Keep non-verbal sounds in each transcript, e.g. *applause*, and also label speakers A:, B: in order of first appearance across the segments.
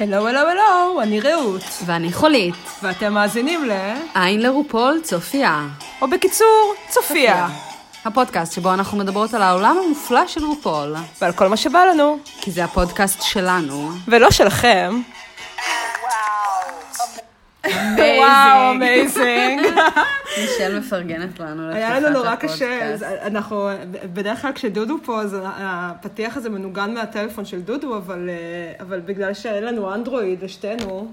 A: הלו, הלו, הלו, אני רעות,
B: ואני חולית.
A: ואתם מאזינים ל...
B: עין לרופול, צופיה.
A: או בקיצור, צופיה.
B: הפודקאסט שבו אנחנו מדברות על העולם המופלא של רופול.
A: ועל כל מה שבא לנו,
B: כי זה הפודקאסט שלנו.
A: ולא שלכם. וואו, אמייזינג.
B: מישל מפרגנת לנו לפתיחת
A: *laughs* היה לנו נורא קשה, אז אנחנו, בדרך כלל כשדודו פה, אז הפתיח הזה מנוגן מהטלפון של דודו, אבל, אה, אבל בגלל שאין לנו אנדרואיד לשתינו,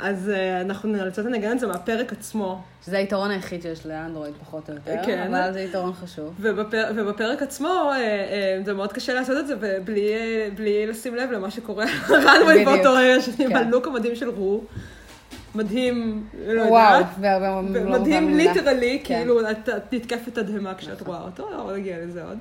A: אז אה, אנחנו נאלצות לנגן את זה מהפרק עצמו.
B: שזה היתרון היחיד שיש לאנדרואיד, פחות או יותר.
A: כן.
B: אבל זה יתרון חשוב.
A: ובפר, ובפרק עצמו, אה, אה, זה מאוד קשה לעשות את זה בלי, אה, בלי לשים לב למה שקורה *laughs* רנווי
B: בדיוק.
A: באותו רגע, שאני
B: כן.
A: בלוק המדהים של רו. מדהים, לא
B: וואו,
A: יודעת.
B: בהרבה מאוד לא מובן
A: מדהים
B: מילה.
A: ליטרלי,
B: כן.
A: כאילו, את את נתקפת תדהמה כשאת רואה אותו, לא נגיע לזה עוד.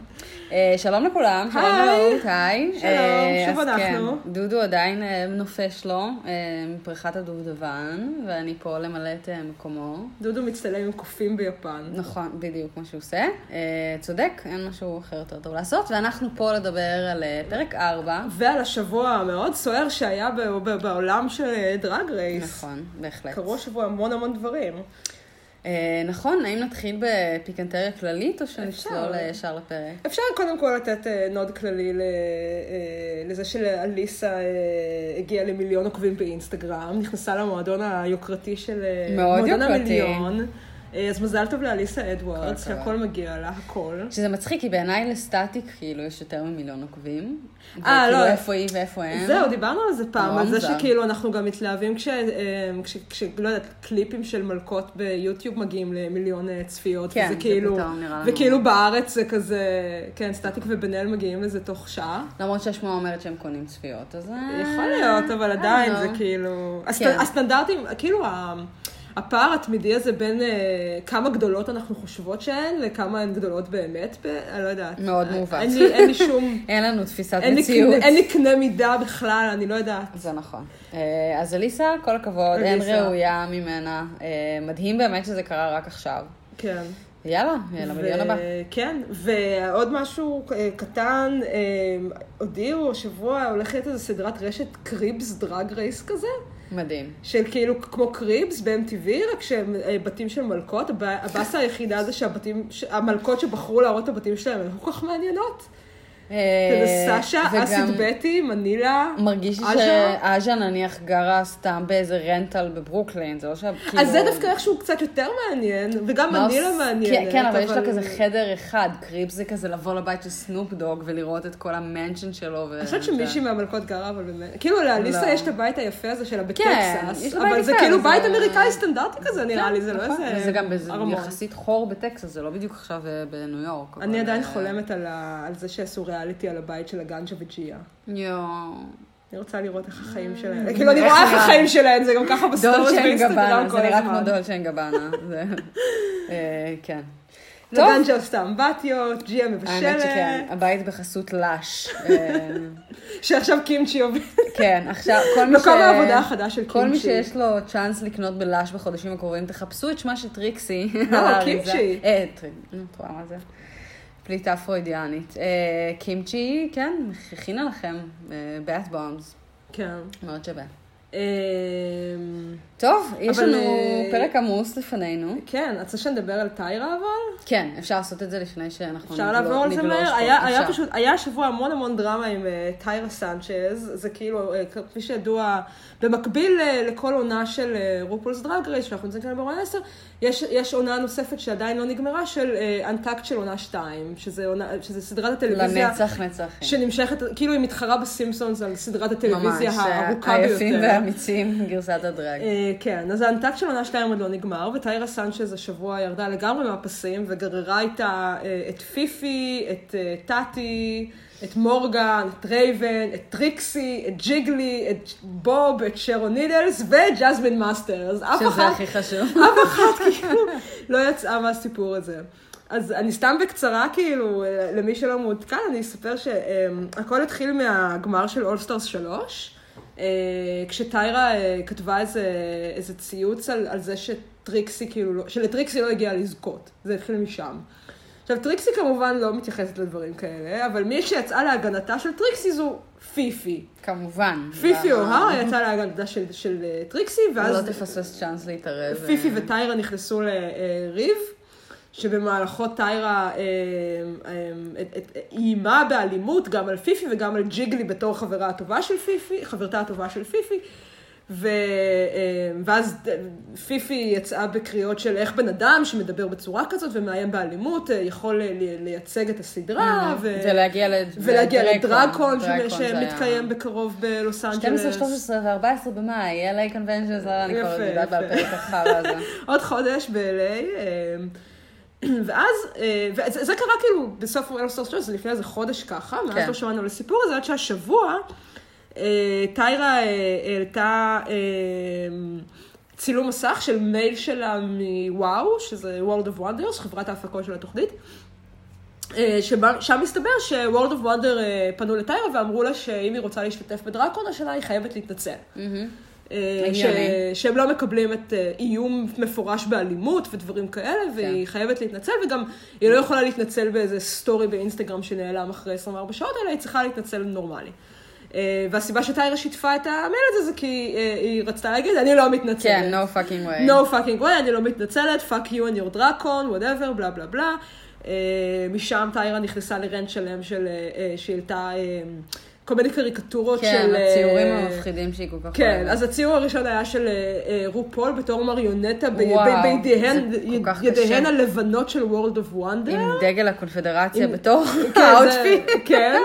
B: אה, שלום לכולם, שלום
A: היי.
B: לרות, היי.
A: שלום,
B: אה,
A: שוב
B: אז
A: אנחנו.
B: כן, דודו עדיין אה, נופש לו אה, מפריחת הדובדבן, ואני פה למלא את אה, מקומו.
A: דודו מצטלם עם קופים ביפן.
B: נכון, בדיוק מה שהוא עושה. אה, צודק, אין משהו אחר יותר טוב לעשות, ואנחנו פה לדבר על אה, פרק 4.
A: ועל השבוע המאוד סוער שהיה ב- ב- בעולם של אה, דרג רייס.
B: נכון, בהחלט.
A: קרו השבוע המון המון דברים.
B: אה, נכון, האם נתחיל בפיקנטריה כללית, או שנצלול
A: אפשר.
B: אה, ישר לפרק?
A: אפשר קודם כל לתת אה, נוד כללי ל- אה, לזה שלאליסה אה, הגיעה למיליון עוקבים באינסטגרם, נכנסה למועדון היוקרתי של אה,
B: מאוד
A: מועדון
B: יוקרתי.
A: המיליון. אה, אז מזל טוב לאליסה אדוארדס,
B: כל הכבוד.
A: שהכל מגיע לה, הכל.
B: שזה מצחיק, כי בעיניי לסטטיק, כאילו, יש יותר ממיליון עוקבים.
A: אה,
B: וכאילו,
A: לא.
B: איפה היא ואיפה הם.
A: זהו, דיברנו על זה פעם,
B: נורא
A: על זה
B: כן. לא מוזר.
A: שכאילו אנחנו גם מתלהבים כש... אה, כש... כש... לא יודעת, קליפים של מלקות ביוטיוב מגיעים למיליון אה, צפיות.
B: כן,
A: וזה
B: זה
A: כאילו...
B: פתאום נראה לנו.
A: וכאילו בארץ זה כזה... כן, סטטיק ובן אל מגיעים לזה תוך שעה.
B: למרות שהשמועה אומרת שהם קונים צפיות, אז... אה,
A: יכול להיות, אבל
B: I don't
A: עדיין זה
B: know.
A: כאילו... הסט-
B: כן.
A: הסטנדרטים, כאילו ה- הפער התמידי הזה בין אה, כמה גדולות אנחנו חושבות שהן לכמה הן גדולות באמת, ב- אני לא יודעת.
B: מאוד מעוות.
A: אין לי- אין לי
B: *laughs*
A: שום...
B: אין לנו תפיסת
A: אין לי
B: מציאות.
A: קנה- אין לי קנה מידה בכלל, אני לא יודעת.
B: זה נכון. אה, אז אליסה, כל הכבוד, אין
A: אליסה.
B: ראויה ממנה. אה, מדהים באמת שזה קרה רק עכשיו.
A: כן.
B: יאללה, למיליון
A: ו-
B: הבא.
A: כן, ועוד משהו אה, קטן, אה, הודיעו השבוע, הולכת איזו סדרת רשת קריבס דרג רייס כזה,
B: מדהים.
A: של כאילו כמו קריבס ב-MTV, רק שהם אה, בתים של מלכות, הב- הבאסה היחידה זה שהבתים, ש- המלכות שבחרו להראות את הבתים שלהם, הן לא כל כך מעניינות.
B: אה,
A: זה סשה,
B: וגם
A: אסיד בטי, מנילה.
B: מרגיש לי
A: עג'ה.
B: שעז'ה נניח גרה סתם באיזה רנטל בברוקלין, זה לא שה... כאילו-
A: אז זה דווקא לא איכשהו קצת יותר מעניין, וגם
B: מה
A: מנילה
B: עוש-
A: מעניינת.
B: כן, כן, אבל יש לה כזה חדר אחד, קריפ זה כזה לבוא לבית של סנופ דוג ולראות את כל המנשן שלו. ו-
A: אני חושבת
B: זה-
A: שמישהי מהמלכות גרה, אבל באמת, כאילו לאליסה
B: לא.
A: יש את הבית היפה הזה שלה
B: כן,
A: בטקסס,
B: יש לה בית
A: אבל זה
B: יפה,
A: כאילו
B: אבל
A: בית
B: זה-
A: אמריקאי סטנדרטי כזה נראה
B: כן,
A: לי, זה לא
B: נכון.
A: איזה
B: וזה גם באיזה
A: ארמון.
B: יחסית חור בטקסס, זה לא בדיוק עכשיו אה, בניו יורק. אבל- אה,
A: אני עדיין חולמת על ה- על זה שעשו ריאליטי על הבית של הגנג'ה וג'יה. *laughs*
B: יואו.
A: אני רוצה לראות איך החיים שלהן, כאילו אני רואה איך החיים שלהן, זה גם ככה בסטורי
B: דולצ'ן גבנה,
A: באינסטגרם לא כל
B: זה נראה כמו
A: הזמן.
B: דולצ'ן גבנה.
A: *laughs*
B: זה- אה, כן. טוב,
A: וגנג'ה עושה אמבטיות, ג'יה
B: האמת
A: מבשלת,
B: שכן, הבית בחסות לאש. אה, *laughs*
A: שעכשיו קימצ'י עובד.
B: כן, עכשיו, כל מי ש...
A: מקום העבודה החדש של
B: כל מי
A: קימצ'י.
B: שיש לו צ'אנס לקנות בלאש בחודשים הקרובים, תחפשו את שמה של *laughs* טריקסי.
A: לא,
B: על האריזה.
A: קימצ'י.
B: אה, טריק, נו, את רואה מה זה? פליטה פרוידיאנית. אה, קימצ'י, כן, הכינה לכם. באט בומס.
A: כן.
B: מאוד שווה.
A: אמ,
B: טוב, יש
A: אבל,
B: לנו
A: אה,
B: פרק עמוס לפנינו.
A: כן, את רוצה שנדבר על טיירה אבל?
B: כן, אפשר לעשות את זה לפני שאנחנו
A: אפשר
B: נגלו-
A: לעבור על זה
B: נגלוש
A: מהר?
B: פה.
A: היה היה
B: אפשר.
A: פשוט, היה השבוע המון המון דרמה עם אה, טיירה סנצ'ז, זה כאילו, אה, כפי שידוע, במקביל אה, לכל עונה של אה, רופולס דרג רייס, שאנחנו נמצאים כאן בעונה 10, יש יש עונה נוספת שעדיין לא נגמרה, של אנטקט של עונה 2, שזה עונה- שזה סדרת הטלוויזיה.
B: לנצח נצחים.
A: שנמשכת, כאילו היא מתחרה בסימפסונס על סדרת הטלוויזיה הארוכה
B: ממש, אה,
A: ביותר.
B: היפים והאמיצים, גרסת הדרג.
A: אה, כן, אז האנטק של עונה 2 עוד לא נגמר, וטיירה סנצ'ז השבוע ירדה לגמרי מהפסים, וגררה איתה אה, את פיפי, את אה, טאטי, את מורגן, את רייבן, את טריקסי, את ג'יגלי, את בוב, את שרון נידלס וג'זמין מאסטרס. אף
B: שזה
A: אחת
B: הכי חשוב.
A: *laughs* אף אחת כאילו לא יצאה מהסיפור הזה. אז אני סתם בקצרה, כאילו, אה, למי שלא מעודכן, אני אספר שהכל התחיל מהגמר של אולסטארס 3, אה, כשטיירה אה, כתבה איזה, איזה ציוץ על, על זה שטריקסי, כאילו, לא- שלטריקסי לא הגיע לזכות, זה התחיל משם. עכשיו, טריקסי כמובן לא מתייחסת לדברים כאלה, אבל מי שיצאה להגנתה של טריקסי זו פיפי.
B: כמובן.
A: פיפי
B: למה-
A: אוהרה יצאה להגנתה של, של אה, טריקסי, ואז...
B: אה. לא תפספס צ'אנס להתערב.
A: פיפי
B: אה,
A: וטיירה נכנסו לריב, שבמהלכו טיירה אה, אה, את- את- איימה באלימות גם על פיפי וגם על ג'יגלי בתור חברה הטובה של פיפי, חברתה הטובה של פיפי. ו... אה, ואז ד- פיפי יצאה בקריאות של איך בן אדם שמדבר בצורה כזאת ומאיים באלימות אה, יכול אה, ל- לייצג את
B: Mm,
A: הסדרה ו...
B: כן, ולהגיע לד-
A: ולהגיע לדרקון ש-
B: דרקון זה היה-
A: שמתקיים בקרוב בלוס אנג'לס.
B: 12, 13 ו-14 במאי, LA Convention, זה אני כבר לא
A: יפה,
B: יודעת
A: יפה.
B: בעל פה את החרא הזה.
A: *laughs* עוד חודש ב-LA, אה, ואז, אה, וזה זה קרה כאילו בסוף 2013, זה לפני איזה חודש ככה, מאז
B: כן.
A: לא שמענו על הסיפור הזה, עד שהשבוע אה, טיירה אה, העלתה אה, צילום מסך של מייל שלה מוואו, שזה World of Wonders, חברת ההפקות של התוכנית. אה, שבה- שם מסתבר ש-World of Wonder אה, פנו לטיירה ואמרו לה שאם היא רוצה להשתתף בדרקון השנה, היא חייבת להתנצל. אה, ש-
B: הגיוני.
A: שהם לא מקבלים את אה, איום מפורש באלימות ודברים כאלה, והיא
B: כן.
A: חייבת להתנצל, וגם היא לא יכולה להתנצל באיזה סטורי באינסטגרם שנעלם אחרי 24 שעות, אלא היא צריכה להתנצל נורמלי. אה, והסיבה שטיירה שיתפה את המייל הזה זה כי אה, היא רצתה להגיד, אני לא מתנצלת.
B: כן, no fucking way.
A: No fucking way, אני לא מתנצלת, fuck you and your drakon, whatever, בלה בלה בלה. אה, משם טיירה נכנסה לרנט שלם של, אה, אה, שהיא העלתה אה, כל מיני קריקטורות
B: כן,
A: של... אה,
B: הציורים המפחידים שהיא כל כך
A: כן,
B: אוהבת.
A: אז הציור הראשון היה של אה, אה, רופול בתור מריונטה ב-
B: וואו,
A: ב- בידיהן,
B: זה כל
A: יד-
B: כך
A: ידיהן
B: קשה.
A: הלבנות של World of Wonder.
B: עם דגל הקונפדרציה
A: עם-
B: בתור
A: כן, זה-
B: האוטפיט. *laughs*
A: כן.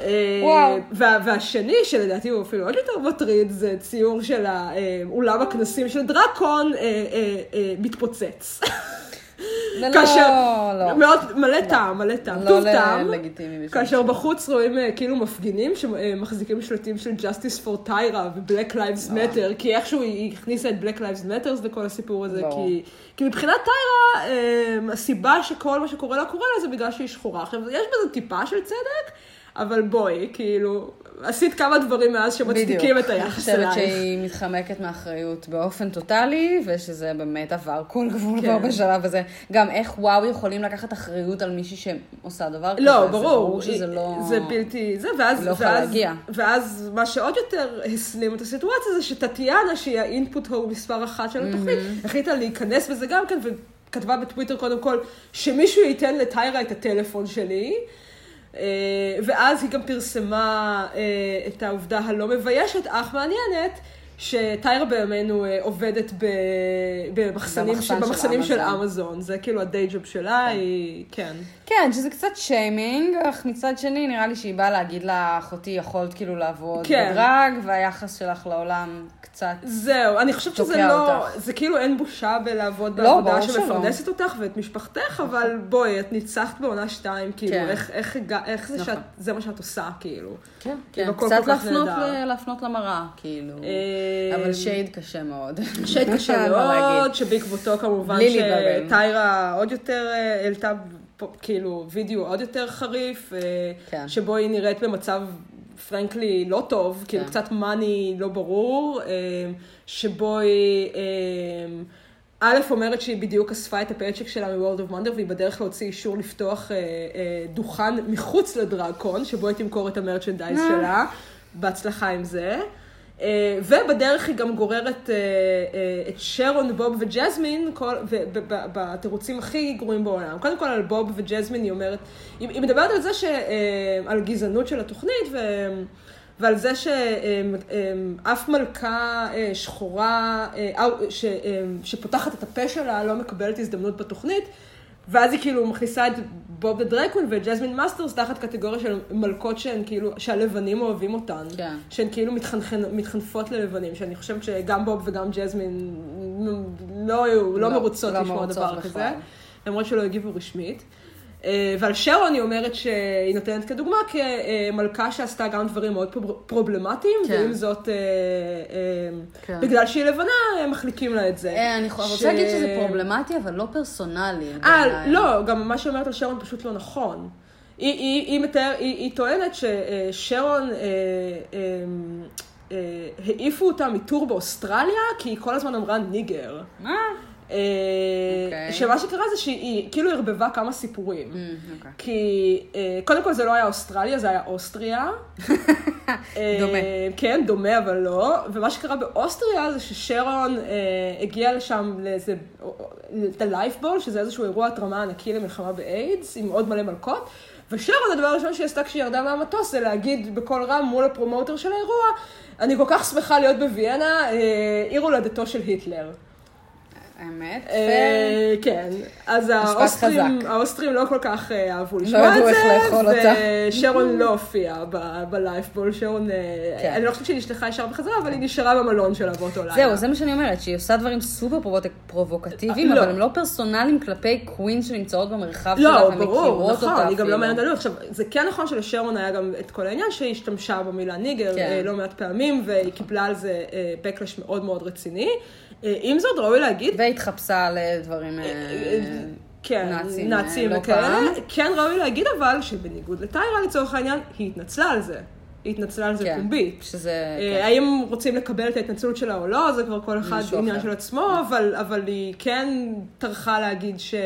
A: אה,
B: וואו.
A: וה- והשני, שלדעתי הוא אפילו עוד יותר מטריד, זה ציור של האולם הכנסים של דרקון אה, אה, אה, מתפוצץ.
B: זה לא,
A: *laughs* כאשר,
B: לא.
A: מאוד, מלא טעם, מלא טעם,
B: לא
A: טוב
B: ל-
A: טעם.
B: לגיטימי. בשום
A: כאשר
B: שלב.
A: בחוץ רואים אה, כאילו מפגינים שמחזיקים שלטים של Justice for Tyra ו-Black Lives
B: לא.
A: Matter, כי איכשהו היא- היא הכניסה את Black Lives Matters לכל הסיפור הזה,
B: ברור.
A: כי- כי מבחינת טיירה, אה, הסיבה שכל מה שקורה לה קורה לה זה בגלל שהיא שחורה. עכשיו, יש בזה טיפה של צדק, אבל בואי, כאילו, עשית כמה דברים מאז שמצדיקים את היחס
B: אני חושבת
A: אלייך.
B: שהיא מתחמקת מאחריות באופן טוטאלי, ושזה באמת עבר כל גבול
A: כן.
B: כבר בשלב הזה. גם איך וואו יכולים לקחת אחריות על מישהי שעושה דבר כזה.
A: לא,
B: זה
A: ברור.
B: ברור שזה לא...
A: זה בלתי... זה, ואז...
B: לא יכולה
A: ואז-
B: להגיע.
A: ואז מה שעוד יותר הסלים את הסיטואציה זה שטטיאנה, שהיא האינפוט הור מספר אחת של התוכנית, החליטה להיכנס בזה גם כן, וכתבה בטוויטר קודם כל, שמישהו ייתן לטיירה את הטלפון שלי. אה, ואז היא גם פרסמה אה, את העובדה הלא מביישת, אך מעניינת, שטיירה בימינו אה, עובדת ב- במחסנים,
B: במחסן
A: של,
B: של
A: במחסנים של
B: אמזון.
A: אמזון. זה כאילו הדיי ג'וב שלה, היא... כן.
B: כן, שזה קצת שיימינג, אך מצד שני נראה לי שהיא באה להגיד לה, אחותי, יכולת כאילו לעבוד
A: כן.
B: בדרג, והיחס שלך לעולם קצת...
A: זהו, אני חושבת שזה
B: תוקע
A: לא,
B: אותך.
A: זה כאילו אין בושה בלעבוד
B: לא,
A: בעבודה
B: ברור שלא.
A: שמפרנסת אותך ואת משפחתך, אבל בואי, את ניצחת בעונה שתיים, כאילו,
B: כן.
A: איך- איך הגע- איך זה
B: נכון.
A: שאת, זה מה שאת עושה, כאילו.
B: כן,
A: כאילו, הכל
B: קצת
A: כל כך
B: להפנות
A: נהדר.
B: ל- להפנות למראה, כאילו.
A: אה,
B: אבל שייד קשה מאוד.
A: שייד קשה
B: אין *laughs* מה להגיד.
A: מאוד, שבעקבותו כמובן
B: בלי להיגרם.
A: שטיירה עוד יותר אה, העלתה פה, כאילו וידאו עוד יותר חריף, אה,
B: כן.
A: שבו היא נראית במצב פרנקלי לא טוב, כאילו
B: כן.
A: קצת מאני לא ברור, אה, שבו היא... אה, א' אומרת שהיא בדיוק אספה את הפאצ'ק שלה מ-World of Wonder והיא בדרך להוציא אישור לפתוח אה, אה, דוכן מחוץ לדרקון, שבו היא תמכור את המרצ'נדייז
B: אה.
A: שלה. בהצלחה עם זה. אה, ובדרך היא גם גוררת אה, אה, את שרון, בוב וג'זמין, כל- ו- ב- ב- בתירוצים הכי גרועים בעולם. קודם כל על בוב וג'זמין היא אומרת, היא היא מדברת על זה, ש- אה, על גזענות של התוכנית, ו- ועל זה שאף מלכה אה, שחורה אה, אה, ש- אה, שפותחת את הפה שלה לא מקבלת הזדמנות בתוכנית. ואז היא כאילו מכניסה את בוב הדרקון וג'זמין מאסטרס תחת קטגוריה של מלכות שהן כאילו, שהלבנים אוהבים אותן.
B: כן.
A: שהן כאילו מתחנכן, מתחנפות ללבנים, שאני חושבת שגם בוב וגם ג'זמין לא היו, לא,
B: לא,
A: מרוצות
B: לא
A: לשמוע
B: מרוצות
A: דבר
B: בכלל.
A: כזה, למרות שלא הגיבו רשמית. אה, ועל שרון היא אומרת שהיא נותנת כדוגמה כמלכה שעשתה גם דברים מאוד פרוב- פרובלמטיים,
B: כן.
A: ועם זאת, אה, אה,
B: כן.
A: בגלל שהיא לבנה, הם מחליקים לה את זה.
B: אה, אני חו-
A: ש-
B: רוצה להגיד שזה פרובלמטי, אבל לא פרסונלי.
A: אה,
B: בעיניי.
A: לא, גם מה שאומרת על שרון פשוט לא נכון. היא, היא, היא, מתאר, היא, היא טוענת ששרון, אה, אה, אה, העיפו אותה מטור באוסטרליה, כי היא כל הזמן אמרה ניגר.
B: מה?
A: אה,
B: אוקיי.
A: שמה שקרה זה שהיא כאילו ערבבה כמה סיפורים.
B: Mm, אוקיי.
A: כי אה, קודם כל זה לא היה אוסטרליה, זה היה אוסטריה. אה,
B: דומה.
A: כן, דומה אבל לא. ומה שקרה באוסטריה זה ששרון אה, הגיע לשם לאיזה, ללייפבול, שזה איזשהו אירוע התרמה ענקי למלחמה באיידס, עם עוד מלא מלקות. ושרון, הדבר הראשון שהיא עשתה כשהיא ירדה מהמטוס זה להגיד בקול רם מול הפרומוטר של האירוע, אני כל כך שמחה להיות בוויינה, אה, עיר הולדתו של היטלר.
B: האמת, פייר.
A: אה, כן, אז האוסטרים, האוסטרים לא כל כך אה, אהבו לשמוע
B: ידעו
A: את
B: איך לאכול
A: זה,
B: אותה.
A: ושרון לא הופיעה ב- בלייפבול, שרון, אה,
B: כן.
A: אני לא חושבת שהיא נשלחה ישר בחזרה, אבל היא נשארה במלון שלה באותו לילה.
B: זהו, זה מה שאני אומרת, שהיא עושה דברים סופר פרובוט- פרובוקטיביים,
A: אה, לא.
B: אבל הם לא פרסונליים כלפי קווין שנמצאות במרחב שלה
A: לא,
B: ומכירות
A: ברור,
B: אותה
A: נכון, היא גם לא
B: אפילו.
A: מעניינת. עכשיו, זה כן נכון שלשרון היה גם את כל העניין שהיא השתמשה במילה ניגר
B: כן.
A: אה, לא מעט פעמים, והיא קיבלה על זה אה, backlash מאוד מאוד רציני. אה, עם זאת, ראוי להגיד,
B: והתחפשה לדברים אה,
A: כן,
B: נאצים,
A: נאצים,
B: אה,
A: נאצים
B: לא
A: וכאלה.
B: פעם.
A: כן ראוי להגיד אבל שבניגוד לטיירה לצורך העניין, היא התנצלה על זה. היא התנצלה על זה
B: כן,
A: פומבית.
B: שזה...
A: אה,
B: כן.
A: האם רוצים לקבל את ההתנצלות שלה או לא, זה כבר כל אחד
B: מישהו
A: עניין
B: אחר.
A: של עצמו, אבל, אבל היא כן טרחה להגיד שהיא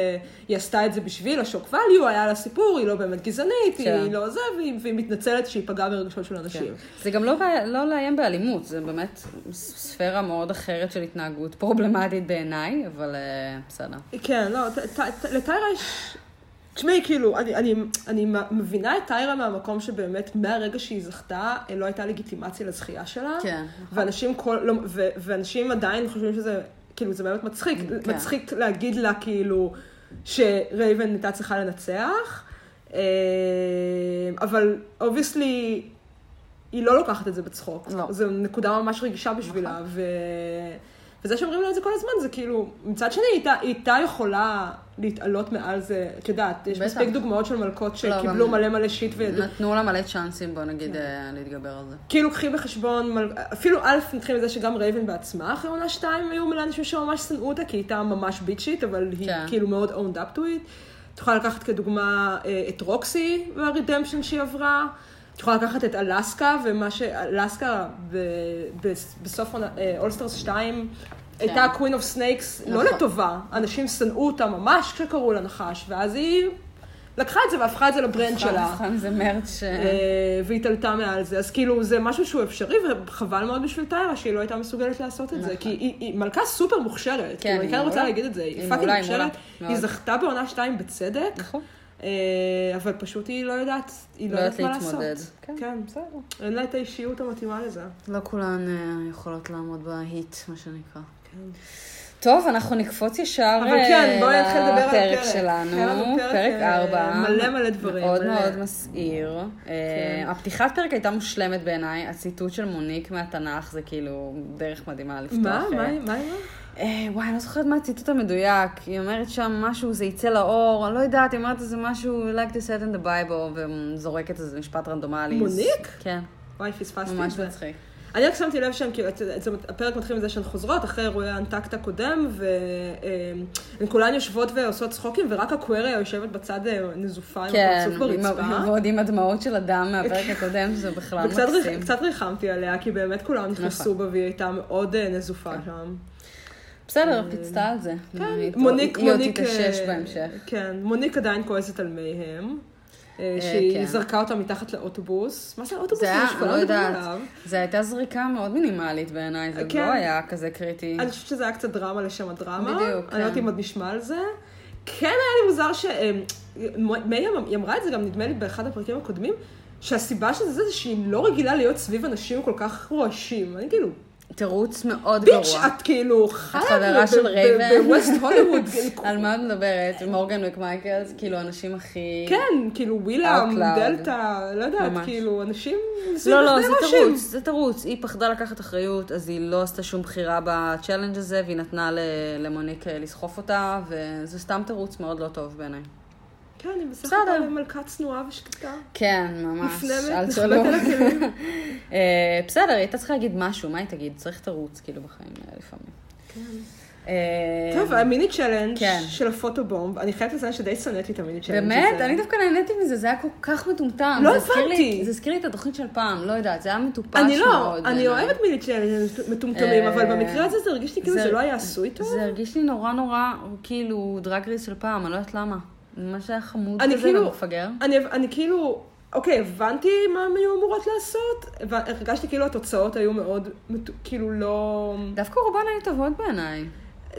A: עשתה את זה בשביל השוק value, היה לה סיפור, היא לא באמת גזענית,
B: כן.
A: היא לא זה, והיא, והיא מתנצלת שהיא פגעה ברגשות של
B: כן.
A: אנשים.
B: זה גם לא, בא- לא לאיים באלימות, זה באמת ספירה מאוד אחרת של התנהגות פרובלמטית בעיניי, אבל אה, בסדר.
A: כן, לא, ט- ט- ט- לטיירה יש... תשמעי, כאילו, אני, אני, אני מבינה את טיירה מהמקום שבאמת מהרגע שהיא זכתה, לא הייתה לגיטימציה לזכייה שלה.
B: כן.
A: ואנשים, כל, לא, ו, ואנשים עדיין חושבים שזה, כאילו, זה באמת מצחיק.
B: כן.
A: מצחיק להגיד לה, כאילו, שרייבן הייתה צריכה לנצח, אה, אבל אובייסלי, היא לא לוקחת את זה בצחוק.
B: לא. נכון.
A: זו נקודה ממש רגישה בשבילה, ו... וזה שאומרים לה את זה כל הזמן, זה כאילו, מצד שני, היא הייתה- היא הייתה יכולה להתעלות מעל זה, את יודעת, יש
B: בטח. לא,
A: מספיק דוגמאות של מלכות שקיבלו
B: גם-
A: מלא מלא שיט וידעו
B: נתנו לה מלא צ'אנסים, בוא נגיד, אה, להתגבר על זה.
A: כאילו קחי בחשבון, מל- אפילו א', נתחיל מזה שגם רייבן בעצמה אחרי עונה שתיים היו מלא אנשים שממש שנאו אותה, כי היא הייתה ממש ביצ'ית, אבל היא
B: כן.
A: כאילו מאוד owned up to it. את יכולה לקחת כדוגמה אה, את רוקסי והרידמפשן שהיא עברה. את יכולה לקחת את אלסקה, ומה שאלסקה ב- ב- בסוף אולסטרס 2 הייתה קווין אוף סנייקס, לא
B: כן. נכון.
A: לטובה. אנשים שנאו אותה ממש כשקראו לה נחש, ואז היא לקחה את זה והפכה את זה
B: נכון.
A: לברנד שלה.
B: חם זה מרץ ש...
A: אה, והיא תלתה מעל זה. אז כאילו, זה משהו שהוא אפשרי, וחבל מאוד בשביל טיירה שהיא לא הייתה מסוגלת לעשות את זה. כי היא היא מלכה סופר מוכשרת. כאילו, אני כן
B: נכון. היא
A: רוצה
B: מעולה.
A: להגיד את זה. היא
B: היא
A: פאקינג
B: מעולה, היא מעולה.
A: מוכשרת. היא
B: מאוד.
A: זכתה בעונה שתיים בצדק,
B: נכון.
A: אה, אבל פשוט היא לא יודעת, היא לא
B: לא
A: יודעת
B: יודעת
A: מה לעשות.
B: להתמודד.
A: כן,
B: בסדר.
A: אין לה את האישיות המתאימה לזה.
B: לא כולן אה, יכולות לעמוד בהיט, מה שנקרא. כן. טוב, אנחנו נקפוץ ישר
A: אבל כן,
B: אה,
A: בואי נתחיל לדבר על הפרק.
B: לפרק
A: היה לנו
B: שלנו,
A: פרק,
B: פרק
A: אה,
B: 4.
A: מלא מלא דברים,
B: מאוד
A: מלא. כן.
B: מאוד מסעיר. אה, הפתיחת פרק הייתה מושלמת בעיניי, הציטוט של מוניק מהתנ"ך זה כאילו דרך מדהימה לפתוח.
A: מה?
B: אה,
A: מה? היא- מה? היא אמרה?
B: אה, וואי, אני לא זוכרת מה הציטוט המדויק. היא אומרת שם משהו, זה יצא לאור, אני לא יודעת, היא אומרת איזה משהו, like this set in the Bible, וזורקת איזה משפט רנדומלי.
A: מוניק?
B: כן,
A: וואי, פספסתי את
B: ממש
A: זה.
B: מצחיק.
A: אני רק שמתי לב שהם, כאילו, את יודעת, זה- הפרק מתחיל מזה שהן חוזרות, אחרי אירועי האנטקט הקודם, והן כולן יושבות ועושות צחוקים, ורק הקוויריה יושבת בצד אה, נזופה עם
B: כן,
A: הפרצוף ברצפה.
B: עם- ועוד עם הדמעות של הדם מהפרק
A: *laughs*
B: הקודם, שזה בכלל
A: וקצת ריח-
B: מקסים.
A: קצת ריחמתי עליה, כי באמת כולם נכנסו
B: נכון. כן.
A: בה, והיא הייתה מאוד אה, נזופה שם.
B: בסדר, פיצתה על זה. היא-
A: כן. מוניק,
B: היא עוד
A: מוניק...
B: תתעשש
A: אה,
B: בהמשך.
A: כן, מוניק עדיין כועסת על מייהם. אה,
B: כן.
A: שהיא זרקה אותה מתחת לאוטובוס. מה זה האוטובוס?
B: זה היה,
A: הזה
B: אני
A: שכולם
B: לא
A: מדברים
B: יודעת,
A: עליו?
B: זה הייתה זריקה מאוד מינימלית בעיניי, זה
A: כן.
B: לא היה כזה קריטי.
A: אני חושבת שזה היה קצת דרמה לשם הדרמה.
B: בדיוק,
A: אני לא יודעת
B: כן.
A: אם עוד נשמע על זה. כן היה לי מוזר ש... אמ, מאיה, היא אמרה את זה גם נדמה לי באחד הפרקים הקודמים, שהסיבה של זה זה שהיא לא רגילה להיות סביב אנשים כל כך רועשים. אני כאילו,
B: תירוץ מאוד גרוע.
A: ביץ', את כאילו חיה
B: חברה
A: ב-
B: של
A: ב-
B: רייבן.
A: ב- בווסט
B: *laughs*
A: הוליווד. כאילו,
B: על מה את מדברת? מורגן מקמייקלס, כאילו אנשים הכי...
A: כן, כאילו ווילאם,
B: Out loud.
A: דלתא, לא יודעת,
B: ממש.
A: כאילו, אנשים סביב
B: לא, לא,
A: לפני
B: זה
A: רועשים.
B: תירוץ, זה תירוץ. היא פחדה לקחת אחריות, אז היא לא עשתה שום בחירה בצ'אלנג' הזה, והיא נתנה ל- למוניק אה, לסחוף אותה, וזה סתם תירוץ מאוד לא טוב בעיניי.
A: כן, היא בסך
B: בסדר.
A: הכל מלכה צנועה ושקטה.
B: כן, ממש.
A: מופנמת,
B: אל
A: נחבאת
B: תשאלו.
A: על
B: *laughs*
A: הכלים.
B: אה, בסדר, היא הייתה צריכה להגיד משהו, מה היא תגיד? צריך תירוץ, כאילו, בחיים אה, לפעמים. אה,
A: טוב, המיני צ'לנג'
B: כן.
A: של הפוטובומב, אני חייבת לציין שדי שנאתי את המיני צ'לנג' הזה.
B: באמת? אני דווקא נהניתי מזה, זה היה כל כך מטומטם.
A: לא
B: זה הזכיר לי-
A: הבנתי.
B: זה הזכיר לי את התוכנית של פעם, לא יודעת, זה היה מטופש מאוד.
A: אני לא, אני
B: בעיניי.
A: אוהבת מיני צ'לנג' מטומטמים,
B: אה,
A: אבל במקרה הזה זה הרגיש לי כאילו זה לא היה עשוי טוב.
B: זה הרגיש לי נורא נורא, כאילו, דרג רייס של פעם, אני לא יודעת למה. ממש היה חמוד
A: אני
B: כזה
A: כאילו-
B: ומפגר.
A: אני, אני כאילו, אוקיי, הבנתי מה הן היו אמורות לעשות, אבל הרגשתי כאילו התוצאות היו מאוד, מט- כאילו לא...
B: דווקא רובן היו טובות בעיניי.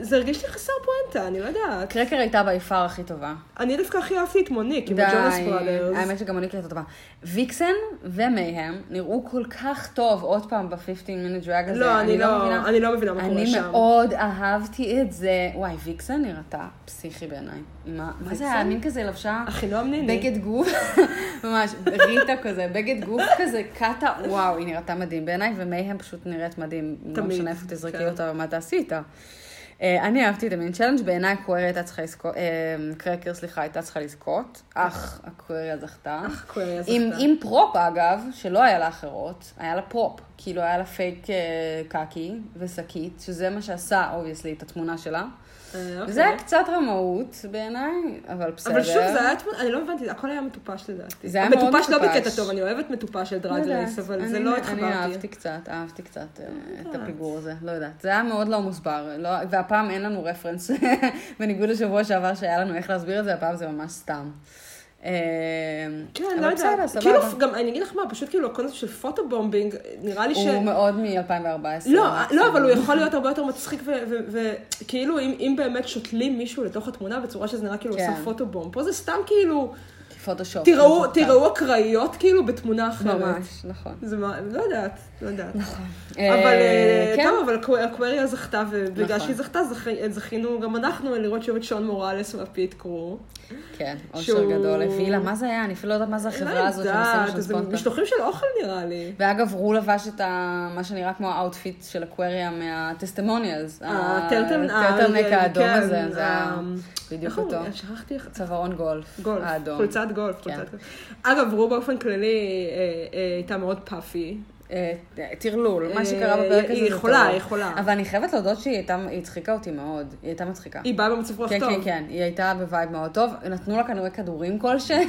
A: זה הרגיש לי חסר פואנטה, אני לא יודעת.
B: קרקר הייתה ביפר הכי טובה.
A: אני דווקא הכי אהבתי את מוניק, עם
B: כן. די.
A: הג'ונס בראדרס.
B: האמת שגם אני קראתי טובה. ויקסן ומייהם נראו כל כך טוב עוד פעם ב-15 minute drag הזה.
A: לא, אני לא,
B: מבינה-
A: אני לא מבינה מה קורה
B: אני
A: שם.
B: מאוד אהבתי את זה. וואי, ויקסן נראתה פסיכי בעיניי. מה מה זה היה?
A: ויקסן?
B: מין כזה לבשה?
A: אחינועם ניני.
B: בגד גוף, *laughs* ממש, ריטה כזה, בגד גוף כזה, קאטה, וואו, היא נראתה מדהים בעיניי, ומייהם פשוט נראית מדהים. לא
A: תמיד,
B: משנה איפה תזרקי
A: כן.
B: אותה ומה תעשי איתה. אה, אני אהבתי את המין צ'אלנג', בעיניי קווירי הייתה צריכה לזכות, אה, קרקר, סליחה, הייתה צריכה לזכות, אך הקוויריה זכתה.
A: אך, קוויריה זכתה.
B: עם- עם פרופ אגב, שלא היה לה אחרות, היה לה פרופ, כאילו היה לה פייק אה, קקי ושקית, שזה מה שעשה, אובייסלי, את התמונה שלה.
A: אה, אוקיי.
B: וזה היה קצת רמאות בעיניי, אבל בסדר.
A: אבל שוב, זה היה, תמונה- אני לא הבנתי, הכל היה מטופש לדעתי.
B: זה היה מאוד
A: מטופש לא
B: מטופש.
A: בקטע טוב, אני אוהבת מטופש של
B: לא
A: דרג
B: יודעת.
A: רייס, אבל
B: אני-
A: זה לא
B: אני
A: התחברתי.
B: אהבתי קצת, אהבתי קצת אה, את
A: יודעת.
B: הפיגור הזה, לא יודעת. זה היה מאוד לא מוסבר, לא- והפעם אין לנו רפרנס, *laughs* בניגוד לשבוע שעבר שהיה לנו איך להסביר את זה, הפעם זה ממש סתם. אה,
A: כן,
B: אבל
A: לא
B: בסדר,
A: יודעת.
B: סבבה.
A: כאילו, גם, אני אגיד לך מה, פשוט כאילו, הקונספט של פוטובומבינג, נראה לי ש...
B: הוא מאוד מ-2014.
A: לא, לא, אבל הוא יכול להיות הרבה יותר מצחיק, וכאילו, אם, אם באמת שותלים מישהו לתוך התמונה בצורה שזה נראה כאילו
B: כן.
A: עושה פוטובום, פה זה סתם כאילו,
B: פוטושופ.
A: תראו,
B: מטומטם.
A: תראו אקראיות כאילו בתמונה אחרת.
B: ממש, נכון.
A: זה מה, לא יודעת, לא יודעת. נכון. אבל,
B: אה,
A: אה,
B: כן.
A: טוב, אבל הקו- הקווריה זכתה, ובגלל
B: נכון.
A: שהיא זכתה, זכי- זכינו גם אנחנו לראות שוב את שון מוראלס מהפיט קרו.
B: כן, אושר
A: שהוא-
B: גדול הביא לה, מה זה היה? אני אפילו לא יודעת מה זה החברה הזאת שעושים
A: לא
B: שם
A: יודעת, זה
B: ספונטה.
A: משלוחים של אוכל נראה לי.
B: ואגב, הוא לבש את ה... מה שנראה כמו האאוטפיט של אקווריה מהטסטימוניאלס.
A: הטרטל-
B: הטרטלנק
A: ה-
B: אה, האדום
A: אה, כן,
B: הזה, זה היה
A: ה-
B: בדיוק
A: איך הוא- אה,
B: אותו.
A: שכחתי איך...
B: צווארון גולף,
A: גולף,
B: האדום.
A: חולצת גולף,
B: כן.
A: חולצת גולף. אגב, רו באופן כללי אה, אה, הייתה מאוד פאפי.
B: אה, טרלול, מה
A: אה,
B: שקרה בפרק הזה.
A: היא
B: זה
A: יכולה,
B: טרלול.
A: היא יכולה.
B: אבל אני חייבת להודות שהיא הייתה, היא הצחיקה אותי מאוד. היא הייתה מצחיקה.
A: היא באה במצב רוח
B: כן,
A: טוב.
B: כן, כן, היא הייתה בווייב מאוד טוב, נתנו לה כנראה
A: *laughs*
B: כדורים כלשהם,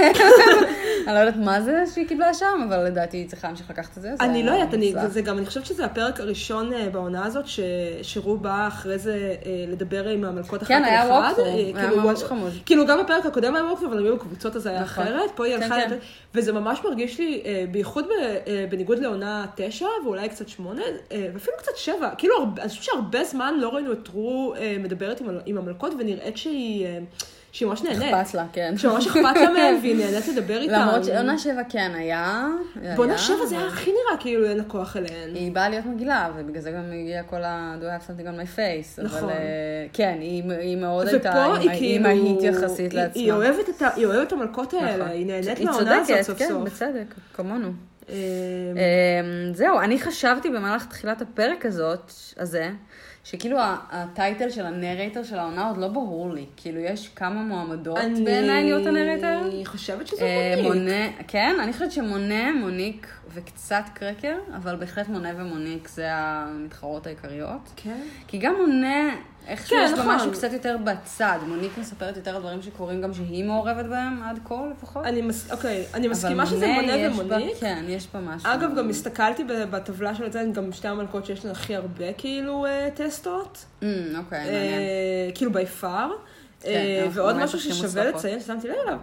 B: אני לא יודעת מה זה שהיא קיבלה שם, אבל לדעתי היא צריכה להמשיך לקחת את זה. זה
A: אני לא
B: היה
A: יודעת, אני-
B: מוצלח.
A: זה גם, אני חושבת שזה הפרק הראשון אה, בעונה הזאת, ש- שרו באה אחרי זה אה, לדבר עם המלכות אחת
B: כן,
A: על
B: היה
A: אחד.
B: walkthrough,
A: אה,
B: היה
A: כאילו,
B: ממש
A: walk-
B: חמוד.
A: כאילו, גם בפרק הקודם היה ווקפור, אבל הם היו בקבוצות, אז זה היה
B: נכון.
A: אחרת. פה היא
B: כן,
A: הלכה...
B: כן.
A: לדבר- וזה ממש מרגיש לי, אה, בייחוד ב- אה, בניגוד לעונה תשע, ואולי קצת שמונה, אה, ואפילו קצת שבע. כאילו, הרבה- אני חושבת שהרבה זמן לא ראינו את רו אה, מדברת עם ה- עם המלכות, ונראית שהיא אה, שהיא ממש נהנית.
B: אכפת לה, כן.
A: שממש אכפת לה מהם, והיא נהנית לדבר איתם.
B: למרות שעונה שבע כן היה. היה,
A: בעונה שבע זה
B: אבל-
A: היה הכי נראה כאילו אין לה כוח אליהן.
B: היא באה להיות מגעילה, ובגלל זה גם הגיע כל ה- do I have something on my face.
A: נכון.
B: אבל אה, כן, היא היא מאוד הייתה,
A: ופה היא כאילו...
B: אימהית יחסית
A: היא-
B: לעצמה.
A: היא אוהבת את ה- היא אוהבת את המלכות
B: נכון.
A: האלה, היא נהנית מהעונה הזאת סוף
B: היא צודקת, כן,
A: סוף.
B: בצדק, כמונו.
A: אמ,
B: אמ, זהו, אני חשבתי במהלך תחילת הפרק הזאת, הזה, שכאילו ה- הטייטל של הנרייטר של העונה עוד לא ברור לי. כאילו, יש כמה מועמדות
A: אני-
B: בעיניי להיות הנרייטר.
A: אני חושבת שזה
B: אה,
A: מוניק.
B: מונה, כן, אני חושבת שמונה, מוניק וקצת קרקר, אבל בהחלט מונה ומוניק זה המתחרות העיקריות.
A: כן.
B: כי גם מונה, איכשהו
A: כן,
B: יש לו
A: נכון.
B: משהו קצת יותר בצד. מוניק מספרת יותר על דברים שקורים גם שהיא מעורבת בהם עד כה לפחות.
A: אני מס- אוקיי, אני
B: אבל
A: מסכימה שזה מונה
B: יש בה-
A: ומוניק.
B: כן, יש בה משהו.
A: אגב, גם הסתכלתי ב- בטבלה של זה, גם שתי המלכות שיש להן הכי הרבה כאילו אה, טסטות.
B: אמ, אוקיי, מעניין.
A: אה, כאילו by far.
B: כן,
A: אה,
B: אנחנו
A: ועוד
B: באמת
A: משהו
B: הכי
A: ששווה
B: מוצלחות.
A: לציין, ששמתי לב אליו,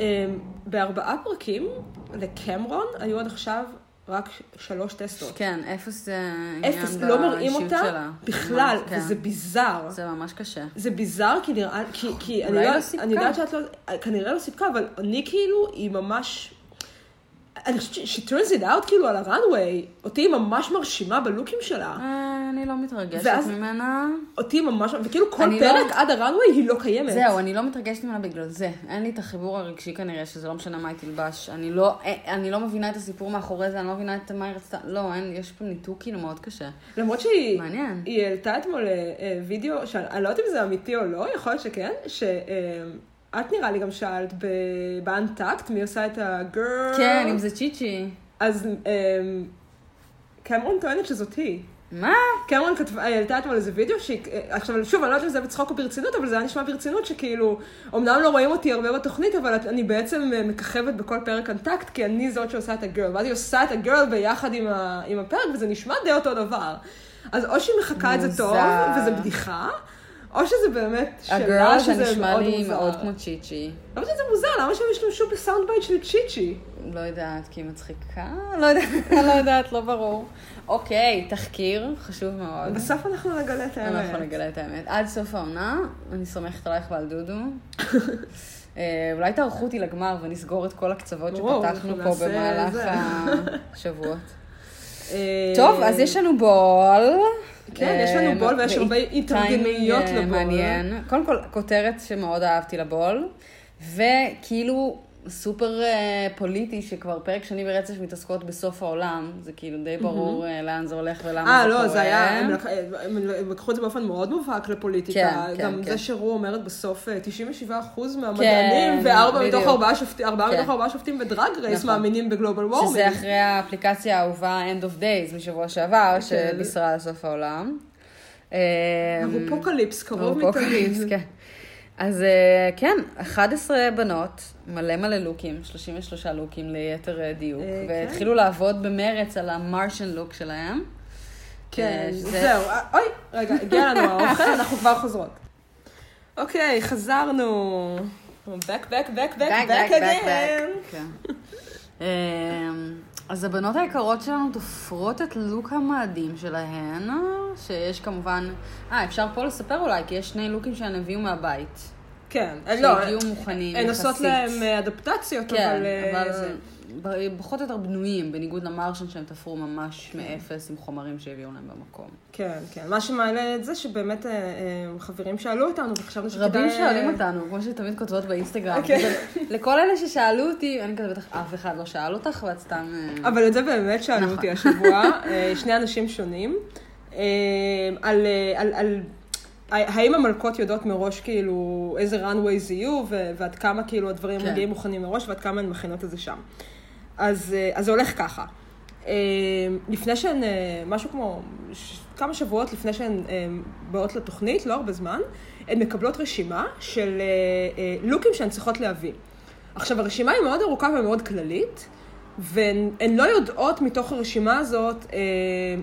A: אה, בארבעה פרקים לקמרון היו עד עכשיו רק שלוש טסטות.
B: כן, אפס זה עניין
A: אפס, לא מראים
B: באישיות
A: אותה
B: שלה.
A: בכלל,
B: ממש, כן.
A: וזה ביזאר.
B: זה ממש קשה.
A: זה ביזאר, כי נראה, כי- כי אני
B: אולי
A: לא-
B: לא סיפקה.
A: אני יודעת שאת לא, כנראה לא סיפקה, אבל אני כאילו, היא ממש... אני חושבת ש- she turns it out כאילו על הראנוויי, אותי היא ממש מרשימה בלוקים שלה.
B: אה, אני לא מתרגשת
A: ואז-
B: ממנה.
A: אותי היא ממש, וכאילו כל
B: אני לא-
A: פרק עד הראנוויי היא לא קיימת.
B: זהו, אני לא מתרגשת ממנה בגלל זה. אין לי את החיבור הרגשי כנראה, שזה לא משנה מה היא תלבש. אני לא, אה, אני לא מבינה את הסיפור מאחורי זה, אני לא מבינה את מה היא רצתה. לא, אין, יש פה ניתוק כאילו מאוד קשה.
A: למרות שהיא
B: מעניין.
A: היא העלתה אתמול אה, אה, וידאו, שאני לא יודעת אם זה אמיתי או לא, יכול להיות שכן, שאת נראה לי גם שאלת ב- באנטקט מי עושה את הגרל.
B: כן, אם זה כן, צ'יצ'י.
A: אז אה, קמרון אמ, טוענת שזאת היא.
B: מה?
A: קמרון כתבה, העלתה אתמול איזה וידאו, שהיא, עכשיו שוב, אני לא יודעת אם זה בצחוק או ברצינות, אבל זה היה נשמע ברצינות, שכאילו, אמנם לא רואים אותי הרבה בתוכנית, אבל אני בעצם אה, מככבת בכל פרק קונטקט, כי אני זאת שעושה את הגרל, ואז היא עושה את הגרל ביחד עם, ה, עם הפרק, וזה נשמע די אותו דבר. אז או שהיא מחקה את זה טוב,
B: מוזר.
A: וזה בדיחה, או שזה באמת שאלה
B: הגרל זה
A: שזה
B: נשמע
A: מאוד
B: לי
A: מוזר.
B: מאוד כמו צ'יצ'י.
A: למה שזה מוזר? למה שהם השתמשו בסאונד בייט של צ'יצ'י?
B: לא יודעת, כי היא מצחיקה? לא יודעת, *laughs* לא יודעת, לא ברור. אוקיי, תחקיר, חשוב מאוד.
A: בסוף אנחנו נגלה את האמת.
B: אנחנו נגלה את האמת. עד סוף העונה, אני סומכת עלייך ועל
A: *laughs*
B: דודו. אה, אולי תערכו אותי לגמר ונסגור את כל הקצוות
A: ברור,
B: שפתחנו פה
A: אנחנו נעשה
B: במהלך
A: זה.
B: השבועות.
A: *laughs* אה,
B: טוב, אז יש לנו בול.
A: כן, יש לנו
B: אה,
A: בול ויש
B: ו-
A: הרבה התארגנויות
B: טיימינג, אה,
A: לבול.
B: מעניין. קודם כל, כותרת שמאוד אהבתי לבול, וכאילו סופר אה, פוליטי, שכבר פרק שני ברצף מתעסקות בסוף העולם, זה כאילו די ברור אה, לאן זה הולך ולמה זה קורה.
A: אה, לא, זה היה, הם לק- הם הם לקחו את זה באופן מאוד מובהק לפוליטיקה.
B: כן, כן,
A: גם
B: כן.
A: זה שרו אומרת בסוף, אה, 97% מהמדענים, וארבעה
B: כן, בדיוק.
A: מתוך ארבעה שופטים, ארבעה
B: כן.
A: מתוך ארבעה שופטים בדרג רייס
B: נכון.
A: מאמינים בגלובל
B: שזה
A: וורמינג.
B: אחרי האפליקציה האהובה End of Days משבוע שעבר,
A: כן.
B: שבישרה על סוף העולם. אה,
A: ארופוקליפס, קרוב מתמיד.
B: ארופוקליפס, *laughs* כן. אז אה, כן, 11 בנות, מלא מלא לוקים, 33 לוקים ליתר אה, דיוק,
A: אה, כן.
B: והתחילו לעבוד במרץ על המרשן לוק שלהם.
A: כן,
B: אה, שזה-
A: זהו. אה, אוי, רגע, הגיע לנו האוכל, אנחנו כבר חוזרות. אוקיי, חזרנו. back, back, back, back, back again. *laughs*
B: כן. אמ, אז הבנות היקרות שלנו תופרות את לוק המאדים שלהן, שיש כמובן... אה, אפשר פה לספר אולי, כי יש שני לוקים שהן הביאו מהבית.
A: כן, אה, לא,
B: שהגיעו מוכנים
A: הן עושות
B: יחסית.
A: להם אה, אדפטציות,
B: כן,
A: אבל... אה,
B: אבל
A: זה-
B: ב- פחות או יותר בנויים, בניגוד למרשן שהם תפרו ממש מאפס עם חומרים שהביאו להם במקום.
A: כן, כן. מה שמעלה את זה שבאמת אה, אה, חברים שאלו אותנו, וחשבנו שכדאי... אה,
B: רבים שואלים אותנו, כמו שתמיד כותבות באינסטגרם.
A: כן.
B: כזה, לכל אלה ששאלו אותי, אני כזה בטח אף אחד לא שאל אותך, ואת סתם... אה,
A: אבל את זה באמת שאלו
B: נכון.
A: אותי השבוע, אה, שני אנשים שונים, אה, על... אה, על- על- האם המלכות יודעות מראש כאילו איזה runways יהיו ו- ועד כמה כאילו הדברים
B: כן.
A: מגיעים מוכנים מראש ועד כמה הן מכינות את זה שם. אז, אה, אז זה הולך ככה. אה, לפני שהן, אה, משהו כמו ש- כמה שבועות לפני שהן אה, באות לתוכנית, לא הרבה זמן, הן מקבלות רשימה של אה, אה, לוקים שהן צריכות להביא. עכשיו, הרשימה היא מאוד ארוכה ומאוד כללית, והן הן לא יודעות מתוך הרשימה הזאת אה,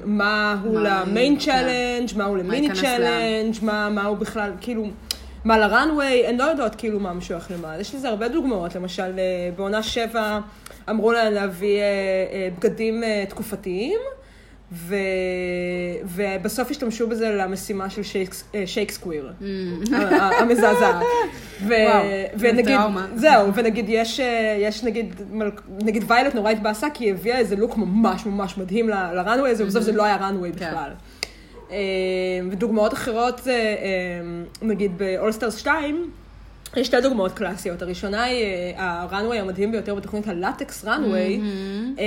A: מה הוא
B: מה-
A: למיין
B: כן.
A: צ'אלנג', מה הוא
B: מה
A: למיני
B: ייכנס
A: צ'אלנג', מה מה הוא בכלל, כאילו, מה לראנוויי, הן לא יודעות כאילו מה משוייך למה. יש לזה הרבה דוגמאות, למשל, אה, בעונה שבע אמרו להן להביא אה, אה, בגדים אה, תקופתיים. ו... ובסוף השתמשו בזה למשימה של שייקס... אה, שייקסקוויר, ה- ה-
B: *laughs*
A: המזעזעת. ו...
B: Mm. וואו,
A: ונגיד,
B: טראומה.
A: זהו, ונגיד יש, אה, יש נגיד, מל- נגיד ויילט נורא התבאסה כי היא הביאה איזה לוק ממש ממש מדהים ל- לראנוויי הזה, ובסוף זה לא היה ראנוויי
B: כן.
A: בכלל. אה, ודוגמאות אחרות זה, אה, נגיד ב-All-Stars 2, יש שתי דוגמאות קלאסיות. הראשונה היא אה, הראנוויי המדהים ביותר בתוכנית הלטקס ראנוויי.
B: Mm-hmm.
A: אה,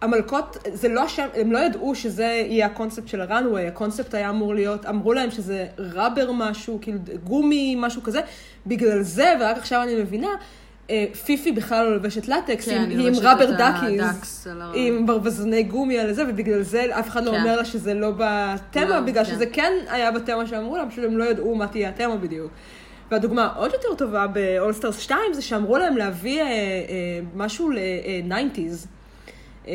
A: המלכות, זה לא השם, הם לא ידעו שזה יהיה הקונספט של הראנוויי, הקונספט היה אמור להיות, אמרו להם שזה ראבר משהו, כאילו גומי, משהו כזה, בגלל זה, ורק עכשיו אני מבינה, אה, פיפי בכלל לא לובשת לטקס,
B: כן,
A: היא-
B: היא
A: היא עם
B: לובשת
A: ראבר
B: את הדקס
A: דקיז,
B: על ה- לא-
A: היא עם ברווזני גומי על זה, ובגלל זה אף אחד לא
B: כן.
A: אומר לה שזה לא בתמה,
B: לא,
A: בגלל
B: כן.
A: שזה כן היה בתמה שאמרו לה, פשוט הם לא ידעו מה תהיה התמה בדיוק. והדוגמה העוד יותר טובה ב-All-Stars 2 זה שאמרו להם להביא אה, אה, משהו ל-90's. אה,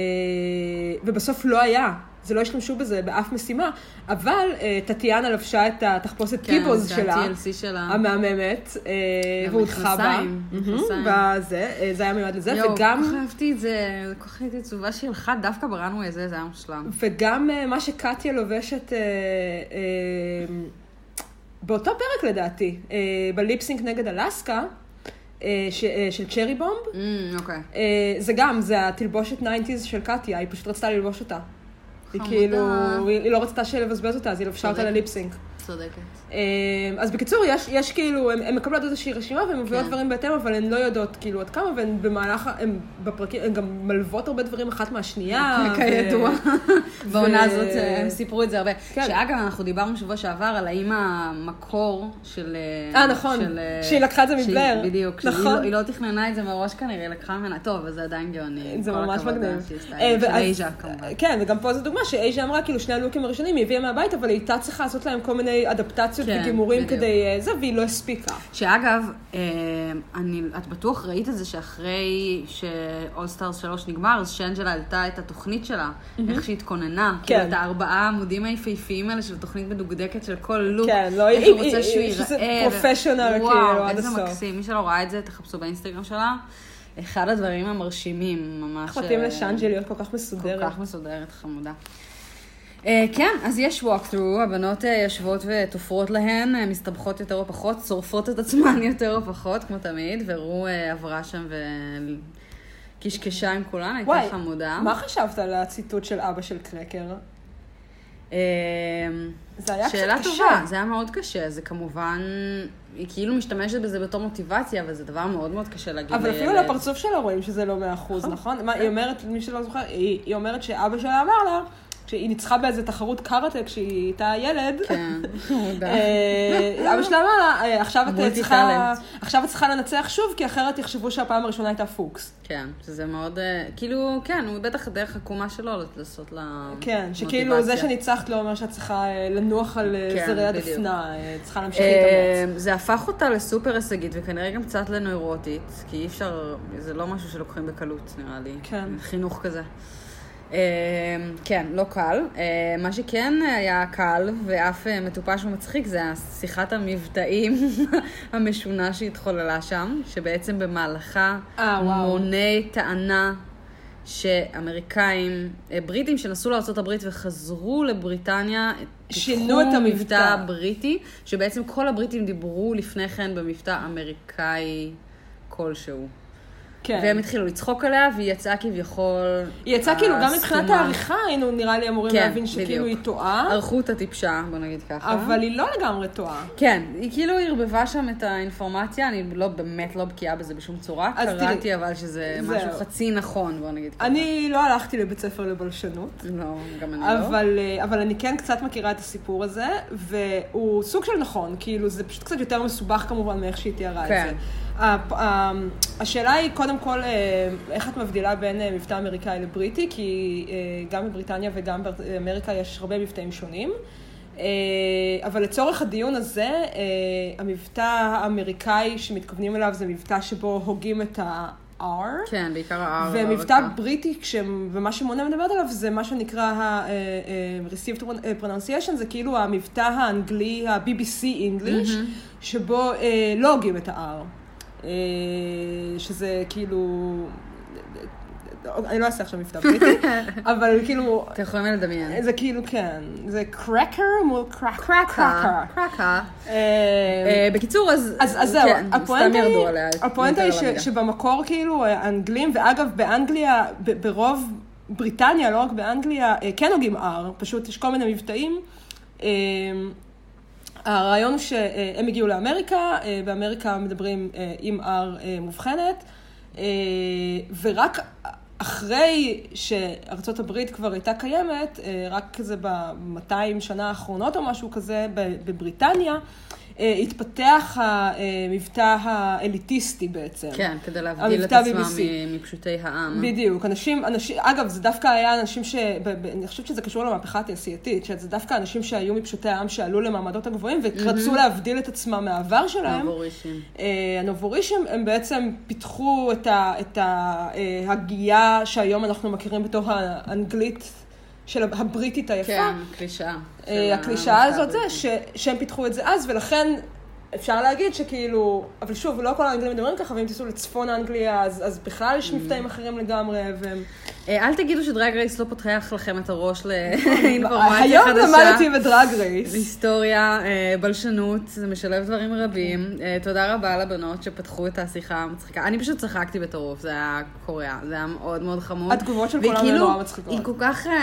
A: ובסוף לא היה. זה לא השתמשו בזה באף משימה, אבל אה, טטיאנה לבשה את התחפושת
B: כן,
A: קיפוז
B: זה
A: שלה,
B: ה-TLC שלה.
A: המהממת, אה, והודחה בה.
B: המכנסיים,
A: מהמם,
B: מכנסיים.
A: בזה, אה, זה היה מיועד לזה,
B: יואו, כל כך
A: וגם,
B: אהבתי את זה, כל כך הייתי עצובה שהיא הלכה דווקא בראנווי הזה, זה היה מושלם.
A: וגם אה, מה שקטיה לובשת אה, אה, באותו פרק לדעתי, אה, בליפסינק נגד אלסקה, אה, ש- אה, של צ'רי בומב,
B: אמ, אוקיי.
A: אה, זה גם, זה התלבושת 90's של קטיה, היא פשוט רצתה ללבוש אותה. היא
B: חמודה.
A: כאילו, היא היא לא רצתה לבזבז אותה, אז היא לבשה אותה
B: צודקת.
A: לליפסינק.
B: צודקת.
A: אה, אז בקיצור, יש, יש כאילו, הן מקבלות איזושהי רשימה והן מביאות
B: כן.
A: דברים בהתאם, אבל הן לא יודעות כאילו עד כמה, והן במהלך, ה- הן בפרקים, הן גם מלוות הרבה דברים אחת מהשנייה. ו-
B: כידוע. אוקיי, בעונה
A: ו-
B: הזאת אה, הם סיפרו את זה הרבה.
A: כן.
B: שאגב, אנחנו דיברנו שבוע שעבר על האם המקור של...
A: אה, נכון.
B: של, אה,
A: שהיא לקחה את זה
B: שהיא-
A: מבלר.
B: בדיוק. שהיא
A: נכון.
B: לא- היא לא תכננה את זה מראש כנראה, היא לקחה ממנה. טוב, אז זה עדיין גאוני.
A: זה
B: כל
A: ממש
B: הכבוד
A: מגניב.
B: לה שהיא עשתה את
A: אה,
B: זה. של
A: ואז-
B: אייז'ה כמובן.
A: כן, וגם פה זו דוגמה שאייז'ה אמרה, כאילו שני הלוקים הראשונים היא הביאה מהבית, אבל היא הייתה צריכה לעשות להם כל מיני אדפטציות
B: כן,
A: וגימורים
B: בדיוק.
A: כדי אה, זה, והיא לא הספיקה.
B: שאגב, אה, אני, את בטוח ראית את זה שאחרי ש-all stars 3 נגמר, אז שאנג'לה העלתה את התוכנית שלה, איך שהיא התכוננה.
A: כן.
B: כאילו, את הארבעה העמודים היפהפיים האלה של תוכנית מדוקדקת של כל לוק.
A: כן, לא,
B: איך
A: היא-
B: הוא רוצה
A: היא-
B: שהוא
A: היא-
B: ייראה.
A: שזה
B: ו-
A: professional, כאילו,
B: וואו,
A: עד
B: איזה
A: הסוף.
B: מקסים. מי שלא ראה את זה, תחפשו באינסטגרם שלה. אחד הדברים המרשימים, ממש...
A: איך מתאים
B: אה,
A: לשאנג'ה להיות כל כך
B: כל
A: מסודרת.
B: כך מסודרת, חמודה. Uh, כן, אז יש walkthrough, הבנות uh, יושבות ותופרות להן, uh, מסתבכות יותר או פחות, שורפות את עצמן יותר או פחות, כמו תמיד, ורו uh, עברה שם וקשקשה עם כולן, הייתה
A: וואי,
B: חמודה.
A: מה חשבת על הציטוט של אבא של קרקר?
B: Uh,
A: זה היה קצת
B: שאלה
A: קשה.
B: טובה, זה היה מאוד קשה, זה כמובן, היא כאילו משתמשת בזה בתור מוטיבציה, אבל זה דבר מאוד מאוד קשה להגיד
A: אבל אפילו
B: לילד.
A: לפרצוף שלה רואים שזה לא מאה אחוז, נכון? מה, היא אומרת, מי שלא זוכר, היא היא אומרת שאבא שלה אמר לה, כשהיא ניצחה באיזה תחרות קארטה כשהיא הייתה ילד, *laughs*
B: כן, *laughs* חמודה.
A: אה, אבא שלה אמר לה, "אה, עכשיו את
B: מולטי
A: צריכה,
B: טאלנט.
A: עכשיו את צריכה לנצח שוב, כי אחרת יחשבו שהפעם הראשונה הייתה פוקס.
B: כן, שזה מאוד, אה, כאילו, כן, הוא בטח דרך הקומה שלו לעשות לה
A: כן, שכאילו
B: מוטיבציה.
A: זה שניצחת לא אומר שאת צריכה אה, לנוח על אה,
B: כן,
A: זרי
B: בדיוק.
A: הדפנה, אה, צריכה להמשיך להתאמץ.
B: אה, זה הפך אותה לסופר הישגית, וכנראה גם קצת לנוירוטית, כי אי אפשר, זה לא משהו שלוקחים בקלות, נראה לי.
A: כן.
B: חינוך כזה. אה, כן, לא קל. אה, מה שכן היה קל, ואף אה, מטופש ומצחיק, זה השיחת המבטאים *laughs* המשונה שהתחוללה שם, שבעצם במהלכה
A: אה, וואו.
B: מוני טענה שאמריקאים, אה, בריטים שנסעו לארה"ב וחזרו לבריטניה,
A: שינו את
B: פיתחו
A: המבטא.
B: בריטי, שבעצם כל הבריטים דיברו לפני כן במבטא אמריקאי כלשהו. כן.
A: כן.
B: והם התחילו לצחוק עליה, והיא יצאה כביכול...
A: היא יצאה כאילו, גם מבחינת
B: הסתומה.
A: העריכה היינו נראה לי אמורים
B: כן,
A: להבין שכאילו
B: בדיוק.
A: היא טועה,
B: ערכו אותה טיפשה, בוא נגיד ככה.
A: אבל היא לא לגמרי טועה.
B: כן, היא כאילו ערבבה שם את האינפורמציה, אני לא באמת לא בקיאה בזה בשום צורה.
A: אז תראי.
B: קראתי אבל שזה
A: זהו.
B: משהו חצי נכון, בוא נגיד ככה.
A: אני לא הלכתי לבית ספר לבלשנות.
B: לא, גם אני לא.
A: אבל, אה, אבל אני כן קצת מכירה את הסיפור הזה, והוא סוג של נכון, כאילו זה פשוט קצת יותר מסובך כמובן מאיך שהיא תיארה
B: כן.
A: את זה. הפ- ה- השאלה היא קודם כל, אה, איך את מבדילה בין אה, מבטא אמריקאי לבריטי, כי אה, גם בבריטניה וגם באמריקה יש הרבה מבטאים שונים. אה, אבל לצורך הדיון הזה, אה, המבטא האמריקאי שמתכוונים אליו זה מבטא שבו הוגים את ה-R.
B: כן, בעיקר הער.
A: ומבטא
B: הרכה.
A: בריטי, כש... ומה שמונה מדברת עליו, זה מה שנקרא אה, ה-received אה, pronunciation, זה כאילו המבטא האנגלי, ה-BBC English, שבו אה, לא הוגים את ה-R. אה, שזה כאילו... אני לא אעשה עכשיו מבטא בריטי, אבל כאילו,
B: אתם יכולים לדמיין.
A: זה כאילו כן, זה קרקר מול קרקר.
B: קרקה. קרקה.
A: אה,
B: אה, בקיצור, אז...
A: אז, אז זהו,
B: כן,
A: הפואנטה
B: סתם
A: היא,
B: ירדו עליה.
A: הפואנטה היא ש,
B: יותר למגע.
A: שבמקור כאילו האנגלים, ואגב באנגליה, ב, ברוב בריטניה, לא רק באנגליה, אה, כן הוגים R, פשוט יש כל מיני מבטאים. אה, הרעיון הוא שהם הגיעו לאמריקה, אה, באמריקה מדברים אה, עם R אה, מובחנת, אה, ורק אחרי שארצות הברית כבר הייתה קיימת, אה, רק כזה ב-200 שנה האחרונות או משהו כזה, ב- בבריטניה, אה, התפתח המבטא האליטיסטי בעצם.
B: כן, כדי להבדיל את
A: המבטא
B: עצמם
A: BBC.
B: מ- מפשוטי העם.
A: בדיוק, אנשים, אנשים, אגב, זה דווקא היה אנשים ש... ב, ב, אני חושבת שזה קשור למהפכה התעשייתית, שזה דווקא אנשים שהיו מפשוטי העם שעלו למעמדות הגבוהים ורצו להבדיל את עצמם מהעבר שלהם.
B: הבורישים.
A: אה, הנובורישים הם בעצם פיתחו את, ה, את ה- אה, הגייה שהיום אנחנו מכירים בתור האנגלית של הב- הבריטית היפה.
B: כן, קלישאה.
A: אה, הקלישאה הזאת זה ש, שהם פיתחו את זה אז, ולכן אפשר להגיד שכאילו, אבל שוב, לא כל האנגלים מדברים ככה, ואם תיסעו לצפון אנגליה, אז, אז בכלל יש מבטאים אחרים לגמרי, והם...
B: אה, אל תגידו שדרג רייס לא פותח לכם את הראש לאינפורמציה חדשה.
A: נכון. היום למדתי בדרג רייס.
B: היסטוריה, אה, בלשנות, זה משלב דברים רבים. אה, תודה רבה לבנות שפתחו את השיחה המצחיקה. אני פשוט צחקתי בטירוף, זה היה קורע, זה היה מאוד מאוד חמור.
A: התגובות של כולם
B: והיא
A: היו
B: כאילו-
A: נורא מצחיקות.
B: היא כל כך... אה,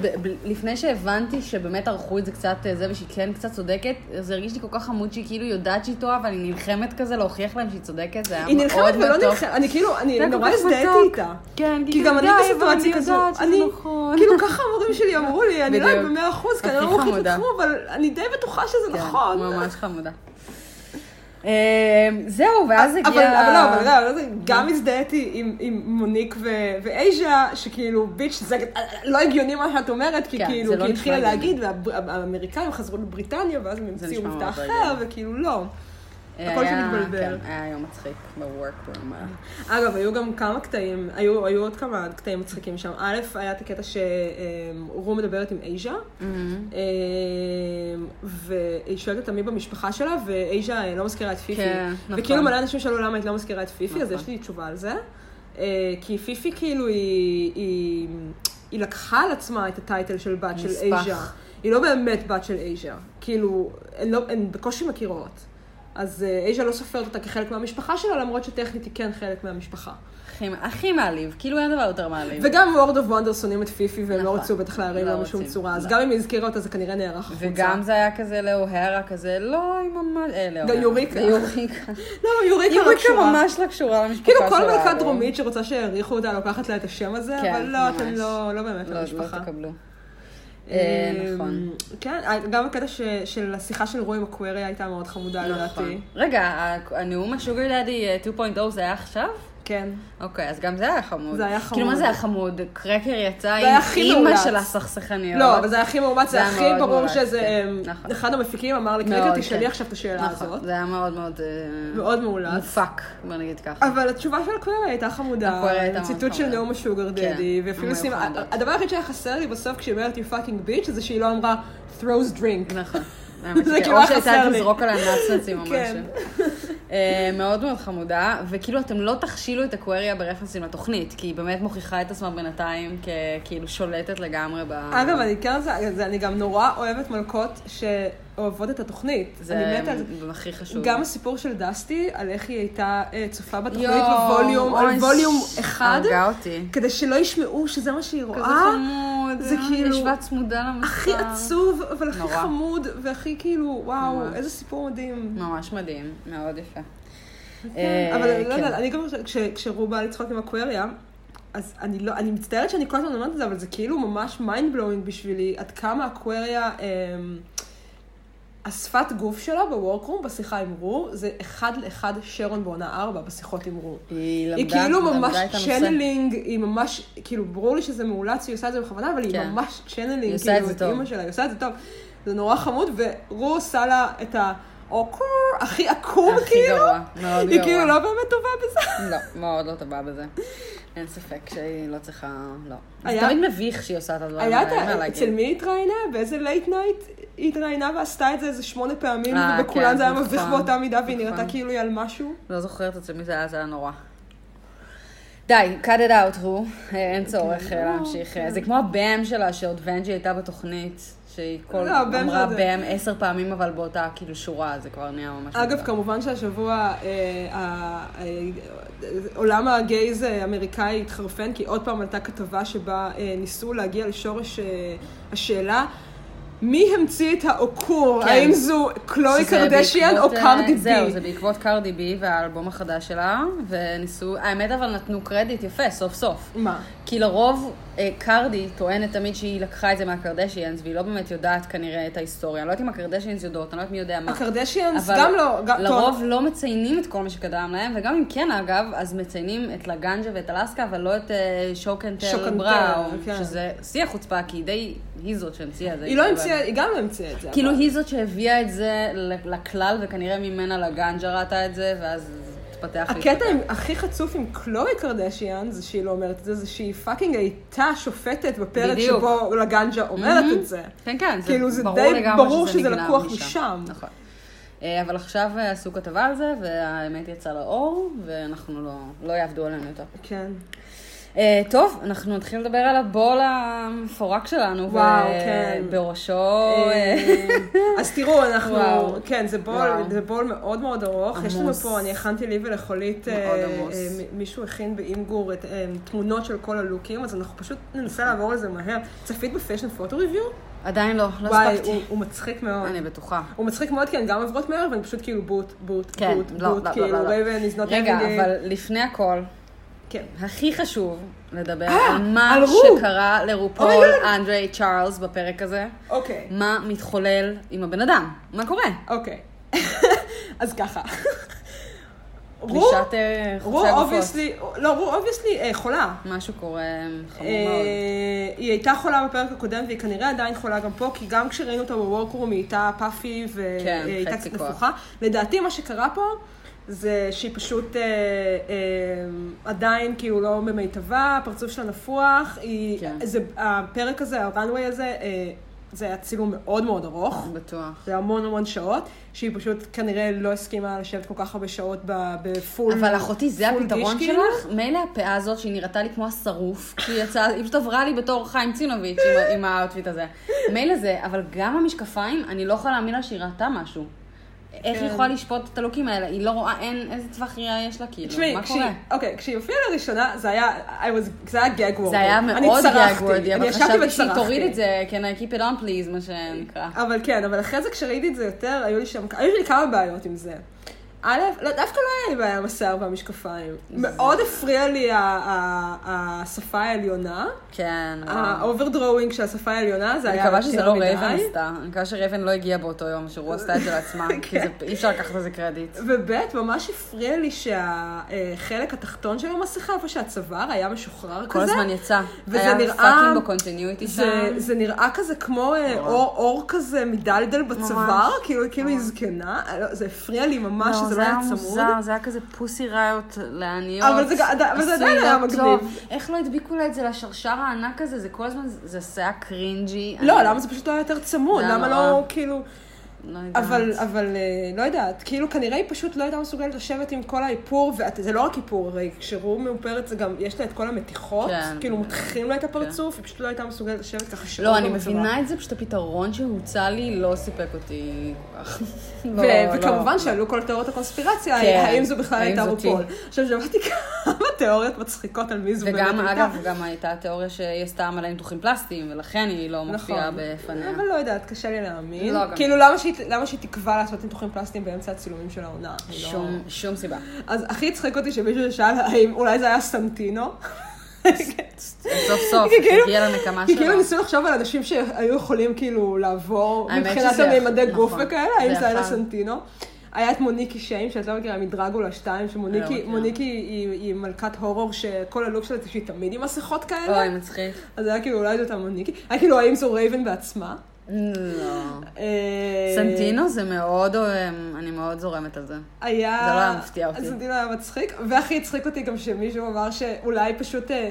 B: ב- ב- לפני שהבנתי שבאמת ערכו את זה קצת אה, זה, ושהיא כן קצת צודקת, זה הרגיש לי כל כך חמוד שהיא כאילו יודעת שהיא טועה, אבל היא נלחמת כזה להוכיח להם שהיא צודקת, זה היה
A: היא
B: מאוד מתוק.
A: נלחמת ולא נלחמת, אני כאילו,
B: זה
A: אני
B: היה כל
A: נורא
B: כך
A: הזדהיתי
B: מתוק.
A: איתה.
B: כן,
A: כי גם אני בסיטואציה כזו,
B: אני
A: אני,
B: יודעת שזה נכון.
A: כאילו ככה המורים שלי אמרו לי, אני לא יודעת
B: בדיוק.
A: במאה אחוז, כי אני לא
B: הכי
A: מומחית
B: חמודה.
A: לתחום, אבל אני די בטוחה שזה
B: כן,
A: נכון.
B: ממש חמודה. אה, זהו, ואז הגיע...
A: אבל, אבל לא, אבל לא, לא, זה- גם הזדהיתי עם, עם מוניק ו- ואייז'ה, שכאילו, ביץ', זה לא הגיוני מה שאת אומרת, כי
B: כן, זה
A: כאילו,
B: לא
A: כי היא
B: נשמע
A: התחילה
B: הגיוני.
A: להגיד, והאמריקאים חזרו לבריטניה, ואז הם המציאו
B: נשמע מאוד
A: מבטא
B: לא
A: אחר, וכאילו לא. הכל
B: היה-
A: שמתבלבל.
B: כן, היה יום מצחיק בוורקרום.
A: אגב, היו גם כמה קטעים, היו, היו עוד כמה קטעים מצחיקים שם. א', היה את הקטע שרו מדברת עם אייז'ה,
B: Mm-hmm.
A: אה, והיא שואלת אותה מי במשפחה שלה, ואייז'ה אה, לא מזכירה את פיפי.
B: כן, נכון.
A: וכאילו מלא אנשים שאלו למה את לא מזכירה את פיפי, אז
B: נכון.
A: יש לי תשובה על זה. אה, כי פיפי כאילו היא, היא, היא לקחה על עצמה את הטייטל של בת של
B: נספח.
A: אייז'ה. היא לא באמת בת של אייז'ה. כאילו, הן לא, הן בקושי מכירות. אז אה, אייז'ה לא סופרת אותה כחלק מהמשפחה שלה, למרות שטכנית היא כן חלק מהמשפחה.
B: הכי- הכי מעליב, כאילו אין דבר יותר מעליב.
A: וגם וורד אוף וונדר שונאים את פיפי, והם לא
B: נכון.
A: רצו בטח להרים
B: לא
A: לה בשום
B: רוצים,
A: צורה, אז
B: לא.
A: גם אם היא הזכירה אותה, זה כנראה נערך החוצה.
B: וגם זה היה כזה לאוהרה כזה, לא, היא ממש... אה, לאוהרה.
A: ליוריקה.
B: ליוריקה.
A: לא, יוריקה לא
B: יוריקה
A: קשורה.
B: ממש לא קשורה למשפחה
A: כאילו
B: שלה.
A: כל מלכה
B: לא.
A: דרומית שרוצה שיעריכו אותה, לוקחת לה את השם הזה,
B: כן,
A: אבל לא, אתם
B: ממש.
A: לא לא באמת
B: לא,
A: לא
B: לא
A: משפחה.
B: תקבלו.
A: אה,
B: אה, נכון.
A: כן, גם הקטע ש- של השיחה של רוי עם הקווירי הייתה מאוד חמודה
B: נכון.
A: לדעתי.
B: רגע, ה- הנאום השוגר דדי אה, 2.0 זה היה עכשיו?
A: כן.
B: אוקיי, אז גם זה היה חמוד.
A: זה היה
B: כאילו,
A: חמוד.
B: מה זה היה חמוד? קרקר יצא
A: היה
B: עם
A: הכי
B: אימא
A: מאולץ.
B: של הסכסכניות.
A: לא, אבל זה היה הכי מאומץ,
B: זה
A: זה
B: היה
A: הכי
B: מאוד
A: ברור
B: מאומץ,
A: שזה...
B: כן.
A: אמ,
B: נכון.
A: אחד המפיקים אמר לי,
B: מאוד,
A: קריקר, תשאלי
B: כן.
A: עכשיו את השאלה
B: נכון,
A: הזאת.
B: זה היה מאוד מאוד... אה,
A: מאוד מאולץ.
B: מופק, בוא נגיד ככה.
A: אבל התשובה של הקווירי הייתה חמודה,
B: הקווירי הייתה מאוד
A: ציטוט של
B: חמודה.
A: נאום השוגר
B: כן,
A: דדי, ואפילו
B: המאוחדות.
A: שים... הדבר היחיד שהיה חסר לי בסוף כשהיא אומרת you fucking bitch, זה שהיא לא אמרה throws drink.
B: נכון.
A: *laughs*
B: האמת שכן.
A: כאילו
B: או
A: היה
B: שהייתה
A: חסר לי.
B: לזרוק עליה נאצנצים או
A: כן.
B: משהו. אה, מאוד מאוד חמודה, וכאילו אתם לא תכשילו את הקוויריה ברפרנסים לתוכנית, כי היא באמת מוכיחה את עצמה בינתיים ככאילו שולטת לגמרי ב...
A: אגב, אני כן, זה- זה- אני גם נורא אוהבת מלכות שאוהבות את התוכנית. אני
B: זה
A: מתה על זה.
B: הכי חשוב.
A: גם הסיפור של דסטי, על איך היא הייתה אה, צופה בתוכנית
B: יואו,
A: בווליום, על
B: אוי,
A: ווליום
B: ש-
A: אחד,
B: הרגה אותי.
A: כדי שלא ישמעו שזה מה שהיא
B: כזה
A: רואה.
B: חמוד.
A: זה כאילו-
B: ישבה צמודה למסך.
A: הכי עצוב, אבל הכי
B: נורא.
A: חמוד, והכי כאילו, וואו,
B: ממש.
A: איזה סיפור מדהים.
B: ממש מדהים, מאוד יפה.
A: כן,
B: אה,
A: אבל לא
B: כן.
A: יודעת, אני גם, חושבת, כש- כשרו בא לצחוק עם אקוויריה, אז אני לא, אני מצטערת שאני כל הזמן אומרת את זה, אבל זה כאילו ממש מיינד בלואוינג בשבילי, עד כמה אקוויריה, אמ, השפת גוף שלה בוורקרום, בשיחה עם רו, זה אחד לאחד שרון בעונה ארבע בשיחות עם רו.
B: היא
A: היא
B: למדה,
A: כאילו ממש
B: למדה את הנושא.
A: צ'נלינג, היא ממש, כאילו, ברור לי שזה מאולץ, היא עושה את זה בכוונה, אבל היא
B: כן.
A: ממש צ'נלינג,
B: היא עושה את זה
A: את
B: טוב.
A: אימא שלה, היא עושה את זה טוב. זה נורא חמוד, ורו עושה לה את האוקור, הכי עקום,
B: הכי
A: כאילו.
B: גרוע, מאוד
A: היא
B: גרוע.
A: כאילו לא באמת טובה בזה.
B: לא, מאוד לא טובה בזה. אין ספק שהיא לא צריכה, לא. זה
A: היה-
B: תמיד מביך שהיא עושה את הדברים
A: היה
B: האלה,
A: את
B: אין מה
A: ה...
B: להגיד.
A: אצל מי היא התראיינה? באיזה לייט נייט היא התראיינה ועשתה את זה איזה שמונה פעמים,
B: אה,
A: ובכולן
B: כן,
A: זה היה
B: נכון,
A: מביך באותה מידה, והיא
B: נכון.
A: נראתה כאילו היא על משהו.
B: לא זוכרת אצל מי זה היה, זה היה נורא. די, cut it out, הוא. אין
A: כן,
B: צורך
A: לא,
B: אה, להמשיך. אה, זה כמו הבאם שלה, שעוד ונג'י הייתה בתוכנית, שהיא כל...
A: לא, הבאם
B: אמרה
A: זה-
B: באם עשר פעמים, אבל באותה כאילו שורה, זה כבר נהיה ממש...
A: אגב,
B: מוזר.
A: כמובן שהשבוע אה, ה- אה, עולם הגייז אה, האמריקאי התחרפן, כי עוד פעם עלתה כתבה שבה אה, ניסו להגיע לשורש אה, השאלה. מי המציא את האוקור?
B: כן.
A: האם זו קלוי
B: שזה
A: קרדשיאן או
B: בעקבות, אה,
A: קרדי בי?
B: זהו, זה בעקבות קרדי בי והאלבום החדש שלה, וניסו... האמת, אבל נתנו קרדיט יפה, סוף סוף.
A: מה?
B: כי לרוב אה, קרדי טוענת תמיד שהיא לקחה את זה מהקרדשיאנס, והיא לא באמת יודעת כנראה את ההיסטוריה. אני לא יודעת אם הקרדשיאנס יודעות, אני לא יודעת מי יודע מה.
A: הקרדשיאנס
B: אבל
A: גם לא... גם-
B: לרוב לא מציינים את כל מה שקדם להם, וגם אם כן, אגב, אז מציינים את לגנג'ה ואת אלסקה, אבל לא את שוקנטר
A: שוקנטר,
B: בראון,
A: כן.
B: שזה שיא החוצפה, כי היא די, היא זאת שהמציאה את זה.
A: היא לא
B: אבל-
A: המציאה, היא גם לא המציאה את זה.
B: כאילו
A: אבל-
B: היא זאת שהביאה את זה ל- לכלל, וכנראה ממנה לגנג'ה ראתה את זה, ואז זה התפתח לי.
A: הקטע עם- הכי חצוף עם קלוי קרדשיאן, זה שהיא לא אומרת את זה, זה שהיא פאקינג הייתה שופטת בפרק
B: בדיוק.
A: שבו לגנג'ה אומרת את זה.
B: כן, כן, זה
A: כאילו, זה
B: ברור
A: די
B: לגמרי
A: ברור שזה
B: נגנב
A: לקוח
B: משם.
A: משם.
B: נכון. אה, אבל עכשיו אה, עשו כתבה על זה, והאמת יצאה לאור, ואנחנו לא, לא יעבדו עלינו יותר.
A: כן.
B: אה, טוב, אנחנו נתחיל לדבר על הבול המפורק שלנו. אה,
A: וואו, כן.
B: בראשו...
A: אה, אז תראו, אנחנו...
B: אה, וואו.
A: כן, זה בול,
B: וואו.
A: זה בול מאוד מאוד ארוך. יש לנו
B: עמוס.
A: פה, אני הכנתי לי ולחולית,
B: מאוד
A: אה,
B: עמוס.
A: אה, מ- מישהו הכין באינגור את אה, תמונות של כל הלוקים, אז אנחנו פשוט ננסה לעבור על זה מהר. צפית בפשן פוטו ריוויו?
B: עדיין לא, לא
A: וואי,
B: הספקתי.
A: הוא- הוא מצחיק מאוד.
B: אני בטוחה.
A: הוא מצחיק מאוד, כי הן גם עוברות מהר, והן פשוט כאילו בוט, בוט,
B: כן,
A: בוט,
B: לא,
A: בוט,
B: לא,
A: כאילו,
B: לא, לא, לא.
A: רייבן is not
B: רגע,
A: having it.
B: אבל לפני הכל,
A: כן.
B: הכי חשוב לדבר
A: אה,
B: על מה
A: על Oh רו.
B: שקרה לרופול
A: אומייגאד.
B: אנדרי צ'ארלס בפרק הזה.
A: אוקיי,
B: מה מתחולל עם הבן אדם? מה קורה?
A: אוקיי. *laughs* אז ככה. רו,
B: פלישת אה,
A: רו
B: חוצי הגופות.
A: אובייסלי, לא, רו אובייסלי חולה.
B: משהו קורה חמור מאוד.
A: אה, היא הייתה חולה בפרק הקודם, והיא כנראה עדיין חולה גם פה, כי גם כשראינו אותה בוורקרום היא הייתה פאפי והיא
B: כן,
A: הייתה
B: חצי
A: קצת
B: כוח.
A: נפוחה. לדעתי מה שקרה פה זה שהיא פשוט אה, אה, עדיין כאילו לא במיטבה, הפרצוף שלה נפוח. היא-
B: כן.
A: זה- הפרק הזה, הראנוויי הזה, אה, זה היה צילום מאוד מאוד ארוך.
B: בטוח.
A: זה המון המון שעות, שהיא פשוט כנראה לא הסכימה לשבת כל כך הרבה שעות ב- בפול.
B: אבל אחותי, זה
A: פול
B: הפתרון
A: דיש, כאילו?
B: שלך? מילא הפאה הזאת, שהיא נראתה לי כמו השרוף, כשהיא יצאה, היא פשוט עברה לי בתור חיים צינוביץ' עם ה- עם האאוטפיט הזה. מילא זה, אבל גם המשקפיים, אני לא יכולה להאמין לה שהיא ראתה משהו. איך היא
A: כן.
B: יכולה לשפוט את הלוקים האלה? היא לא רואה, אין, איזה טווח ראייה יש לה, כאילו,
A: תשמעי,
B: מה
A: כשהיא-
B: קורה?
A: אוקיי, כשהיא הופיעה לראשונה, זה היה, I was, זה היה גג וורד.
B: זה היה מאוד גאגוורדי, אבל חשבתי שהיא תוריד את
A: זה.
B: זה, כן, I keep it on please, מה שנקרא.
A: אבל כן, אבל אחרי זה כשראיתי את זה יותר, היו לי שם, היו לי כמה בעיות עם זה. א', לא, דווקא לא היה לי בעיה עם השיער והמשקפיים. מאוד הפריע לי ה- ה- השפה העליונה.
B: כן, וואו.
A: האוברדרואינג של השפה העליונה, זה
B: אני
A: היה...
B: מקווה שזה
A: יותר
B: לא
A: מדי.
B: רייבן עשתה, אני מקווה שרייבן לא הגיעה באותו יום, שרו עשתה את זה
A: *laughs*
B: לעצמה, כי זה-
A: כן.
B: אי אפשר לקחת לזה קרדיט.
A: וב' ממש הפריע לי שהחלק התחתון של המסכה, איפה שהצוואר היה משוחרר
B: כל
A: כזה.
B: הזמן יצא.
A: וזה נראה-
B: היה פאקינג בקונטיניוטי שם.
A: זה, זה נראה כזה כמו אה, אור, אור כזה מדלדל בצוואר,
B: ממש.
A: כאילו, כאילו היא זקנה, אה, לא, זה הפריע לי ממש,
B: לא,
A: שזה לא היה צמוד.
B: מוזר, זה היה כזה פוסי ראיות לעניות.
A: אבל זה גם- אבל זה עדיין היה
B: עשוי לא
A: מגניב.
B: טוב. איך לא הדביקו לה את זה לשרשר הענק הזה? זה כל הזמן, זה שיער קרינג'י.
A: לא,
B: אני
A: למה זה פשוט לא היה יותר צמוד?
B: זה היה
A: למה
B: נורא.
A: לא, כאילו...
B: לא יודעת.
A: אבל, אבל אה, לא יודעת, כאילו כנראה היא פשוט לא הייתה מסוגלת לשבת עם כל האיפור, וזה לא רק איפור, הרי כשהוא מאופרת זה גם, יש לה את כל המתיחות,
B: כן.
A: כאילו מותחים לה את הפרצוף, היא פשוט לא הייתה מסוגלת לשבת ככה שעות
B: לא, אני
A: במצבה.
B: מבינה את זה, פשוט הפתרון שהוצע לי לא סיפק אותי
A: *laughs*
B: כל כך. לא,
A: ו-
B: לא.
A: וכמובן שעלו כל תיאוריות הקונספירציה,
B: כן.
A: האם זו בכלל
B: האם
A: הייתה
B: זאתי?
A: רופול. עכשיו, שמעתי כמה תיאוריות מצחיקות על מי זו באמת
B: וגם,
A: הייתה.
B: אגב, גם הייתה תיאוריה שהיא עשתה מלא ניתוחים פלסטיים, ולכן היא לא מופיעה בפניה.
A: נכון. אבל לא יודעת, קשה לי להאמין.
B: לא, גם-
A: כאילו, למה שהיא- למה שהיא תקבע לעשות ניתוחים פלסטיים באמצע הצילומים של העונה? אני לא-
B: שום- שום סיבה.
A: אז הכי הצחיק אותי שמישהו שאל האם אולי זה היה סנטינו.
B: סוף סוף,
A: כי כאילו-
B: הגיעה לנקמה
A: כי כאילו
B: שלו.
A: ניסו לחשוב על אנשים שהיו יכולים כאילו לעבור
B: האמת
A: מבחינת
B: שזה-
A: המימדי גוף
B: נכון,
A: וכאלה,
B: זה
A: האם זה היה
B: יכל.
A: סנטינו. היה את מוניקי שיין, שאת לא מכירה, מדרגולה 2,
B: לא
A: שמוניקי
B: מכירה.
A: מוניקי היא היא מלכת הורור, שכל הלוק שלה זה שהיא תמיד עם מסכות כאלה.
B: אוי, מצחיק.
A: אז היה כאילו אולי זאת המוניקי. היה כאילו האם זו רייבן בעצמה.
B: לא.
A: אה,
B: סנטינו זה מאוד, אוהם, אני מאוד זורמת על זה.
A: היה...
B: זה לא היה מפתיע אותי.
A: הסנטינו היה מצחיק, והכי הצחיק אותי גם שמישהו אמר שאולי פשוט אה, אה,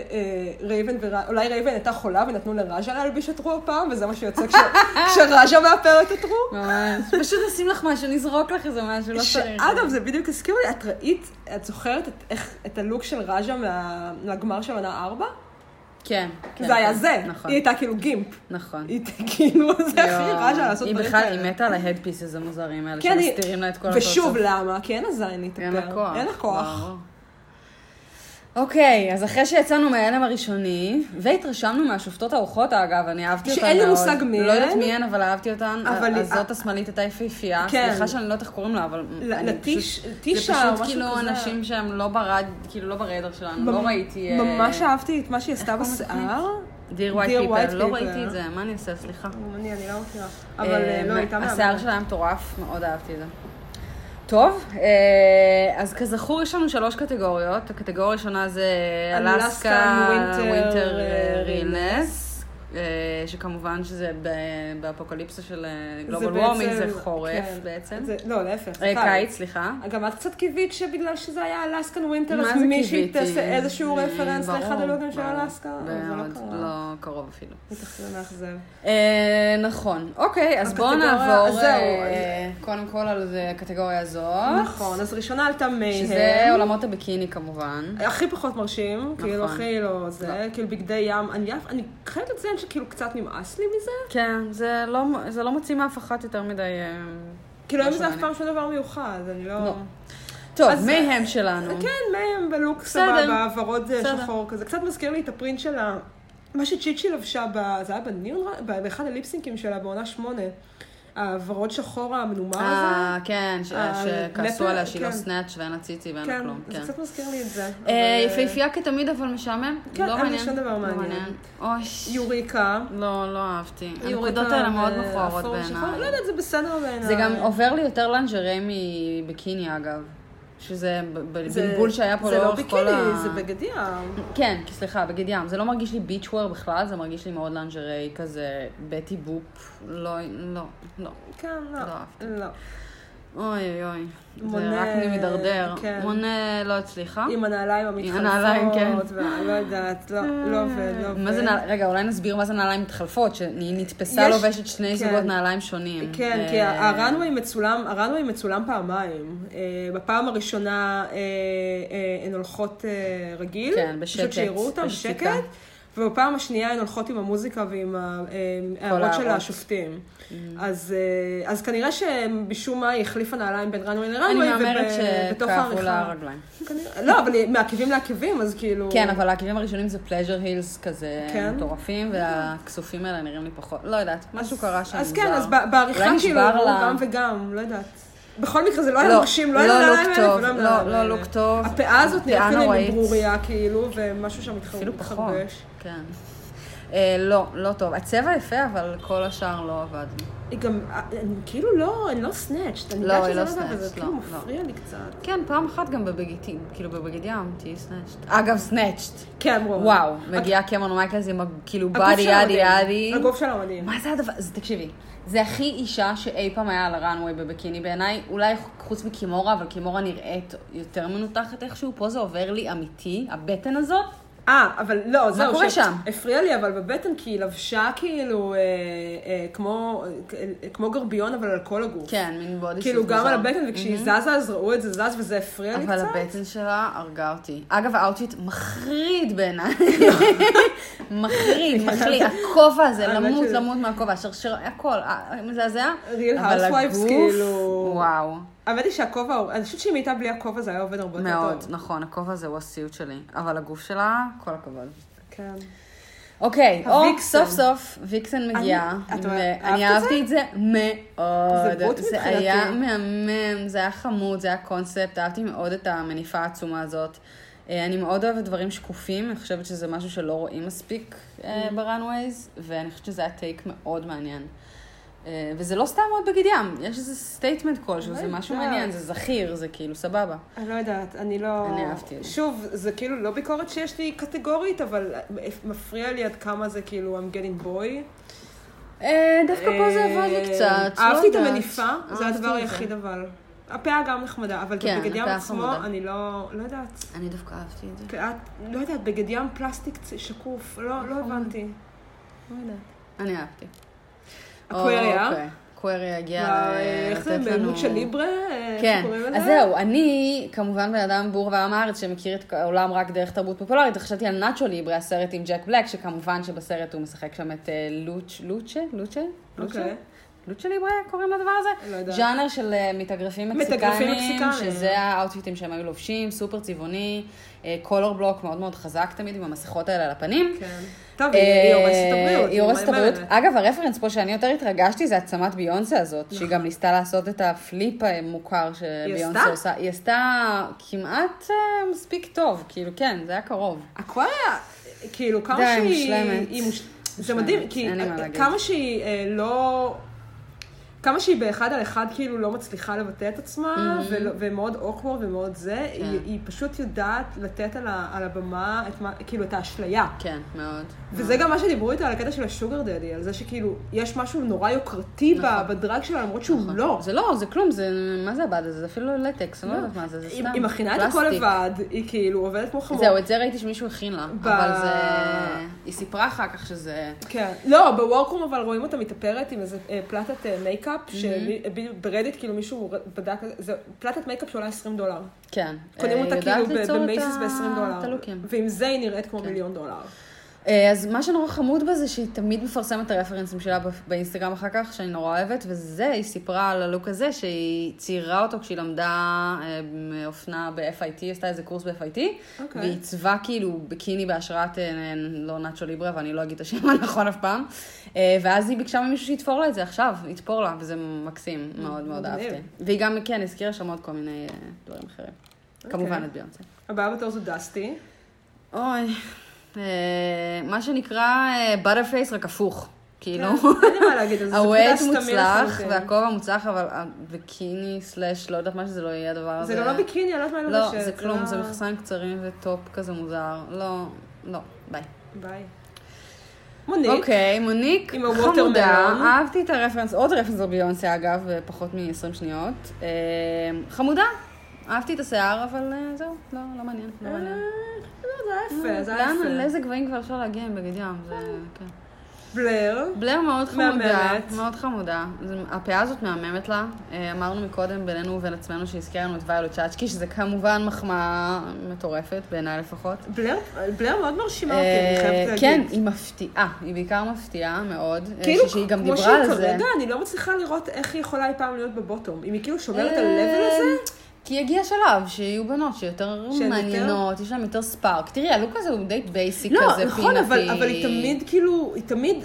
A: רייבן, ור- אולי רייבן הייתה חולה ונתנו לראז'ה להלביש את רו הפעם, וזה מה שיוצא כש...
B: *laughs*
A: כשראז'ה מאפרת את רו.
B: ממש. פשוט נשים לך משהו, נזרוק לך איזה משהו, לא צריך.
A: שאגב, זה בדיוק הזכיר לי, את ראית, את זוכרת את, איך, את הלוק של ראז'ה מה, מהגמר של עונה 4?
B: כן. כן,
A: זה היה
B: כן.
A: זה.
B: נכון,
A: היא הייתה כאילו גימפ.
B: נכון.
A: היא הייתה כאילו, זה הכי
B: יואו.
A: ראז'ה לעשות
B: היא
A: דברים
B: בכלל,
A: כאלה.
B: היא מתה על ההדפיסס המוזרים האלה,
A: כן, היא-
B: שמסתירים לה את כל הפרצוף.
A: ושוב, למה? כי אין הזין
B: אין לה כוח.
A: אין לה כוח.
B: ברור. אוקיי, אז אחרי שיצאנו מההלם הראשוני, והתרשמנו מהשופטות האורחות, אגב, אני אהבתי אותן מאוד.
A: שאין לי מושג מי
B: לא
A: הן.
B: יודעת מי הן, אבל אהבתי אותן.
A: אבל-
B: אז זאת השמאלית הייתה יפהפייה.
A: כן.
B: סליחה שאני לא יודעת איך קוראים לה, אבל...
A: ל-
B: אני
A: לטיש-
B: פשוט-
A: טישה
B: זה
A: או משהו
B: פשוט כאילו
A: כזה.
B: אנשים שהם לא ברד, כאילו לא ברדאר שלנו,
A: ממ-
B: לא ראיתי... אה,
A: ממש אהבתי את מה שהיא עשתה
B: קוראים
A: בשיער.
B: Dear
A: Dear
B: White
A: White
B: People, לא
A: People.
B: ראיתי את זה, מה אני אעשה? סליחה.
A: אני, אני לא מכירה. אבל אה,
B: אה,
A: לא, הייתה
B: השיער
A: מהמם.
B: שלה היה מטורף, מאוד אהבתי את זה. טוב, אה, אז כזכור יש לנו שלוש קטגוריות. הקטגוריה הראשונה זה
A: אלסקה,
B: אלסקה,
A: winter,
B: ווינטר
A: אה,
B: רילנס. אה, שכמובן שזה ב- באפוקליפסה של אה,
A: זה
B: Global
A: בעצם-
B: Warming, זה חורף
A: כן.
B: בעצם.
A: זה- לא, להפך,
B: אה,
A: זה
B: קיץ, סליחה.
A: גם את קצת קיווית שבגלל שזה היה אלסקן ווינטר,
B: מה
A: אז
B: זה
A: מישהי
B: קיוויתי?
A: תעשה איזשהו
B: אה,
A: רפרנס
B: ברור,
A: לאחד הלוגים של
B: ברור.
A: אלסקה, אבל זה לא
B: מאוד,
A: קרה.
B: לא קרוב אפילו.
A: בטח זה מאכזב.
B: אה, נכון, אוקיי, אז בואו
A: הקטגוריה-
B: נעבור
A: זהו.
B: אה, קודם כל על זה- הקטגוריה הזאת.
A: נכון, אוקיי. אז ראשונה עלתה מהם.
B: אה? שזה עולמות הביקיני כמובן.
A: הכי פחות מרשים, כאילו
B: נכון.
A: הכי לא זה, כאילו בגדי ים, אני אף- אני חייבת לציין שכאילו קצת נמאס לי מזה,
B: כן, זה לא, זה לא מוציא מאף אחת יותר מדי... אה,
A: כאילו
B: לא
A: אין בזה אף
B: שומע
A: פעם שום דבר מיוחד, אני לא...
B: לא. טוב,
A: אז-
B: מייהם שלנו.
A: כן, מהם בלוק
B: בסדר.
A: סבבה, ורוד אה,
B: בסדר.
A: שחור כזה. קצת מזכיר לי את הפרינט של ה... מה שצ'יצ'י לבשה, ב... זה היה בניון, ר- באחד הליפסינקים שלה בעונה שמונה. הוורוד שחור המנומר הזה.
B: אה, כן, ש-
A: אה,
B: שכעסו
A: נפל,
B: עליה שהיא לא
A: כן.
B: סנאץ' ואין לה ציצי ואין לה
A: כן,
B: כלום,
A: זה
B: כן.
A: קצת מזכיר לי את זה.
B: אה,
A: אבל-
B: יפהפייה כתמיד, אבל משעמם.
A: כן,
B: לא
A: אין לי
B: מעניין.
A: שום דבר
B: לא
A: מעניין.
B: אוי,
A: יוריקה.
B: לא, לא אהבתי.
A: יוריקה
B: הנקודות האלה מאוד
A: ואפור
B: מכוערות
A: אה, שחור. לא
B: בעיניי.
A: יודעת, זה בסדר בעיניי.
B: זה גם עובר לי יותר לנג'רי מביקיני, אגב. שזה ב- ב-
A: זה-
B: בלבול שהיה פה לאורך כל
A: זה
B: ה...
A: לא ביקיני, זה בגד ים.
B: כן, כי סליחה, בגד ים. זה לא מרגיש לי ביצ'וור בכלל, זה מרגיש לי מאוד לנג'רי כזה, בטי בופ. לא, לא, לא.
A: כן, לא.
B: לא אהבתי.
A: לא.
B: אוי אוי אוי,
A: מונה,
B: זה רק מידרדר.
A: כן.
B: מונה לא הצליחה.
A: עם הנעליים
B: עם
A: המתחלפות.
B: הנעליים, כן.
A: ו- לא יודעת, לא לא עובד, לא עובד.
B: מה זה נעל... רגע, אולי נסביר מה זה נעליים מתחלפות, שהיא נתפסה
A: יש-
B: לובשת שני
A: כן.
B: זוגות נעליים שונים.
A: כן,
B: אה,
A: כי הרנווי מצולם, הרנווי מצולם פעמיים. אה, בפעם הראשונה אה, אה, הן הולכות אה, רגיל.
B: כן, בשקט,
A: פשוט שיראו אותן
B: בשקיקה.
A: בשקט. ובפעם השנייה הן הולכות עם המוזיקה ועם ה- אה, ההערות של
B: ההערות.
A: השופטים.
B: Mm.
A: אז, אה, אז כנראה שבשום מה היא החליפה נעליים בין רנווי
B: אני
A: לרנווי.
B: מהמרת
A: וב- בתוך
B: שכאבו
A: העריכה.
B: לה הרגליים.
A: כנראה- לא, אבל מעקבים לעקבים, אז כאילו...
B: כן, אבל העקבים הראשונים זה פלז'ר הילס כזה
A: כן.
B: מטורפים, והכסופים האלה נראים לי פחות, לא יודעת, משהו קרה שם
A: אז
B: מוזר.
A: כן, אז ב- בעריכה
B: אולי
A: כאילו,
B: נשבר
A: הוא
B: לה-
A: גם וגם, לא יודעת. בכל מקרה זה לא היה מרשים, לא היה
B: לא
A: נעליים
B: לוק
A: האלה
B: טוב,
A: ולא
B: לא-
A: נעליים
B: לא
A: האלה.
B: לוק טוב.
A: הפאה הזאת
B: פאה
A: נראית כאילו
B: נוראית.
A: עם ברוריה, כאילו, ומשהו שם מתחרבש.
B: אפילו פחות. כן. אה, לא, לא טוב. הצבע יפה, אבל כל השאר לא עבד. לי.
A: היא גם, אני כאילו לא, אני לא סנאצ'ט. אני
B: לא,
A: יודעת
B: היא
A: שזה
B: לא
A: לא סנאצ'ט,
B: snatched,
A: זה כאילו
B: לא,
A: מפריע לי קצת.
B: כן, פעם אחת גם בבגיטים, כאילו בבגד ים, תהיי סנאצ'ט. אגב, סנאצ'ט.
A: כן, ברור.
B: וואו, מגיעה קמרון מייקלס עם ה- כאילו
A: הגוף
B: באדי
A: שלה
B: ידי
A: מדהים.
B: ידי.
A: הגוף שלה מדהים.
B: מה זה הדבר? אז תקשיבי, זה הכי אישה שאי פעם היה על הראנווי בבקיני בעיניי, אולי חוץ מקימורה, אבל קימורה נראית יותר מנותחת איכשהו, פה זה עובר לי אמיתי, הבטן הזאת.
A: אה, אבל לא, זהו.
B: קורה
A: ש-
B: שם?
A: הפריע לי, אבל בבטן, כי היא לבשה כאילו אה, אה, כמו- אה, כמו גרביון, אבל על כל הגוף.
B: כן, מין בודי
A: כאילו
B: סוט
A: גם
B: מוזר.
A: על הבטן, וכשהיא זזה אז ראו את זה זז, וזה הפריע לי קצת.
B: Mm-hmm. אבל הבטן שלה הרגה אותי. אגב, האאוטפיט מחריד
A: *laughs*
B: בעיניי. מחריד, מחליד. הכובע הזה,
A: האמת
B: למות,
A: שזה-
B: למות מהכובע, שרשר, הכל, אה, מזעזע.
A: Real
B: אבל
A: Housewives,
B: הגוף,
A: כאילו-
B: וואו.
A: האמת היא שהכובע, אני חושבת שאם הייתה בלי הכובע זה היה עובד הרבה יותר
B: מאוד,
A: טוב.
B: נכון, הכובע הזה הוא הסיוט שלי. אבל הגוף שלה, כל הכבוד.
A: כן.
B: אוקיי, או
A: הוויקסן.
B: סוף סוף ויקסן מגיעה.
A: את אוהבת
B: ו- אני
A: את
B: אהבתי את זה מאוד.
A: זה בוט
B: זה
A: מבחינתי.
B: היה מהמם, זה היה חמוד, זה היה קונספט, אהבתי מאוד את המניפה העצומה הזאת. אה, אני מאוד אוהבת דברים שקופים, אני חושבת שזה משהו שלא רואים מספיק אה,
A: Mm.
B: בראנווייז, ואני חושבת שזה היה טייק מאוד מעניין. אה, וזה לא סתם עוד בגד ים, יש איזה סטייטמנט כלשהו,
A: לא
B: זה משהו
A: יודעת.
B: מעניין, זה זכיר, זה כאילו סבבה.
A: אני לא יודעת, אני לא...
B: אני אהבתי את זה.
A: שוב, זה כאילו לא ביקורת שיש לי קטגורית, אבל מפריע לי עד כמה זה כאילו I'm getting boy.
B: אה, דווקא פה זה
A: אה,
B: עבד לי קצת, לא
A: אהבתי את
B: יודעת.
A: המניפה, זה
B: אהבתי
A: הדבר
B: את
A: היחיד אבל. הפאה גם נחמדה, אבל
B: כן,
A: בגד ים
B: הפאה
A: עצמו,
B: חמודה.
A: אני לא... לא יודעת.
B: אני דווקא אהבתי את זה.
A: פאה, לא יודעת, בגד ים פלסטיק שקוף, לא לא
B: נכון.
A: הבנתי.
B: לא אני אהבתי.
A: הקוויריה?
B: אוקיי. הקוויריה הגיעה
A: וואי,
B: ל-
A: איך זה,
B: אה, לתת לנו...
A: בעימות של ליברה? אה, איך
B: כן,
A: שקוראים
B: אז
A: לזה?
B: זהו, אני כמובן בן אדם בור ועם הארץ שמכיר את העולם רק דרך תרבות פופולרית, חשבתי על נאצ'ו ליברה, הסרט עם ג'ק בלק, שכמובן שבסרט הוא משחק שם את אה, לוצ' לוצ'ה? לוצ'ה? לוצ'ה?
A: אוקיי.
B: לוצ'ה ליברה קוראים לדבר הזה?
A: לא יודעת.
B: ז'אנר של אה, מתאגרפים
A: מתאגרפים
B: מקסיקנים,
A: מקסיקנים.
B: שזה האאוטפיטים שהם היו לובשים, סופר צבעוני, אה, קולור בלוק מאוד מאוד חזק תמיד עם המסכות האלה על הפנים.
A: כן. טוב, היא הורסת את הבריאות.
B: אה,
A: כאילו,
B: היא הורסת את
A: מה היא
B: הבריאות.
A: אומרת?
B: אגב, הרפרנס פה שאני יותר התרגשתי זה העצמת ביונסה הזאת, שהיא גם ניסתה לעשות את הפליפ המוכר שביונסה
A: נכון. עשתה?
B: עושה. היא עשתה כמעט אה, מספיק טוב, כאילו, כן, זה היה קרוב.
A: אקווריה, כאילו, כמה
B: די,
A: שהיא...
B: מושלמת.
A: היא מוש- זה
B: מושלמת,
A: מדהים, כי אה,
B: אין לי מה להגיד.
A: כמה שהיא אה, לא... כמה שהיא באחד על אחד כאילו לא מצליחה לבטא את עצמה, mm-hmm. ולא, ומאוד אוקוורד ומאוד זה,
B: כן.
A: היא, היא פשוט יודעת לתת על, ה, על הבמה את מה, כאילו את האשליה.
B: כן, מאוד.
A: וזה גם מה שדיברו איתה על הקטע של השוגר דדי, על זה שכאילו, יש משהו נורא יוקרתי
B: נכון.
A: נכון. בדרג שלה, למרות שהוא
B: נכון.
A: לא.
B: זה לא, זה כלום, זה... מה זה הבד הזה? זה אפילו לא לטקס, אני לא
A: לא.
B: יודעת מה זה, זה
A: היא,
B: סתם.
A: היא מכינה את הכל
B: פלסטיק.
A: לבד, היא כאילו עובדת כמו חמור.
B: זהו, את זה ראיתי שמישהו הכין לה,
A: ב-
B: אבל זה... היא סיפרה אחר כך שזה...
A: כן. לא, בוורקרום אבל רואים אותה מתאפרת עם איזה אה, פלטת אה, מייקאפ,
B: Mm-hmm.
A: שברדיט כאילו מישהו בדק, זה פלטת מייקאפ שעולה 20 דולר.
B: כן.
A: קונים
B: אה,
A: אותה
B: יודעת
A: כאילו ב-
B: ליצור כן. את
A: במייסיס
B: ה-
A: ב-20
B: את
A: דולר.
B: הלוקים.
A: ועם זה היא נראית כמו מיליון דולר.
B: אה, אז מה שנורא חמוד בה זה שהיא תמיד מפרסמת את הרפרנסים שלה ב- באינסטגרם אחר כך, שאני נורא אוהבת, וזה, היא סיפרה על הלוק הזה שהיא ציירה אותו כשהיא למדה אה, אופנה ב-FIT, עשתה איזה קורס ב-FIT,
A: אוקיי.
B: והיא עיצבה כאילו ביקיני בהשראת, אה, אה, לא נאצ'ו ליברה, ואני לא אגיד את השם *laughs* הנכון אף פעם, אה, ואז היא ביקשה ממישהו שיתפור לה את זה עכשיו, יתפור לה, וזה מקסים, מאוד מאוד
A: אה, מגניב.
B: אהבתי. והיא גם, כן, הזכירה שם עוד כל מיני אה, דברים אחרים.
A: אוקיי.
B: כמובן את ביונסה.
A: הבאה בתור זו דסטי.
B: אוי, אה, מה שנקרא בטרפייס רק הפוך. כאילו,
A: כן. אין לי מה להגיד על
B: *laughs*
A: זה. זה פשוט
B: הוואט
A: הסתמי
B: מוצלח
A: לחלוטין.
B: והכובע מוצלח, אבל הביקיני סלאש, לא יודעת מה שזה לא יהיה הדבר הזה.
A: זה גם לא ביקיני, אני לא יודעת מה
B: לא,
A: לובשת.
B: זה כלום,
A: לא-
B: זה מכסיים קצרים וטופ כזה מוזר. לא, לא, ביי.
A: ביי. מוניק.
B: אוקיי, מוניק
A: עם הווטרמלון.
B: חמודה, אהבתי את הרפרנס, עוד רפרנס על ביונסה אגב, בפחות מ-20 שניות. אה, חמודה, אהבתי את השיער, אבל אה, זהו, לא, לא מעניין, לא
A: אה,
B: מעניין.
A: לא, זה היה יפה, זה היה
B: לאן,
A: יפה.
B: לאיזה גבהים כבר אפשר להגיע עם בגד ים, זה... כן.
A: בלר.
B: בלר מאוד חמודה,
A: מהממת.
B: מאוד חמודה. זה- הפאה הזאת מהממת לה. אה, אמרנו מקודם בינינו ובין עצמנו שהזכירה לנו את ויילוט צ'אצ'קי, שזה כמובן מחמאה מטורפת, בעיניי לפחות.
A: בלר, בלר מאוד מרשימה אותי, אני חייבת
B: אה,
A: להגיד.
B: כן, היא מפתיעה, היא בעיקר מפתיעה מאוד. אה,
A: כאילו,
B: שהיא גם
A: כמו
B: דיברה
A: שהיא
B: על זה.
A: כרגע, אני לא מצליחה לראות איך היא יכולה אי פעם להיות בבוטום. אם היא כאילו שומרת על
B: אה,
A: ה-level הזה,
B: כי יגיע שלב שיהיו בנות שיותר
A: שהן יותר-
B: מעניינות, יש להן יותר ספארק. תראי, הלוק הזה הוא די בייסי כזה,
A: לא,
B: פינאפי.
A: נכון, אבל, אבל היא תמיד, כאילו, היא תמיד,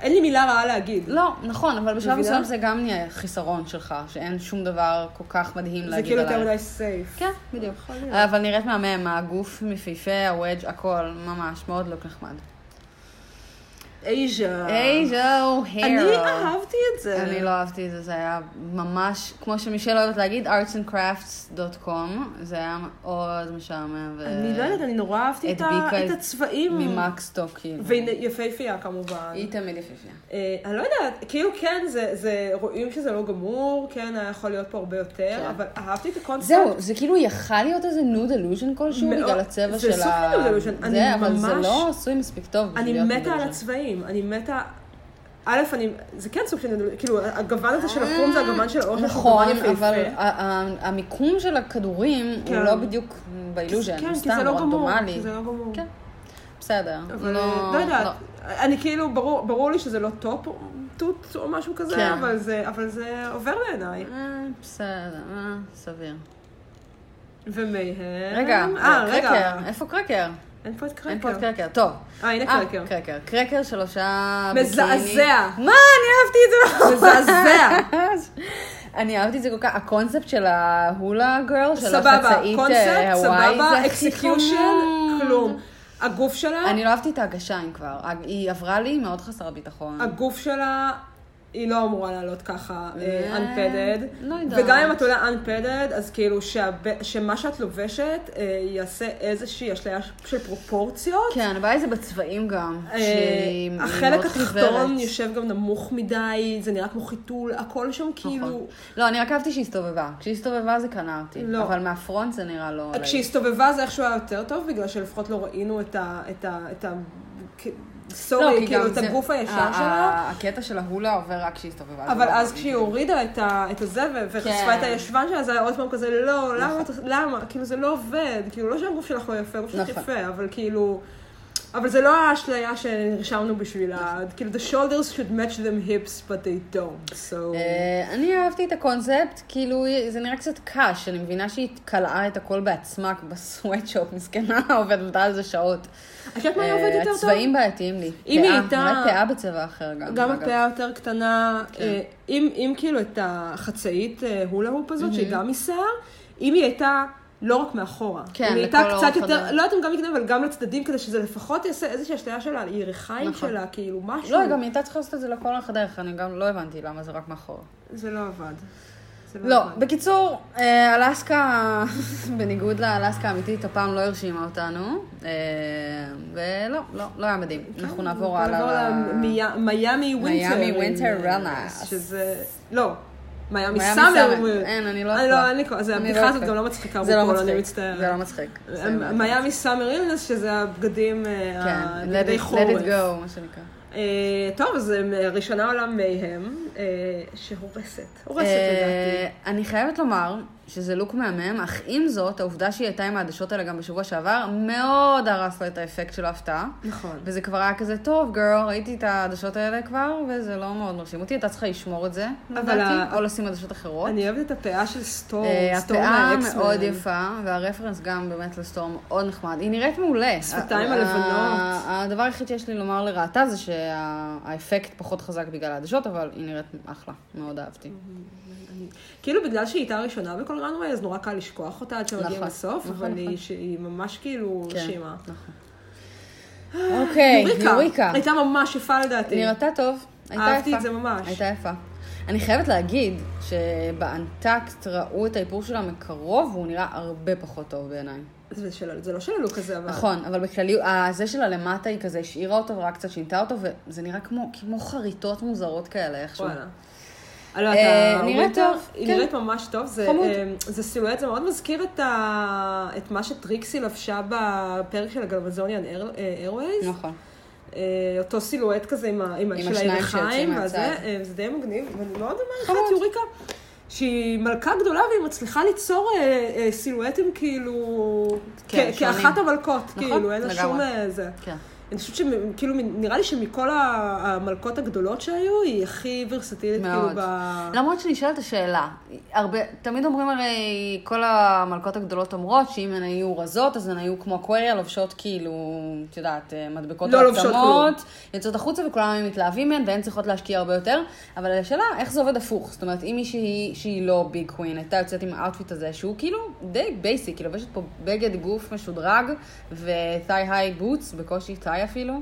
A: אין לי מילה רעה להגיד.
B: לא, נכון, אבל בשלב
A: מבינה?
B: מסוים זה גם נהיה חיסרון שלך, שאין שום דבר כל כך מדהים
A: זה
B: להגיד
A: כאילו
B: עלייך.
A: יותר מדי סייף.
B: כן, בדיוק. אבל נראית מהמם, הגוף מפיפה, הוודג', הכל, ממש, מאוד לוק נחמד. אה,
A: אייז'ה.
B: היי זהו, הירו.
A: אה. אני אהבתי את זה.
B: אני לא אהבתי את זה, זה היה ממש, כמו שמישל אוהבת להגיד, artsandcrafts.com, זה היה מאוד משעמם. ו-
A: אני לא יודעת, אני נורא אהבתי את ה-
B: הדביקה
A: את
B: את-
A: הצבעים.
B: ממקסטוק, כאילו.
A: והיא יפהפייה כמובן.
B: היא תמיד יפיפיה.
A: אה, אני לא יודעת, כאילו כן, זה- זה, רואים שזה לא גמור, כן, היה יכול להיות פה הרבה יותר, אבל אהבתי את הקונספט.
B: כן. זהו, זה כאילו יכל להיות איזה nud illusion כלשהו
A: מאוד.
B: בגלל הצבע
A: זה סוג
B: של ה...
A: של nude illusion. אני
B: זה, אבל זה
A: ממש-
B: לא עשוי מספיק טוב בשביל
A: אני
B: להיות
A: מתה
B: nude
A: על
B: illusion.
A: הצבעים, אני מתה... א', אני, זה כן סוג של, כאילו, הגוון הזה של החום זה הגוון של אושר,
B: נכון,
A: שהוא גוון
B: אבל
A: יפהפה.
B: ה- ה- המיקום של הכדורים הוא
A: כן.
B: לא בדיוק באילוז'ן,
A: כן,
B: הוא
A: כי זה
B: סתם
A: לא גמור,
B: רנדומלי.
A: כי זה לא גמור.
B: כן. בסדר.
A: אבל אה, לא יודעת, אני כאילו, ברור ברור לי שזה לא טופ טוט או משהו
B: כן.
A: כזה, אבל זה- אבל זה עובר בעיניי.
B: אה, בסדר, אה, סביר.
A: ומהם...
B: רגע,
A: אה, רגע.
B: קרקר, איפה קרקר?
A: אין פה את
B: אין פה את
A: קרקר.
B: קרקר, טוב.
A: אה, הנה
B: אה,
A: קרקר.
B: קרקר. קרקר של הושעה ביקיני.
A: מזעזע.
B: מה, אני אהבתי את זה.
A: מזעזע.
B: *laughs* אני אהבתי את זה כל כך, הקונספט של ההולה גרל, של
A: סבבה,
B: החצאית אה,
A: קונספט,
B: הוואי, זה
A: סבבה,
B: הכי
A: אקסקיושן,
B: חמוד.
A: כלום. הגוף שלה,
B: אני לא אהבתי את ההגשה אם כבר. היא עברה לי מאוד חסרת ביטחון.
A: הגוף שלה, היא לא אמורה לעלות ככה אה,
B: אה,
A: unpadded.
B: לא יודעת.
A: וגם אם את עולה unpadded, אז כאילו שהב- שמה שאת לובשת אה, יעשה איזושהי אשליה של פרופורציות.
B: כן, הבעיה זה בצבעים גם.
A: אה,
B: כן, שהיא היא
A: החלק
B: מאוד
A: התחתון
B: חיוורת.
A: יושב גם נמוך מדי, זה נראה כמו חיתול, הכל שם
B: נכון.
A: כאילו...
B: לא, אני רק אהבתי שהיא הסתובבה. כשהיא הסתובבה זה קנה אותי.
A: לא.
B: אבל מהפרונט זה נראה לא... עליי.
A: כשהסתובבה זה איכשהו היה יותר טוב, בגלל שלפחות לא ראינו את ה... את ה... את ה... כ-
B: לא,
A: סורי,
B: כי
A: כאילו,
B: גם
A: את
B: זה- אה,
A: הגוף הישר
B: ה-
A: שלה.
B: ה- הקטע של ההולה עובר רק כשהיא הסתובבה.
A: אבל
B: זה לא
A: אז
B: עבר.
A: כשהיא הורידה את, ה, את הזה ו- וחשפה
B: כן. נכון.
A: את הישבן שלה, זה היה עוד פעם כזה, לא, למה, את- למה? כאילו זה לא עובד, כאילו לא שהגוף שלך לא יפה, הגוף שלך
B: נכון.
A: יפה, אבל כאילו... אבל זה לא האשליה שנרשמנו בשבילה,
B: נכון.
A: כאילו the shoulders should match them hips, but they don't, so...
B: אה, אני אהבתי את הקונספט, כאילו זה נראה קצת קש, אני מבינה שהיא קלעה את הכל בעצמה בסוואטשופ, מסכנה, *laughs* עובדת על זה שעות.
A: את יודעת מה היה
B: אה,
A: עובד יותר טוב?
B: הצבעים בעייתיים לי.
A: אם היא
B: פאה,
A: הייתה-
B: אולי פאה בצבע אחר גם.
A: גם
B: אגב.
A: הפאה יותר קטנה,
B: כן.
A: אה,
B: Mm-hmm.
A: אם אם כאילו את החצאית אה, הולה הופ הזאת, שהיא גם משיער, אם היא הייתה לא רק מאחורה.
B: כן,
A: היא נהייתה
B: לכל
A: קצת
B: אורך
A: יותר,
B: הדרך.
A: לא יודעת אם גם מקדם, אבל גם לצדדים, כדי שזה לפחות יעשה איזושהי השתיה שלה, על ירכיים
B: נכון.
A: שלה, כאילו משהו.
B: לא, היא גם הייתה צריכה לעשות את זה לכל אורך הדרך, אני גם לא הבנתי למה זה רק מאחורה.
A: זה לא עבד. זה
B: לא,
A: עבד.
B: בקיצור, אה, אלסקה, *laughs* בניגוד לאלסקה האמיתית, הפעם לא הרשימה אותנו, אה, ולא, לא, לא היה מדהים.
A: כן,
B: אנחנו נעבור הלאה. ל-
A: מיאמי ווינטר. אה,
B: מיאמי winter wellness.
A: שזה... לא. מיאמי
B: מיאמי
A: סאמר.
B: summer. אין, אני לא
A: אני
B: יכולה.
A: לא, אין לי כל... זה
B: אני לא
A: הבדיחה הזאת
B: יכולה.
A: גם לא מצחיקה
B: זה לא
A: בפועל, אני
B: מצחיק,
A: מצטערת.
B: זה לא מצחיק. זה
A: מ-
B: מאוד
A: מיאמי סאמר אילנס, שזה הבגדים, אה,
B: כן, let
A: הבגדי
B: it-
A: חורף.
B: let it go, מה שנקרא.
A: אה, טוב, אז אה, ראשונה עולה מהם, אה, שהורסת. הורסת לדעתי.
B: אה, אני חייבת לומר שזה לוק מהמם, אך עם זאת, העובדה שהיא הייתה עם העדשות האלה גם בשבוע שעבר, מאוד הרס לה את האפקט של ההפתעה.
A: נכון.
B: וזה כבר היה כזה, טוב, גרל, ראיתי את העדשות האלה כבר, וזה לא מאוד מרשים אותי, הייתה צריכה לשמור את זה,
A: אבל
B: לדעתי,
A: ה-
B: או לשים עדשות אחרות.
A: אני אוהבת את הפאה של סטור,
B: אה,
A: סטור
B: הפאה
A: מהאקסמן.
B: מאוד יפה, והרפרנס גם באמת לסטורם מאוד נחמד. היא נראית מעולה.
A: שפתיים
B: ה-
A: הלבנות.
B: ה- הדבר היחיד שיש לי לומר לרעתה זה שהאפקט פחות חזק בגלל העדשות, אבל היא נראית אחלה, מאוד אהבתי.
A: כאילו בגלל שהיא הייתה הראשונה בכל רנווי, אז נורא קל לשכוח אותה עד שמגיעים
B: נכון,
A: לסוף,
B: נכון,
A: אבל היא-
B: נכון.
A: שהיא ממש כאילו
B: כן,
A: שימה.
B: נכון. אוקיי, יוריקה.
A: הייתה ממש יפה לדעתי.
B: נראתה טוב. הייתה יפה.
A: אהבתי את זה ממש.
B: הייתה יפה. אני חייבת להגיד שבאנטקט ראו את האיפור שלה מקרוב, והוא נראה הרבה פחות טוב בעיניי.
A: זה של- זה לא של הלוק הזה, אבל...
B: נכון, אבל בכללי, ה- זה שלה למטה היא כזה השאירה אותו ורק קצת שינתה אותו, וזה נראה כמו, כמו חריטות מוזרות כאלה איכשהו.
A: וואלה. אני לא
B: אה,
A: יודעת,
B: נראה
A: הווינטר,
B: טוב,
A: היא
B: כן.
A: נראית ממש טוב, זה,
B: חמוד.
A: אה, זה סילואט, זה מאוד מזכיר את, ה... את מה שטריקסי לבשה בפרק של הגלבזוניאן איירווייז.
B: נכון.
A: אה, אותו סילואט כזה עם, ה... עם, ה- של
B: השניים
A: הירכיים,
B: שיוצאים
A: וזה
B: מהצד.
A: אה, זה די מגניב, ואני מאוד מעריכה
B: חמוד.
A: את יוריקה, שהיא מלכה גדולה והיא מצליחה ליצור אה, אה, סילואטים כאילו,
B: כן,
A: כ-
B: שונים.
A: כאחת המלכות,
B: נכון,
A: כאילו, אין לה שום
B: לגמרי.
A: אה, זה.
B: כן.
A: אני חושבת שכאילו, נראה לי שמכל ה- המלכות הגדולות שהיו, היא הכי ורסטילית, כאילו,
B: מאוד. לא.
A: ב...
B: למרות שנשאלת השאלה, הרבה, תמיד אומרים הרי, כל המלכות הגדולות אומרות שאם הן היו רזות, אז הן היו כמו אקווריה, לובשות כאילו, את יודעת, אה, מדבקות
A: לא
B: על
A: לובשות
B: עצמות, יוצאות החוצה וכולם מתלהבים מהן, והן צריכות להשקיע הרבה יותר, אבל השאלה, איך זה עובד הפוך? זאת אומרת, אם מישהי שהיא לא ביג קווין, הייתה יוצאת עם האוטפיט הזה, שהוא כאילו די בייסיק, היא לובשת פה בגד גוף משודרג, ו-thigh high boots, בקושי thigh אפילו.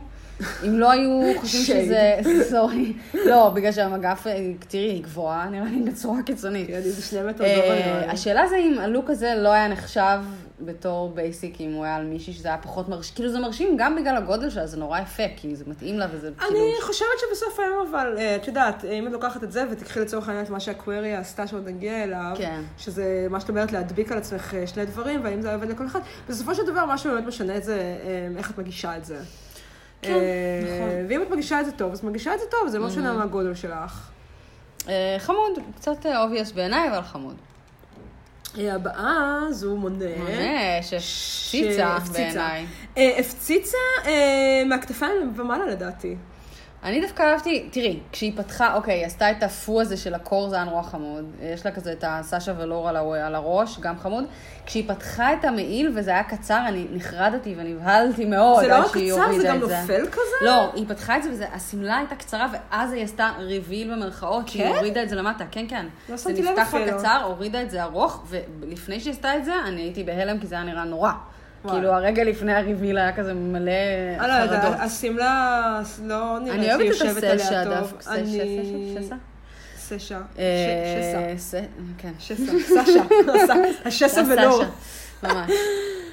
B: אם לא היו
A: *laughs*
B: חושבים
A: Shade.
B: שזה, סורי, לא, בגלל שהמגף, אה, תראי, היא גבוהה, נראה לי, בצורה קיצונית.
A: כן, איזה שני מטר גובה
B: אה,
A: נראה לי.
B: השאלה זה אם הלוק הזה לא היה נחשב בתור בייסיק, אם הוא היה על מישהי שזה היה פחות מרשים, כאילו זה מרשים גם בגלל הגודל שלה, זה נורא יפה, כי זה מתאים לה וזה כאילו...
A: אני חושבת שבסוף היום, אבל אה, את יודעת, אם את לוקחת את זה ותקחי לצורך העניין את מה שהקוויריה עשתה שעוד נגיע אליו,
B: כן.
A: שזה מה שאת אומרת להדביק על עצמך אה, שני דברים, והאם זה עובד לכל אחד, בסופו של דבר מה שבאמת משנה זה אה, איך את מגישה את זה.
B: כן,
A: אה,
B: נכון. Mm.
A: ואם את מגישה את זה טוב, אז מגישה את זה טוב, זה לא משנה מה הגודל שלך.
B: אה, חמוד, קצת אובייס בעיניי, אבל חמוד.
A: אה, הבאה זו מונה.
B: ממש, הפציצה
A: שהפציצה.
B: בעיניי.
A: אה, הפציצה אה, מהכתפיים ומעלה לדעתי.
B: אני דווקא אהבתי, תראי, כשהיא פתחה, אוקיי, היא עשתה את הפו הזה של הקור, זה היה נורא חמוד. יש לה כזה את הסשה ולור על, ה- על הראש, גם חמוד. כשהיא פתחה את המעיל וזה היה קצר, אני נחרדתי ונבהלתי מאוד.
A: זה לא
B: עד
A: רק
B: שהיא
A: קצר, זה
B: הורידה
A: גם
B: את
A: נופל כזה?
B: לא, היא פתחה את זה, והשמלה הייתה קצרה, ואז היא עשתה ריביל במרכאות, שהיא
A: כן?
B: הורידה את זה למטה, כן, כן.
A: לא
B: זה
A: שמתי לב
B: נפתח
A: אפילו.
B: לקצר, הורידה את זה ארוך, ולפני שהיא עשתה את זה, אני הייתי בהלם, כי זה היה נראה נורא.
A: וואי.
B: כאילו, הרגע לפני הריביל היה כזה מלא
A: אני לא יודעת,
B: חרדות.
A: השמלה לא נראית
B: אני
A: לי
B: אוהבת את
A: יושבת
B: הסשה
A: עליה טוב.
B: דווקא.
A: אני-
B: סשה? סשה?
A: סשה.
B: אה, ס- כן.
A: ש- שסה.
B: *laughs*
A: שסה. סשה. השסה ולא.
B: הסשה. ממש.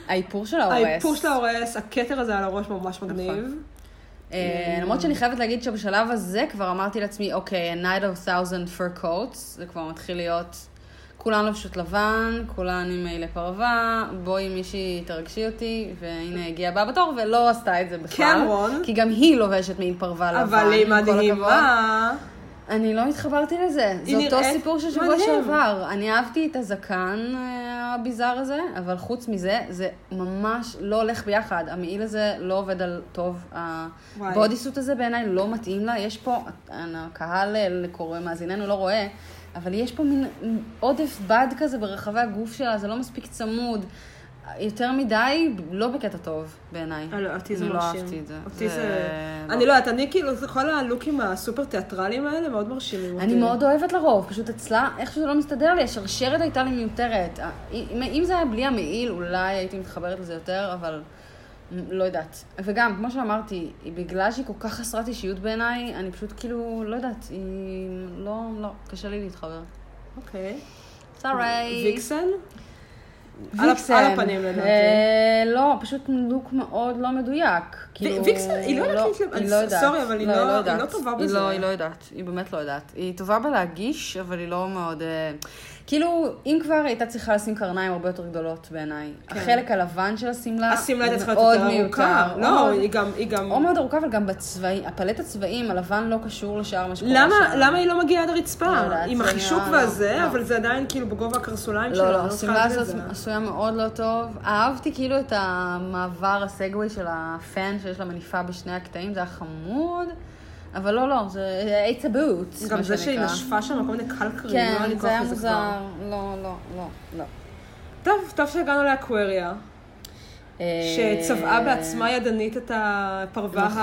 B: האיפור שלה הורס. נכון.
A: האיפור שלה הורס, הכתר הזה על הראש ממש מגניב.
B: אה, למרות שאני חייבת להגיד שבשלב הזה כבר אמרתי לעצמי, אוקיי, a night of thousand fur coats, זה כבר מתחיל להיות, כולן לובשות לבן, כולן עם מעילי פרווה, בואי מישהי תרגשי אותי, והנה הגיעה הבאה בתור, ולא עשתה את זה בכלל.
A: קמרון.
B: כי גם היא לובשת מעיל פרווה לבן,
A: אבל היא
B: עם כל הכבוד.
A: מדהימה.
B: אני לא התחברתי לזה, זה
A: היא
B: אותו
A: נראית
B: סיפור של שבוע
A: מדהים.
B: שעבר. אני אהבתי את הזקן אה, הביזאר הזה, אבל חוץ מזה, זה ממש לא הולך ביחד. המעיל הזה לא עובד על טוב.
A: וואי.
B: הבודיסוט הזה בעיניי לא מתאים לה. יש פה, הקהל אה, קורא, מאזיננו לא רואה, אבל יש פה מין עודף בד כזה ברחבי הגוף שלה, זה לא מספיק צמוד. יותר מדי, לא בקטע טוב בעיניי.
A: אה, לא, אותי זה
B: אני לא
A: מרשים.
B: אהבתי את זה.
A: אותי זה... אני לא יודעת, אני כאילו, זה כל הלוקים הסופר תיאטרליים האלה מאוד מרשימים אותי.
B: אני מאוד אוהבת לרוב, פשוט אצלה, איך שזה לא מסתדר לי, השרשרת הייתה לי מיותרת. אה, אם אם זה היה בלי המעיל, אולי הייתי מתחברת לזה יותר, אבל מ- לא יודעת. וגם, כמו שאמרתי, היא- בגלל שהיא כל כך חסרת אישיות בעיניי, אני פשוט כאילו, לא יודעת, היא... לא, לא, קשה לי להתחבר.
A: אוקיי.
B: סורי.
A: ויקסן? על הפ- על הפנים, לדעתי.
B: לא, פשוט לוק מאוד לא מדויק. כאילו,
A: ויקסן, היא לא יודעת להתלבש.
B: היא לא יודעת.
A: סורי, אבל היא לא- היא
B: יודעת.
A: לא טובה
B: היא
A: בזה.
B: לא- היא לא יודעת, היא באמת לא יודעת. היא טובה בלהגיש, אבל היא לא מאוד... אה, כאילו, אם כבר הייתה צריכה לשים קרניים הרבה יותר גדולות בעיניי. החלק הלבן של השמלה
A: כן. השמלה הייתה צריכה להיות
B: מאוד
A: יותר ארוכה.
B: מיותר.
A: לא,
B: מאוד-
A: היא גם... היא גם...
B: או מאוד ארוכה, אבל גם בצבעים, הפלט הצבעים, הלבן לא קשור לשאר מה שקורה
A: למה,
B: שם.
A: למה היא לא מגיעה עד הרצפה?
B: לא יודעת,
A: עם
B: זה
A: החישוק
B: נראה לא-
A: והזה,
B: לא.
A: אבל זה עדיין כאילו בגובה הקרסוליים שלה.
B: לא, לא,
A: אני צריכה
B: השמלה
A: להגיד את
B: הזאת
A: זה.
B: עשויה מאוד לא טוב. אהבתי כאילו את המעבר הסגווי של הפן שיש לה מניפה בשני הקטעים, זה היה חמוד. אבל לא, לא, זה it's a boot,
A: גם
B: מה
A: זה שהיא
B: שנקרא.
A: נשפה שם כל מיני קלקרים, לא היה לי
B: כן,
A: כוח
B: זה היה
A: לזה
B: מוזר. לא, לא, לא, לא.
A: כבר. טוב, טוב שהגענו לאקווריה,
B: אה,
A: שצבעה בעצמה ידנית את הפרווה
B: נכון,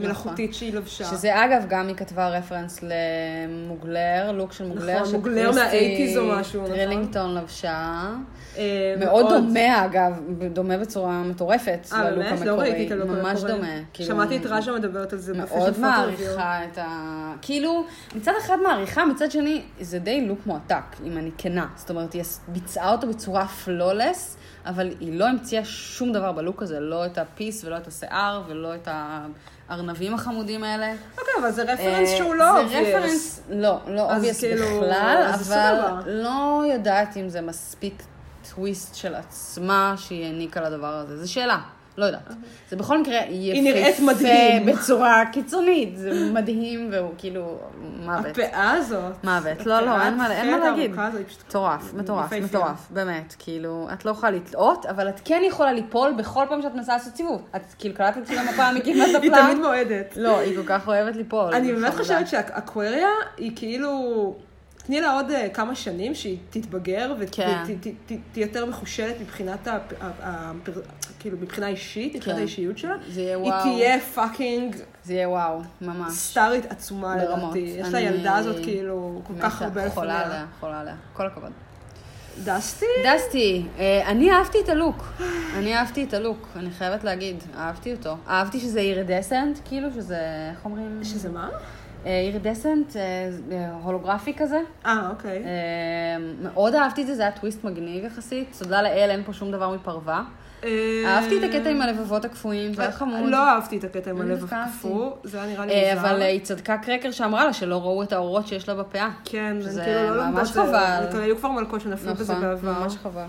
A: המלאכותית שהיא לבשה.
B: שזה אגב, גם היא כתבה רפרנס למוגלר, לוק של מוגלר.
A: נכון, מוגלר מה-80s או משהו, נכון?
B: טרילינגטון לבשה.
A: אה,
B: מאוד דומה אגב, דומה בצורה מטורפת
A: אה,
B: ללוק
A: באמת?
B: המקורי.
A: לא ראיתי את הלוק המקורי.
B: ממש דומה. כאילו,
A: שמעתי את ראז'ה מדברת על זה בפשן
B: מאוד מעריכה את ה... כאילו, מצד אחד מעריכה, מצד שני, זה די לוק מועתק, אם אני כנה. זאת אומרת, היא ביצעה אותו בצורה פלולס, אבל היא לא המציאה שום דבר בלוק הזה, לא את הפיס ולא את השיער ולא את הארנבים החמודים האלה.
A: אוקיי, אבל זה רפרנס
B: אה,
A: שהוא לא
B: זה
A: obvious.
B: רפרנס, לא, לא
A: אז
B: אובייס
A: כאילו,
B: בכלל,
A: אז זה
B: אבל
A: סבבה.
B: לא יודעת אם זה מספיק טוויסט של עצמה שהיא העניקה לדבר הזה. זו שאלה, לא יודעת. זה בכל מקרה
A: אוקיי. היא נראית
B: יפהפה
A: מדהים.
B: בצורה קיצונית, זה מדהים והוא כאילו מוות.
A: הפאה הזאת.
B: מוות, לא,
A: הפאה
B: לא, אין מה אין מה
A: היפהפייה
B: להגיד.
A: הארוכה הזאת, היא פשוט
B: מטורף, מטורף,
A: יפהפייה.
B: מטורף, באמת. כאילו, את לא יכולה לתלות, אבל את כן יכולה ליפול בכל פעם שאת מנסה לעשות סיבוב. את כאילו קלטת שגם הפעם היא כמעט
A: היא
B: נפלה.
A: תמיד מועדת.
B: לא, היא כל כך אוהבת ליפול.
A: אני
B: זה
A: באמת
B: חמודה.
A: חושבת שהאקווריה היא כאילו... תני לה עוד אה, כמה שנים שהיא תתבגר
B: כן.
A: ותהיה יותר מחושלת מבחינת ה... ה- ה- כאילו מבחינה אישית, מבחינת
B: כן.
A: האישיות שלה.
B: זה יהיה
A: היא
B: וואו.
A: תהיה פאקינג
B: זה יהיה וואו, ממש.
A: סטארית עצומה
B: ברמות.
A: לדעתי. יש
B: אני-
A: לילדה הזאת כאילו כל כך
B: מתה,
A: הרבה
B: חולה
A: לפניה.
B: עליה, חולה עליה. כל הכבוד.
A: דסטי?
B: דסטי, אה, אני אהבתי את הלוק. אני אהבתי את הלוק, אני חייבת להגיד. אהבתי אותו. אהבתי שזה אירדסנט, כאילו שזה, איך אומרים?
A: שזה מה?
B: אה, אירדסנט, אה, אה, הולוגרפי כזה.
A: אה, אוקיי.
B: אה, מאוד אהבתי את זה, זה היה טוויסט מגניב יחסית. תודה לאל, אין פה שום דבר מפרווה.
A: אה,
B: אהבתי את הקטע עם הלבבות הקפואים, זה היה חמוד.
A: לא אהבתי את הקטע עם
B: אני
A: הלב
B: דווקא אהבתי.
A: הקפוא, זה היה נראה לי
B: אה,
A: מוזר.
B: אבל אה, היא צדקה קרקר שאמרה לה שלא ראו את האורות שיש לה בפאה.
A: כן,
B: שזה
A: הם כאילו לא לומדות.
B: ממש
A: זה-
B: חבל.
A: זה- היו כבר מלכות שנפלו בזה
B: נכון,
A: בעבר.
B: ממש חבל.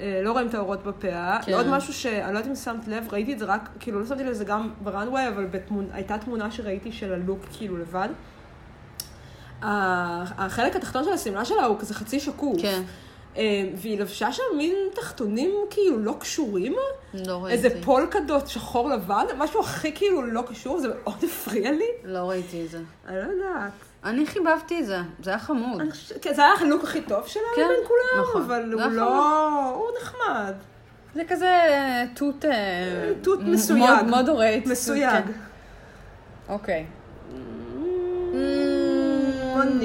A: אה, לא רואים את האורות בפאה.
B: כן.
A: עוד משהו שאני לא יודעת אם שמת לב, ראיתי את זה רק, כאילו לא שמתי לב לזה גם בראנווי, אבל בתמונ- הייתה תמונה שראיתי של הלוק כאילו לבד. ה- החלק התחתון של השמלה שלה הוא כזה חצי שקוף.
B: כן,
A: אה, והיא לבשה שם מין תחתונים כאילו לא קשורים,
B: לא ראיתי.
A: איזה פולקדות שחור לבן, משהו הכי כאילו לא קשור, זה מאוד הפריע לי.
B: לא ראיתי את זה.
A: אני לא יודעת.
B: אני חיבבתי את זה, זה היה חמוד.
A: אני חושבת, כן, זה היה החילוק הכי טוב שלה
B: כן,
A: בין כולם,
B: נכון. כן,
A: אבל
B: זה
A: הוא
B: היה
A: לא... הוא נחמד.
B: זה כזה אה, תות... אה,
A: תות
B: מ-
A: מסויג.
B: מוד- מודורייט. תות,
A: מסויג.
B: כן. אוקיי.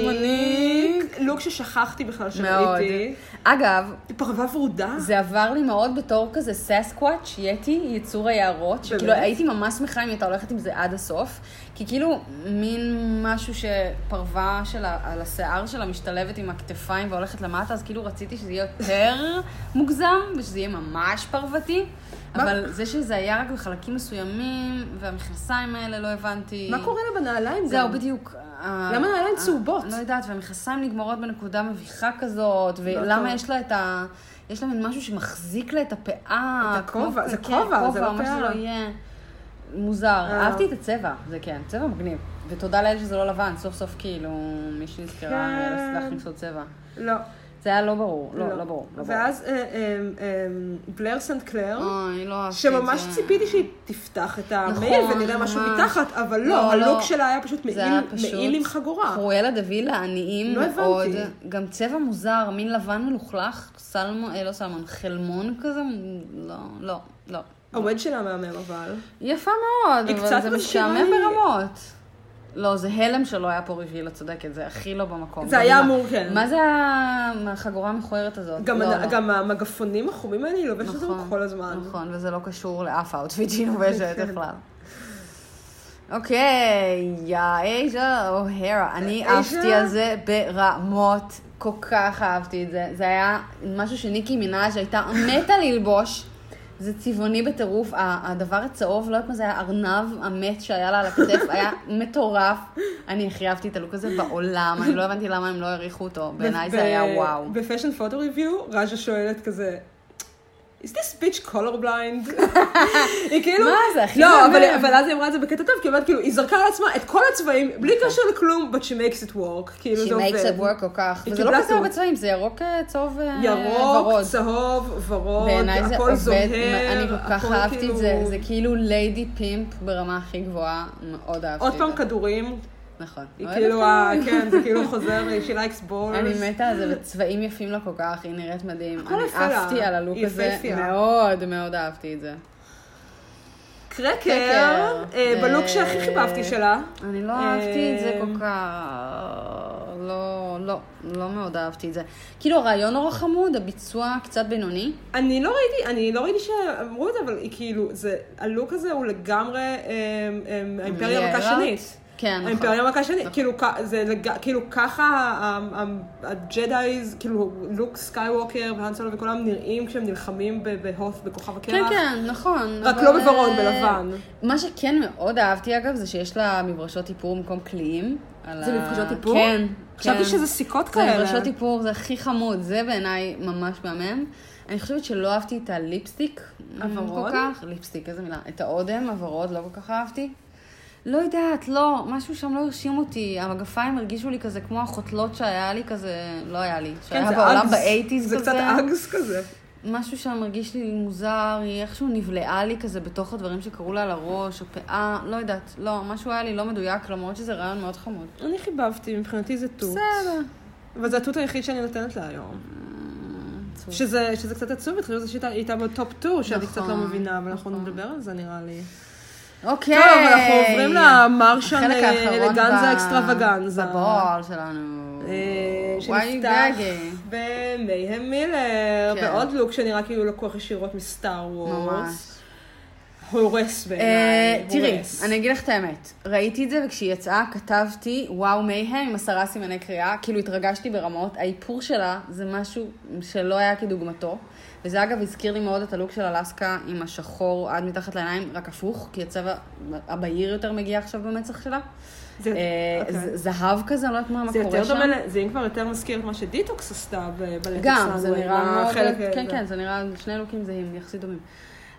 A: מוניק. לוק ששכחתי בכלל
B: מאוד.
A: שראיתי.
B: אגב,
A: היא פרווה ורודה.
B: זה עבר לי מאוד בתור כזה ססקוואץ', יתי, יצור היערות, שכאילו
A: באמת?
B: הייתי ממש שמחה אם היא הייתה הולכת עם זה עד הסוף, כי כאילו מין משהו שפרווה של ה- על השיער שלה משתלבת עם הכתפיים והולכת למטה, אז כאילו רציתי שזה
A: *laughs*
B: יהיה יותר מוגזם, ושזה יהיה ממש פרוותי,
A: מה-
B: אבל זה שזה היה רק בחלקים מסוימים, והמכנסיים האלה לא הבנתי.
A: מה קורה לה בנעליים?
B: זהו,
A: גם?
B: בדיוק.
A: למה נעליים
B: אה,
A: צהובות?
B: לא יודעת, והמכסיים נגמרות בנקודה מביכה כזאת,
A: לא, טוב.
B: ולמה יש לה את ה... יש לה מין משהו שמחזיק לה את הפאה.
A: את הכובע,
B: כמו-
A: זה
B: כן,
A: כובע, זה לא
B: כובע, מה
A: פאה.
B: שזה לא יהיה. מוזר.
A: אה.
B: אהבתי את הצבע, זה כן, צבע מגניב. ותודה לאל שזה לא לבן, סוף סוף כאילו מישהי נזכרה
A: כן.
B: להצליח למצוא צבע.
A: לא.
B: זה היה לא ברור, לא,
A: לא.
B: לא ברור. לא ברור.
A: ואז אה, אה, אה, בלר סנט קלר,
B: אוי, לא אהבתי את זה.
A: שממש ציפיתי שהיא תפתח את המעיל
B: נכון,
A: ונראה משהו
B: ממש.
A: מתחת, אבל
B: לא,
A: לא, הלוק
B: לא.
A: שלה היה פשוט
B: זה היה
A: מעיל
B: פשוט
A: מעיל עם חגורה.
B: חרויאלה דווילה, עניים
A: לא הבנתי.
B: מאוד. גם צבע מוזר, מין לבן מלוכלך, סלמון, אה, לא סלמון, חלמון כזה, לא, לא, לא.
A: המועד שלה מהמם אבל.
B: יפה מאוד,
A: היא
B: אבל
A: קצת
B: זה
A: מזכירה
B: משעמם
A: לי-
B: ברמות. לא, זה הלם שלא היה פה ריביל, את צודקת, זה הכי לא במקום.
A: זה
B: גם
A: היה
B: מה-
A: אמור, כן.
B: מה זה החגורה המכוערת הזאת?
A: גם
B: לא,
A: הנ-
B: לא.
A: גם המגפונים החומים האלה, היא לובשת אותם
B: נכון,
A: כל הזמן.
B: נכון, וזה לא קשור לאף
A: *laughs*
B: האוטפיט שהיא לובשת
A: כן.
B: בכלל. אוקיי, יא אייז'ה או הרה. אני
A: אייז'ה?
B: אהבתי על זה ברמות, כל כך אהבתי את זה. זה היה משהו שניקי מנאז' הייתה מתה ללבוש. זה צבעוני בטירוף, ה- הדבר הצהוב, לא יודעת מה זה היה, ארנב המת שהיה לה על
A: *laughs*
B: הכתף, היה מטורף. אני הכי אהבתי את הלוק הזה בעולם, אני לא הבנתי למה הם לא העריכו אותו, בעיניי זה היה וואו.
A: בפשן פוטו ריוויו, רג'ה שואלת כזה, is this bitch color
B: *laughs*
A: blind? היא כאילו...
B: מה זה, הכי
A: לא,
B: מהמם.
A: אבל, אבל אז היא אמרה את זה בקטע טוב, כי היא אומרת, כאילו, היא זרקה על עצמה את כל הצבעים, בלי קשר לכלום, but she makes it work. כאילו,
B: נכון. She
A: זה עובד.
B: makes it work כל כך.
A: היא
B: וזה לא
A: קיבלה
B: כזה הרבה
A: טור.
B: צבעים, זה ירוק, אה, צהוב, אה,
A: ירוק,
B: ורוד.
A: צהוב, ורוד,
B: בעיניי זה
A: הכל
B: עובד,
A: זוהר,
B: אני כל כך
A: הכל
B: אהבתי
A: כאילו-
B: את זה, זה כאילו ליידי פימפ ברמה הכי גבוהה, מאוד אהבתי את
A: עוד
B: זה.
A: פעם כדורים,
B: נכון.
A: היא
B: כאילו- אוהבת
A: כאילו, ה-
B: כדורים.
A: כן, זה כאילו חוזר, she likes balls.
B: אני מתה על זה, וצבעים יפים לה כל כך, היא נראית מדהים.
A: הכל
B: אני
A: יפה לה,
B: עפתי על הלוק
A: היא
B: הזה,
A: יפהפייה.
B: מאוד מאוד אהבתי את זה.
A: קרקר,
B: קרקר.
A: אה, בלוק
B: אה,
A: שהכי חיבבתי שלה.
B: אני לא
A: אה,
B: אהבתי את זה כל כך, לא, לא, לא מאוד אהבתי את זה. כאילו הרעיון נורא חמוד, הביצוע קצת בינוני.
A: אני לא ראיתי, אני לא ראיתי שאמרו את זה, אבל היא כאילו, זה, הלוק הזה הוא לגמרי אמ, אמ, האימפריה המכה
B: מיליארד?
A: שנית.
B: כן, נכון.
A: האימפריה המכה שנית, כאילו, כ- זה לג- כאילו ככה ה- ה- הג'דאיז, כאילו לוק סקייווקר והנסולו וכולם נראים כשהם נלחמים ב- בהוף בכוכב הקרח.
B: כן, כן, נכון.
A: רק
B: אבל,
A: לא בוורוד,
B: אה,
A: בלבן.
B: מה שכן מאוד אהבתי, אגב, זה שיש לה מברשות איפור במקום קליעים. על
A: זה
B: ה-
A: מפגשות איפור?
B: כן.
A: אה, חשבתי
B: כן.
A: שזה סיכות
B: זה
A: כאלה.
B: מברשות איפור, זה הכי חמוד, זה בעיניי ממש מהמם. אני חושבת שלא אהבתי את הליפסטיק. אה,
A: הוורוד?
B: כל כך. ליפסטיק, איזה מילה. את האודם, הוורוד, לא כל כך אהבתי. לא יודעת, לא, משהו שם לא הרשים אותי. המגפיים הרגישו לי כזה כמו החוטלות שהיה לי כזה, לא היה לי.
A: כן,
B: שהיה
A: זה
B: בעולם
A: אגס.
B: באייטיז כזה.
A: זה קצת אגס כזה.
B: משהו שם מרגיש לי מוזר, היא איכשהו נבלעה לי כזה בתוך הדברים שקרו לה על הראש, הפאה, לא יודעת, לא, משהו היה לי לא מדויק, למרות שזה רעיון מאוד חמוד.
A: אני חיבבתי, מבחינתי זה תות.
B: בסדר.
A: אבל זה התות היחיד שאני נותנת לה היום.
B: אה, עצוב.
A: שזה, שזה קצת עצוב, התחילו לזה שהיא הייתה בטופ 2, שאני
B: נכון,
A: קצת לא מבינה, אבל אנחנו
B: נכון.
A: נדבר על זה נראה לי.
B: אוקיי.
A: טוב, אנחנו עוברים למרשן
B: החלק
A: אה,
B: האחרון
A: אלגנזה
B: ב-
A: אקסטרווגנזה.
B: בבועל שלנו.
A: אה,
B: וואי
A: שנפתח
B: גגי.
A: במייהם מילר,
B: כן.
A: בעוד לוק שנראה כאילו לקוח ישירות מסטאר וורס.
B: ממש.
A: הורס בעיניי,
B: אה, תראי,
A: הורס.
B: אני אגיד לך את האמת, ראיתי את זה וכשהיא יצאה כתבתי וואו מייהם עם עשרה סימני קריאה, כאילו התרגשתי ברמות, האיפור שלה זה משהו שלא היה כדוגמתו, וזה אגב הזכיר לי מאוד את הלוק של אלסקה עם השחור עד מתחת לעיניים, רק הפוך, כי הצבע הבהיר יותר מגיע עכשיו במצח שלה.
A: זה-
B: אה,
A: אוקיי.
B: ז- זהב כזה, אני לא יודעת מה מה
A: זה
B: קורה
A: יותר
B: שם.
A: דומה, ל- זה אם כבר יותר מזכיר את מה שדיטוקס עשתה בלטקס
B: גם, זה
A: אה,
B: נראה מאוד... כן, כן, זה נראה שני לוקים זהים, יחסית דומים.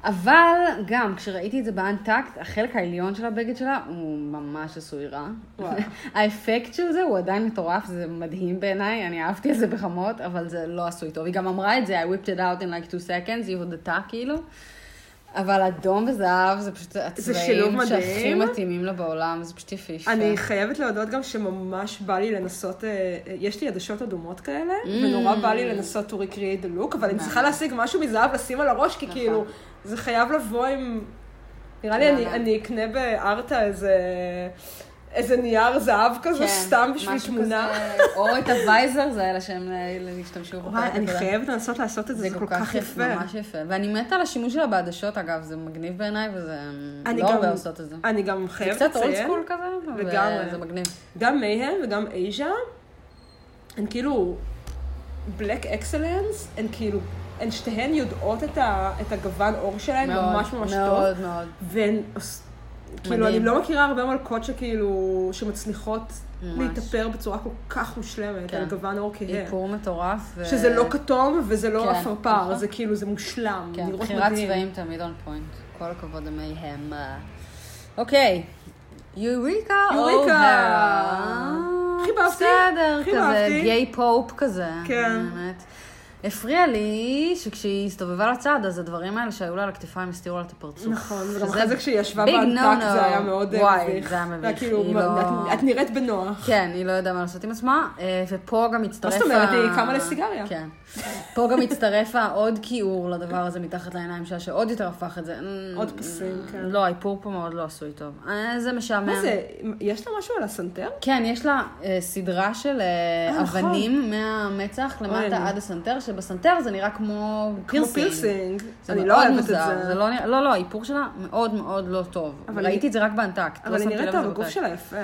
B: אבל גם כשראיתי את זה באנטקט, החלק העליון של הבגד שלה הוא ממש עשוי רע.
A: וואו.
B: *laughs* האפקט של זה הוא עדיין מטורף, זה מדהים בעיניי, אני אהבתי את זה ברמות, אבל זה לא עשוי טוב. היא גם אמרה את זה, I whipped it out in like two seconds, היא הודתה כאילו. אבל אדום וזהב זה פשוט
A: שילוב
B: הצבעים
A: מדהים.
B: שהכי מתאימים לה בעולם, זה פשוט יפהפה.
A: אני חייבת להודות גם שממש בא לי לנסות, אה, אה, יש לי עדשות אדומות כאלה,
B: Mm.
A: ונורא בא לי לנסות to recreate the look, אבל
B: נכון.
A: אני צריכה להשיג משהו מזהב לשים על הראש, כי כאילו, זה חייב לבוא עם... נראה לי אני-
B: למה?
A: אני אקנה בארטה איזה... איזה נייר זהב כזה, סתם בשביל
B: כן, משהו
A: תמונה.
B: כזה, או את הווייזר, זה היה לה שהם השתמשו בו.
A: וואי, אני חייבת לנסות לעשות את זה,
B: זה כל כך יפה. ממש יפה. ואני מתה על השימוש שלה בעדשות, אגב, זה מגניב בעיניי, וזה...
A: אני
B: לא
A: גם-
B: הרבה עושות את זה.
A: אני גם
B: זה
A: חייבת
B: קצת אולד
A: לציין,
B: סקול כזה,
A: לגמרי.
B: וזה מגניב.
A: גם מייהם וגם אייז'ה, הן כאילו בלק אקסלנס, הן כאילו, הן שתיהן יודעות את, ה, את הגוון עור שלהן כן,
B: מאוד,
A: ממש ממש
B: מאוד,
A: טוב,
B: מאוד.
A: והן, עוש- כאילו, אני
B: מדהים.
A: לא מכירה הרבה מלכות שכאילו, שמצליחות
B: ממש.
A: להתאפר בצורה כל כך מושלמת
B: כן.
A: על גוון עור כהה.
B: איפור מטורף. ו-
A: שזה לא כתום וזה
B: כן,
A: לא עפרפר,
B: נכון.
A: זה כאילו, זה מושלם,
B: כן,
A: לראות
B: בחירת
A: מדהים.
B: צבעים תמיד און פוינט. כל הכבוד למייהם. אוקיי, יוריקה
A: יוריקה!
B: אוהרה.
A: אהבתי.
B: בסדר,
A: הכי
B: כזה
A: אהבתי.
B: גיי פופ כזה.
A: כן.
B: באמת. הפריע לי שכשהיא הסתובבה לצד, אז הדברים האלה שהיו לה על הכתפיים הסתירו לה את הפרצוף.
A: נכון, וגם
B: שזה
A: אחרי זה כשהיא ישבה
B: big
A: באנטק
B: no-no.
A: זה היה מאוד אה,
B: וואי,
A: מביך.
B: זה היה מביך.
A: כאילו,
B: היא
A: מה-
B: לא-
A: את- את נראית בנוח.
B: כן, היא לא ידעה מה לעשות עם עצמה, אה, ופה גם הצטרף...
A: מה זאת אומרת?
B: ה-
A: היא קמה לסיגריה.
B: כן. פה גם הצטרף העוד כיעור לדבר הזה מתחת לעיניים שלה, שעוד יותר הפך את זה. אה,
A: עוד פסים, כן.
B: לא, האיפור פה מאוד לא עשוי טוב. אה, זה משעמם.
A: מה זה, יש לה משהו על הסנטר?
B: כן, יש לה אה, סדרה של אה,
A: אה, נכון.
B: אבנים מהמצח למטה
A: אוי.
B: עד הסנטר, שבסנטר זה נראה כמו
A: כמו
B: פירסינג.
A: פילסינג.
B: זה
A: אני
B: מאוד
A: לא אוהבת את
B: מוזר,
A: זה.
B: לא, נראה- לא, לא, האיפור שלה מאוד מאוד לא טוב.
A: אבל
B: ראיתי
A: היא-
B: את זה רק באנטקט.
A: אבל
B: לא
A: היא
B: שמתי
A: נראית
B: לב
A: טוב,
B: לזה
A: הגוף
B: מתי.
A: שלה יפה.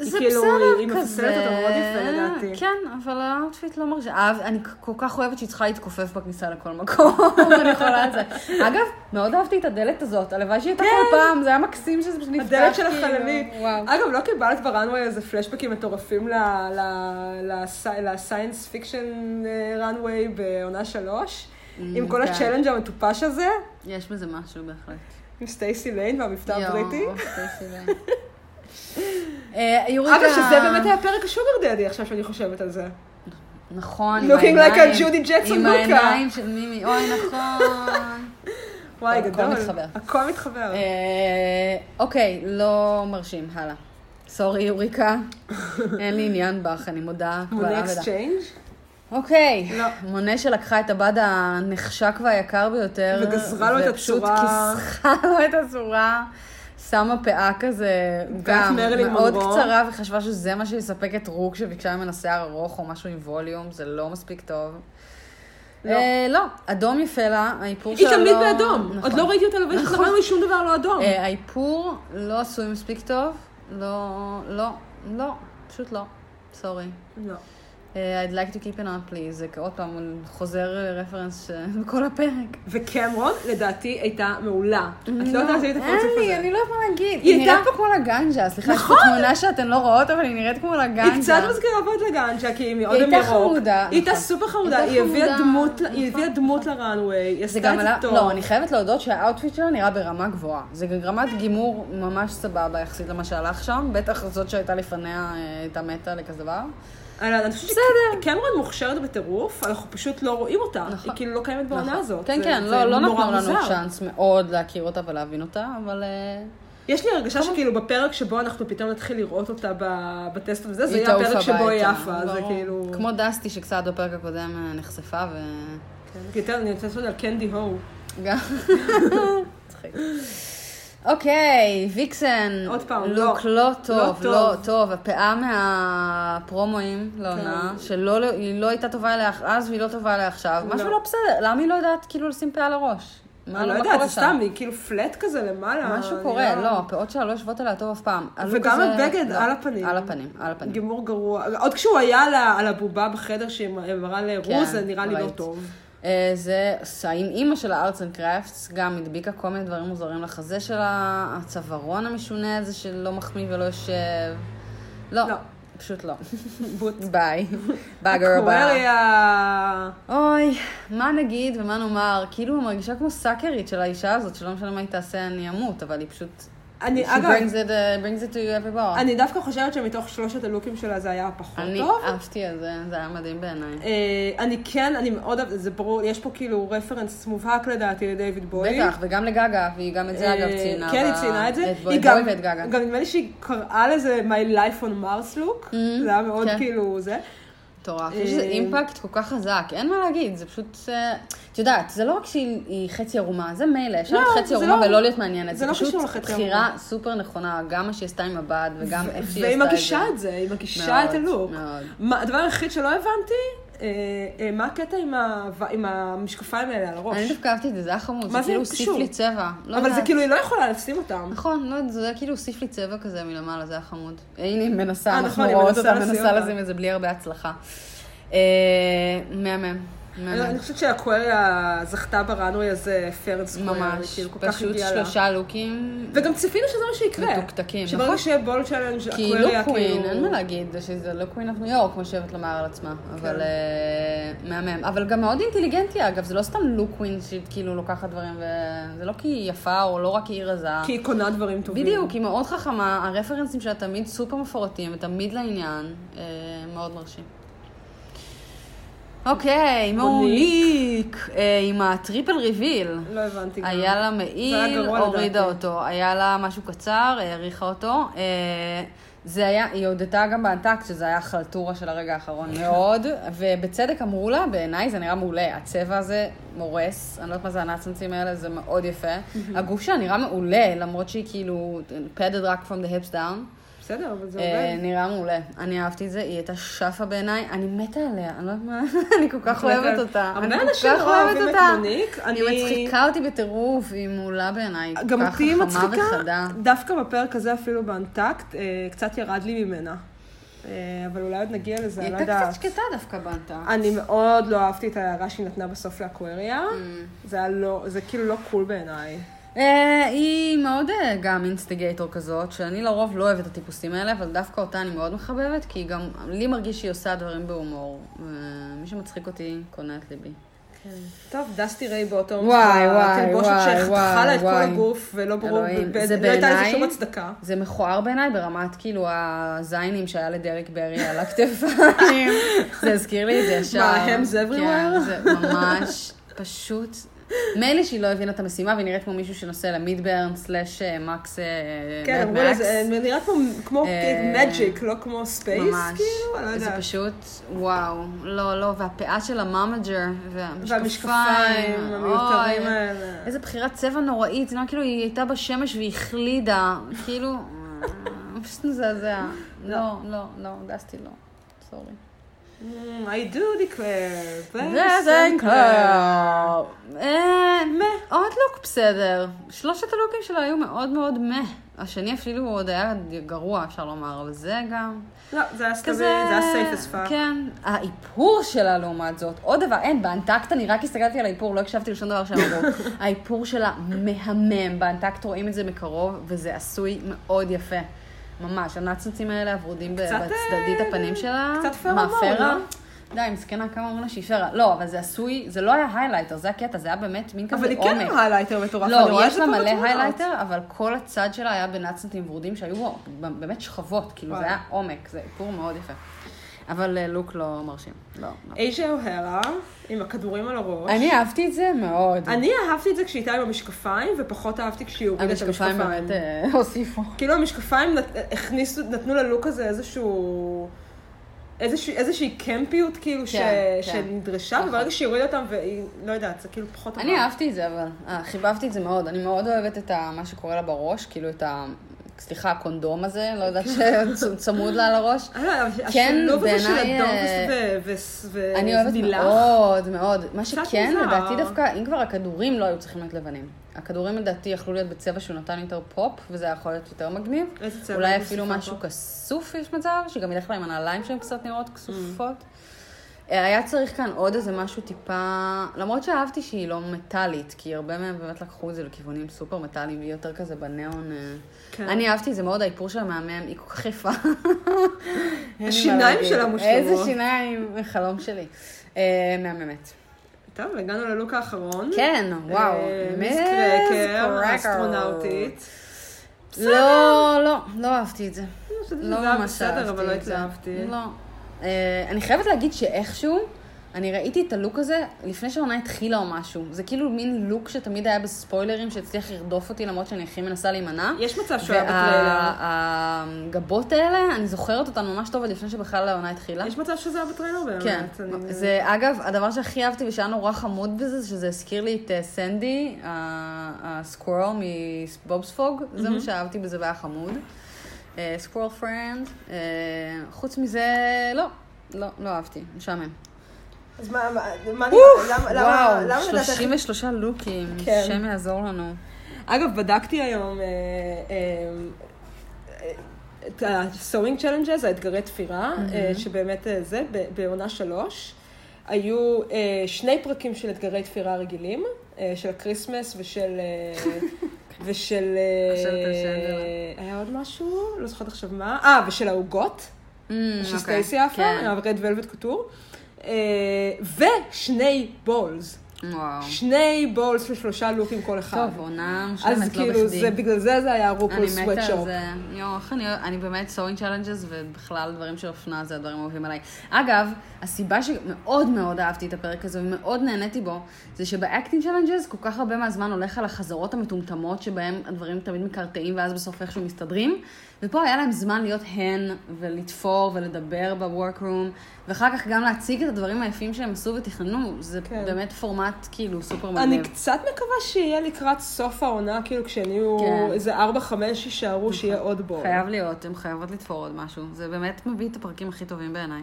B: זה
A: היא כאילו,
B: בסדר
A: היא
B: כזה.
A: מפסלת אותו מאוד יפה, לדעתי.
B: כן, אבל האוטפיט לא מרשה. אה, אני כל כך אוהבת שהיא צריכה להתכופף בכניסה לכל מקום. *laughs* אני יכולה את זה. אגב, מאוד אהבתי את הדלת הזאת. הלוואי שהיא הייתה כל פעם, זה היה מקסים שזה פשוט נפתח.
A: כן. הדלת של
B: כאילו,
A: החללית.
B: וואו.
A: אגב, לא קיבלת ברנווי איזה פלשבקים מטורפים ל- ל- לס- לסיינס פיקשן אה, רנווי בעונה שלוש? עם כל
B: כן.
A: הצ'לנג' המטופש הזה?
B: יש בזה משהו בהחלט.
A: עם סטייסי ליין והמבטא
B: יואו,
A: הבריטי?
B: סטייסי ליין. אה, יוריקה...
A: אגב, שזה באמת היה פרק השוגר דדי עכשיו שאני חושבת על זה.
B: נכון, עם
A: Looking like a
B: העיניים-
A: Judy Jackson
B: עם
A: Luca.
B: העיניים של מימי, אוי, נכון.
A: וואי,
B: הכל
A: גדול.
B: מתחבר.
A: הכל מתחבר.
B: אה, אוקיי, לא מרשים, הלאה. סורי,
A: *laughs*
B: יוריקה. אין לי עניין בך, אני מודה. קבל
A: מונה
B: עם ועדה.
A: אקסצ'יינג'?
B: אוקיי,
A: לא.
B: מונה שלקחה את הבד הנחשק והיקר ביותר.
A: וגזרה לו את הצורה.
B: ופשוט כיסחה לו את הצורה. שמה פאה כזה, גם
A: מרילין
B: מאוד
A: מונרו.
B: קצרה, וחשבה שזה מה שיספק את רוק שביקשה ממנה שיער ארוך או משהו עם ווליום, זה לא מספיק טוב.
A: לא.
B: אה, לא, אדום יפה לה, האיפור
A: היא
B: שלה לא...
A: תמיד באדום. עוד
B: נכון.
A: לא ראיתי אותה לובשת לבן ושום דבר לא אדום.
B: אה, האיפור לא עשוי מספיק טוב, לא, לא, לא, פשוט לא, סורי. אה,
A: לא.
B: I'd like to keep an eye please, זה עוד פעם הוא חוזר רפרנס בכל הפרק.
A: וקמרון, לדעתי, הייתה מעולה. את
B: Mm-hmm.
A: לא יודעת לי את הקונספט
B: אין לי,
A: הזה.
B: אני לא יכולה להגיד.
A: היא
B: היא נראית
A: הייתה- נכון!
B: פה כמו לגנג'ה, סליחה, יש פה תמונה שאתן לא רואות, אבל היא נראית כמו לגנג'ה.
A: היא קצת מזכירה מאוד לגנג'ה, כי היא מאוד
B: היא
A: עם
B: הייתה
A: ירוק.
B: חמודה,
A: היא הייתה
B: נכון.
A: סופר חמודה,
B: הייתה
A: היא הביאה
B: חמודה,
A: דמות, ל-
B: נכון,
A: היא הביאה דמות לראנוויי, היא
B: זה
A: עשתה
B: גם
A: את זה
B: עלה,
A: טוב.
B: לא, אני חייבת להודות שהאוטפיט שלה נראה ברמה גבוהה. זה גם רמת גימור ממש סבבה יחסית למה שהלך שם, בטח זאת שהייתה לפניה אה, הייתה מתה לכזה דבר.
A: אבל אני חושבת שקמרון מוכשרת בטירוף, אנחנו פשוט לא רואים אותה.
B: נכון.
A: היא כאילו לא קיימת בעונה
B: נכון.
A: הזאת.
B: כן,
A: זה-
B: כן,
A: זה
B: לא, לא
A: נורא
B: נתנו לנו
A: מוזר.
B: צ'אנס מאוד להכיר אותה ולהבין אותה, אבל אה,
A: יש לי הרגשה
B: נכון.
A: שכאילו בפרק שבו אנחנו פתאום נתחיל לראות אותה ב- בטסט וזה, זה
B: היא
A: יהיה
B: תעוף
A: הפרק שבו היא
B: הביתה.
A: עפה, זה
B: ברור.
A: כאילו...
B: כמו דסטי שקצת בפרק הקודם אה, נחשפה ו...
A: כן. יותר, אני רוצה לעשות על קנדי הו. *laughs*
B: גם... מצחיק. אוקיי, ויקסן,
A: עוד פעם,
B: לוק
A: לא.
B: לא
A: לא
B: טוב,
A: טוב.
B: לא טוב, הפאה מהפרומואים לעונה,
A: כן.
B: שלא, היא לא הייתה טובה אליה אז והיא לא טובה אליה עכשיו,
A: לא.
B: משהו לא בסדר, למה היא לא יודעת כאילו לשים פאה על הראש? מה-
A: אני לא
B: מה
A: יודעת,
B: קורה
A: זה
B: שם?
A: סתם, היא כאילו פלט כזה למעלה.
B: משהו
A: אני
B: קורה, לא, הפאות שלה לא יושבות עליה טוב אף פעם. הלוק
A: אה, וגם
B: הזה-
A: הבגד
B: לא,
A: על הפנים.
B: על הפנים, על הפנים.
A: גימור גרוע. עוד כשהוא היה על ה- על הבובה בחדר שהיא מראה
B: כן,
A: לרוז, זה נראה לי לא
B: ראית.
A: טוב.
B: *laughs* אה, זה, ס- עם אימא של הארטס אנד קראפטס, גם הדביקה כל מיני דברים מוזרים לחזה שלה, הצווארון המשונה הזה שלא מחמיא ולא יושב. לא,
A: לא.
B: פשוט לא.
A: בוט.
B: ביי.
A: *laughs*
B: ביי גרל ביי.
A: הקווריה.
B: אוי, מה נגיד ומה נאמר? כאילו, היא מרגישה כמו סאקרית של האישה הזאת, שלא משנה מה היא תעשה, אני אמות, אבל היא פשוט...
A: אני,
B: She
A: אגב,
B: brings it, uh, brings it to you every bar.
A: אני דווקא חושבת שמתוך שלושת הלוקים שלה זה היה הפחות
B: אני
A: טוב.
B: עפתי על זה, זה היה מדהים בעיניי.
A: אה, אני כן, אני מאוד אוהבת, זה ברור, יש פה כאילו רפרנס מובהק לדעתי לדייוויד בואי.
B: בטח, וגם לגגה, והיא גם את זה אגב
A: אה,
B: ציינה.
A: כן, היא
B: ב-
A: ציינה את זה.
B: את
A: היא
B: בואי
A: גם-
B: בואי ואת גגה.
A: גם נדמה לי שהיא קראה לזה My Life on Mars Look. זה היה מאוד
B: כן.
A: כאילו זה.
B: מטורף, יש איזה
A: אה,
B: אימפקט כל כך חזק, אין מה להגיד, זה פשוט, אה, את יודעת, זה לא רק שהיא היא חצי ערומה, זה מילא, אפשר
A: לא,
B: להיות חצי
A: זה
B: ערומה
A: לא-
B: ולא להיות מעניינת,
A: זה
B: זה
A: לא
B: פשוט
A: קשור לחצי
B: בחירה
A: ערומה.
B: סופר נכונה, גם מה שהיא עשתה עם הבד וגם איך שהיא עשתה את זה.
A: והיא מגישה את זה, היא מגישה
B: מאוד,
A: את הלוק.
B: מאוד.
A: מה- הדבר היחיד שלא הבנתי, אה, אה, מה הקטע עם ה- עם המשקפיים האלה על
B: אני
A: הראש?
B: דווקא אהבתי את זה, זה היה חמוד,
A: מה
B: זה
A: זה
B: כאילו הוסיף
A: קשור?
B: לי צבע. לא
A: אבל זה
B: יודעת.
A: כאילו, היא לא יכולה לשים אותם.
B: נכון, לא יודעת, זה כאילו הוסיף לי צבע כזה מלמעלה, זה היה חמוד. הנה היא מנסה,
A: אה,
B: אנחנו
A: נכון, היא
B: רואות
A: מנסה
B: אותה,
A: לשים
B: מנסה
A: אותה.
B: לשים את זה בלי הרבה הצלחה. אה, מהמם.
A: אני לא- אני חושבת שהקווריה זכתה בראנוי הזה, פרנס קווריה,
B: ממש.
A: כאילו כל כך
B: פשוט
A: הגיעה לה.
B: שלושה לוקים.
A: וגם צפינו שזה מה שיקרה.
B: מתוקתקים, נכון.
A: שברגע שיהיה בול צ'אלנג'
B: כי
A: הקווריה, כאילו...
B: לא קווין, אין מה להגיד, זה שזה לא קווין אוף ניו יורק, כמו שאוהבת לומר על עצמה.
A: כן.
B: אבל אה, מהמם. אבל גם מאוד אינטליגנטי, אגב, זה לא סתם לו קווין שהיא כאילו לוקחת דברים, וזה לא כי היא יפה, או לא רק כי היא רזה.
A: כי היא קונה דברים טובים.
B: בדיוק, היא מאוד חכמה, הרפרנסים שלה תמיד סופר מפורטים, ותמיד לעניין, אה, מאוד מרשים. אוקיי, מוניק, אה, עם הטריפל ריביל.
A: לא הבנתי. גם.
B: היה
A: זה
B: לה
A: היה
B: מעיל,
A: גרוע
B: הורידה
A: לדעתי.
B: אותו. היה לה משהו קצר, האריכה אותו. אה, זה היה, היא הודתה גם באנטקט שזה היה חלטורה של
A: *laughs*
B: הרגע האחרון מאוד, ובצדק אמרו לה, בעיניי זה נראה מעולה, הצבע הזה מורס, אני לא יודעת מה זה הנצנצים האלה, זה מאוד
A: *laughs*
B: יפה. הגוף שלה נראה מעולה, למרות שהיא כאילו padded רק from the hips down.
A: בסדר, אבל זה
B: אה,
A: עובד.
B: נראה מעולה, אני אהבתי את זה, היא הייתה שפה בעיניי, אני מתה עליה, אני לא יודעת מה, *laughs* אני כל כך אוהבת אותה. אני
A: הרבה
B: כל
A: אנשים
B: כך
A: לא
B: אוהבת
A: אוהבים את
B: אותה.
A: מוניק.
B: היא מצחיקה אותי בטירוף, היא מעולה בעיניי. היא
A: גם
B: כל
A: אותי היא
B: כך חכמה
A: מצחיקה,
B: וחדה.
A: דווקא בפרק הזה אפילו באנטקט, אה, קצת ירד לי ממנה. אה, אבל אולי עוד נגיע לזה,
B: היא
A: אני לא
B: הייתה קצת
A: יודעת.
B: שקטה דווקא בנתה.
A: אני מאוד לא אהבתי את ההערה שהיא נתנה בסוף לאקווריה. זה היה לא, זה כאילו לא קול בעיניי.
B: אה, היא מאוד אה, גם אינסטיגייטור כזאת, שאני לרוב לא אוהבת את הטיפוסים האלה, אבל דווקא אותה אני מאוד מחבבת, כי היא גם, לי מרגיש שהיא עושה דברים בהומור. אה, מי שמצחיק אותי, קונה את ליבי.
A: טוב, דסטי ריי באותו
B: וואי, וואי,
A: תלבושת
B: וואי,
A: שחתכה לה את כל
B: וואי.
A: הגוף, ולא ברור,
B: אלוהים,
A: באיזה-
B: זה
A: לא הייתה לזה
B: בעיניי-
A: שום הצדקה.
B: זה מכוער בעיניי ברמת כאילו הזיינים שהיה לדרק ברי על
A: *laughs*
B: הכתפיים. זה הזכיר לי את זה ישר.
A: מה, הם זה everywhere?
B: כן, זה ממש פשוט... מילא שהיא לא הבינה את המשימה והיא נראית כמו מישהו שנוסע למידברן סלאש אה, מקס... אה,
A: כן,
B: מד
A: אמרו לה,
B: מקס.
A: זה נראה כמו- כמו
B: אה,
A: מג'יק, לא כמו ספייס,
B: ממש.
A: כאילו, אני לא
B: זה
A: יודעת.
B: פשוט, וואו, לא, לא, והפאה של המאמג'ר,
A: והמשקפיים
B: והמשקפיים,
A: המיותרים
B: אוי,
A: האלה.
B: איזה בחירת צבע נוראית, זה נראה כאילו היא הייתה בשמש והחלידה, כאילו, אה, פשוט מזעזע. לא, לא, לא, דסתי לא, סורי.
A: Mm, I do declare,
B: וזן
A: Vincent Clare.
B: קלאב. אה, עוד לוק בסדר. שלושת הלוקים שלה היו מאוד מאוד מה. השני אפילו עוד היה גרוע, אפשר לומר, אבל זה גם...
A: לא, זה היה סטובי, זה היה safe as fuck.
B: כן. האיפור שלה לעומת זאת, עוד דבר, אין, באנטקט אני רק הסתכלתי על האיפור, לא הקשבתי לשום דבר שהם
A: *laughs*
B: אמרו. האיפור שלה מהמם, באנטקט רואים את זה מקרוב, וזה עשוי מאוד יפה. ממש, הנצנצים האלה הוורודים ב-
A: קצת,
B: בצדדית
A: אה,
B: הפנים שלה.
A: קצת פרומון,
B: מה, פרה?
A: לא?
B: די, מסכנה, כמה אומרים לה שהיא פרה. לא, אבל זה עשוי, זה לא היה היילייטר, זה הקטע, זה היה באמת מין כזה
A: אבל
B: עומק.
A: היא כן עם היילייטר מטורף, אני
B: לא,
A: רואה את
B: יש
A: זה
B: לה
A: פה
B: מלא
A: בתמונות.
B: היילייטר, אבל כל הצד שלה היה בנצנטים ורודים שהיו בו באמת שכבות, כאילו זה
A: וואי.
B: היה עומק, זה איפור מאוד יפה. אבל אה, לוק לא מרשים, לא. לא.
A: אייג'ה אוהרה, עם הכדורים על הראש.
B: אה, אני אהבתי את זה מאוד.
A: אני אהבתי את זה כשהיא הייתה עם המשקפיים, ופחות אהבתי כשהיא הורידה את
B: המשקפיים
A: המשקפיים.
B: באמת אה, *laughs* הוסיפו.
A: כאילו המשקפיים נת... הכניסו, נתנו ללוק הזה איזשהו... איזושהי, איזושהי קמפיות כאילו ש...
B: כן.
A: שנדרשה,
B: נכון.
A: וברגע שהיא הורידה אותם, והיא, לא יודעת, זה כאילו פחות... עבר.
B: אני אהבתי את זה, אבל אה, חיבבתי את זה מאוד. אני מאוד אוהבת את ה- מה שקורה לה בראש, כאילו את ה... סליחה, הקונדום הזה, לא *laughs* יודעת שצמוד לה על הראש.
A: אני לא יודעת, אבל
B: כן,
A: השילוב הזה של
B: בעיניי,
A: אדום
B: אה,
A: ו- ו- ו-
B: אני אוהבת
A: ולילך.
B: מאוד מאוד. מה שכן,
A: מוזר.
B: לדעתי דווקא, אם כבר הכדורים לא היו צריכים להיות לבנים. הכדורים לדעתי יכלו להיות בצבע שהוא נתן יותר פופ, וזה היה יכול להיות יותר מגניב.
A: איזה צבע
B: אולי
A: היית
B: אפילו
A: מוסיפה
B: משהו
A: פה?
B: כסוף יש מצב, שגם ילך לה עם הנעליים שהן
A: Mm.
B: קצת נראות כסופות. אה, היה צריך כאן עוד איזה משהו טיפה, למרות שאהבתי שהיא לא מטאלית, כי הרבה מהם באמת לקחו את זה לכיוונים סופר מטאליים, היא יותר כזה בניאון. אה.
A: כן.
B: אני אהבתי את זה מאוד, האיפור שלה מהמם, היא כל
A: *laughs*
B: כך יפה. אין לי מה
A: השיניים
B: להגיד.
A: שלה מושלמות.
B: איזה שיניים, חלום שלי. אה, מהממת.
A: טוב, הגענו ללוק האחרון.
B: כן, וואו.
A: אה, מיס
B: מיס
A: קרקר,
B: קרקר.
A: אסטרונאוטית.
B: לא, לא, לא אהבתי את זה.
A: זה
B: לא
A: היה
B: ממש
A: בסדר,
B: אהבתי את זה.
A: אבל לא התלהבתי.
B: לא. אה, אני חייבת להגיד שאיכשהו, אני ראיתי את הלוק הזה לפני שהעונה התחילה או משהו. זה כאילו מין לוק שתמיד היה בספוילרים שהצליח לרדוף אותי למרות שאני הכי מנסה להימנע.
A: לא. יש מצב שהוא היה בטריילר.
B: והגבות האלה, אני זוכרת אותן ממש טוב עוד לפני שבכלל העונה התחילה.
A: יש מצב שזה היה בטריילר באמת.
B: לא? כן,
A: אני-
B: זה אגב, הדבר שהכי אהבתי ושהיה נורא חמוד בזה, זה שזה הזכיר לי את אה, סנדי, ה- הסקוורל מבובספוג, זה מה שאהבתי בזה והיה חמוד. סקוורל פרנד, אה, חוץ מזה, לא, לא, לא אהבתי, משעמם.
A: אז מה, מה, מה, אני- למה, למה,
B: וואו,
A: למה לדעת איך
B: 33 לוקים,
A: כן.
B: השם יעזור לנו.
A: אגב, בדקתי היום אה, אה, אה, את ה-sewing challenges, האתגרי תפירה, אה, שבאמת אה, זה, ב- בעונה שלוש. היו אה, שני פרקים של אתגרי תפירה רגילים, אה, של הקריסמס ושל...
B: *laughs*
A: אה, ושל... אה,
C: חשבת על שאנגלה.
A: היה עוד משהו? לא זוכרת עכשיו מה. אה, ושל העוגות. של
C: אוקיי,
A: סטייסי אפר,
B: Mm, כן.
A: רד ולווט קוטור. אה, ושני בולס.
B: כן.
C: וואו.
A: שני בולס של שלושה לוקים כל אחד.
B: טוב, עונה
A: אז
B: משלמת, לא
A: כאילו,
B: בכדי.
A: זה, בגלל זה זה היה רופול
B: אני מתה על
A: סוואטשופ.
B: זה. יואו, איך אני, אני באמת סורינג צ'אלנג'ס, ובכלל דברים של אופנה זה הדברים האהובים עליי. אגב, הסיבה שמאוד מאוד אהבתי את הפרק הזה ומאוד נהניתי בו, זה שבאקטינג צ'אלנג'ס כל כך הרבה מהזמן הולך על החזרות המטומטמות שבהם הדברים תמיד מקרטעים ואז בסוף איכשהו מסתדרים. ופה היה להם זמן להיות הן ולתפור ולדבר בוורקרום, ואחר כך גם להציג את הדברים היפים שהם עשו ותכננו. זה
A: כן.
B: באמת פורמט כאילו סופר מגניב.
A: אני קצת מקווה שיהיה לקראת סוף העונה, כאילו כשהם יהיו
B: כן. נכון.
A: איזה ארבע, חמש יישארו, שיהיה עוד בול.
B: חייב להיות, הן חייבות לתפור עוד משהו. זה באמת מביא את הפרקים הכי טובים בעיניי.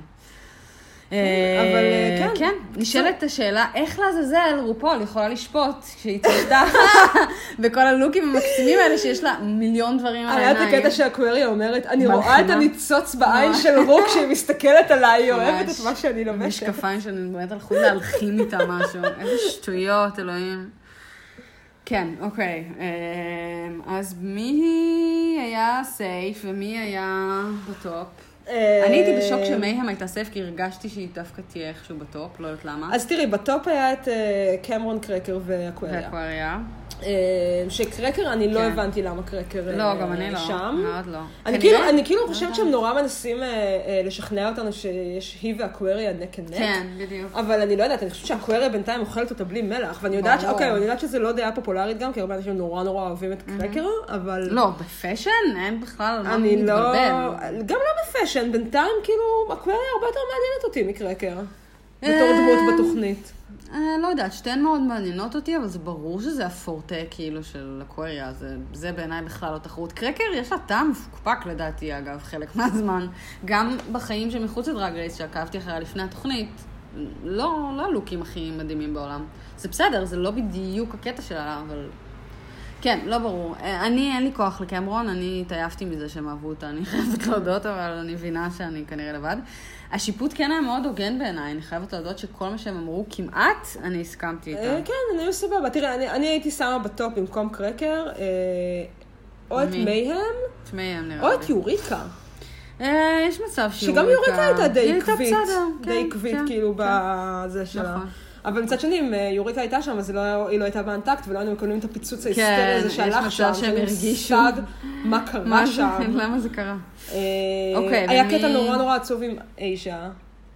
A: כן, אבל,
B: אה,
A: כן.
B: כן, נשאלת השאלה, איך לעזאזל רופול יכולה לשפוט כשהיא
A: *laughs*
B: צודתה בכל הלוקים המקסימים האלה שיש לה מיליון דברים על
A: אה, היה את
B: העיניים?
A: הקטע שהקוויריה אומרת, אני
B: מלחימה.
A: רואה את הניצוץ בעין של רוק כשהיא מסתכלת עליי, היא אוהבת את
B: ממש.
A: מה שאני לובשת.
B: משקפיים שאני באמת הלכו להלחים איתה משהו. איזה שטויות, אלוהים. כן, אוקיי. אה, אז מי היה סייף ומי היה בטופ?
A: אה,
B: אני הייתי בשוק שמייהם הייתה סייף, כי הרגשתי שהיא דווקא תהיה איכשהו בטופ, לא יודעת למה. לא
A: אז תראי, בטופ היה את אה, קמרון קרקר ואקוויריה.
B: ואקווריה.
A: אה, שקרקר, אני לא
B: כן.
A: הבנתי למה קרקר אה,
B: לא, גם אני לא.
A: שם.
B: מאוד לא.
A: אני
B: כנראה-
A: כאילו, אני כאילו חושבת שהם נורא מנסים אה, אה, לשכנע אותנו שיש היא ואקוויריה נק אנד נק.
B: כן, בדיוק.
A: אבל אני לא יודעת, אני חושבת שהקוויריה בינתיים אוכלת אותה בלי מלח, ואני יודעת, ש...
B: ברור.
A: אוקיי, אני יודעת שזה לא דעה פופולרית גם, כי הרבה אנשים נורא נורא אוהבים את קרקר, אבל...
B: לא, בפשן אין בכלל, על מה
A: אני לא...
B: להתבלבל.
A: גם לא בפאשן, בינתיים כאילו, הקוויריה הרבה יותר מעניינת אותי מקרקר. בתור
B: אה.
A: דמות בתוכנית.
B: אה, לא יודעת, שתיהן מאוד מעניינות אותי, אבל זה ברור שזה הפורטה כאילו של אקווריה, זה, זה בעיניי בכלל לא תחרות. קרקר יש לה טעם מפוקפק לדעתי, אגב, חלק מהזמן. גם בחיים שמחוץ לדרג רייס, שעקבתי אחריה לפני התוכנית, לא, לא הלוקים הכי מדהימים בעולם. זה בסדר, זה לא בדיוק הקטע שלה, אבל... כן, לא ברור. אה, אני, אין לי כוח לקמרון, אני התעייפתי מזה שהם אהבו אותה, אני חייבת *laughs* להודות, אבל אני מבינה שאני כנראה לבד. השיפוט כן היה מאוד הוגן בעיניי, אני חייבת להודות שכל מה שהם אמרו כמעט, אני הסכמתי
A: אה,
B: איתה.
A: כן, אני היו סבבה. תראה, אני- אני הייתי שמה בטופ במקום קרקר, אה, או את
B: מי?
A: מייהם,
B: תשמעי, הם נראה
A: או
B: לי.
A: את יוריקה.
B: אה, יש מצב
A: שגם יוריקה הייתה די
B: היא
A: עקבית,
B: בסדר,
A: די
B: כן,
A: עקבית
B: כן, *laughs*
A: כאילו
B: כן.
A: בזה שלה.
B: נכון.
A: אבל מצד שני, אם אה, יוריקה הייתה שם, אז היא לא- היא לא הייתה באנטקט, ולא היינו מקבלים את הפיצוץ ההיסטרי הזה
B: כן, יש
A: שהלך
B: מצב
A: שם.
B: שהם
A: אין לי
B: הרגישו.
A: מושג מה קרה
B: מה
A: שם.
B: שם? *laughs* למה זה קרה?
A: אה,
B: אוקיי,
A: היה
B: ומי-
A: קטע נורא נורא עצוב עם איישה,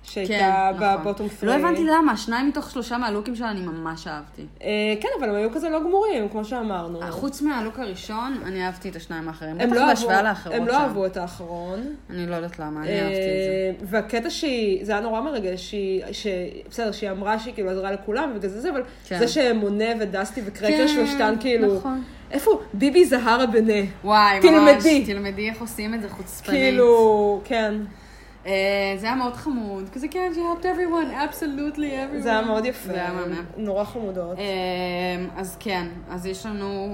A: שהייתה
B: כן, נכון.
A: בבוטום פרי.
B: לא הבנתי למה, שניים מתוך שלושה מהלוקים שלה אני ממש אהבתי. אה,
A: אה, כן, אבל הם היו כזה לא גמורים, כמו שאמרנו.
B: חוץ מהלוק הראשון, אני אהבתי את השניים האחרים.
A: הם
B: בטח
A: לא אהבו-
B: בהשוואה לאחרות
A: הם לא
B: שם.
A: אהבו את האחרון.
B: אני לא יודעת למה, אני אהבתי את זה.
A: אה, והקטע שהיא, זה היה נורא מרגש, שהיא, ש- בסדר, שהיא אמרה שהיא כאילו עזרה לכולם ובגלל זה זה, אבל
B: כן.
A: זה שמונה ודסטי
B: כן,
A: וקרקר שלושתן כאילו,
B: נכון.
A: איפה ביבי זהרה בנה?
B: וואי, ממש.
A: תלמדי.
B: תלמדי איך עושים את זה חוצפנית.
A: כאילו, כן,
B: אה, זה היה מאוד חמוד. כזה כן, she helped everyone, absolutely everyone.
A: זה היה מאוד יפה,
B: זה היה מהמם.
A: נורא חמודות.
B: אה, אז כן, אז יש לנו,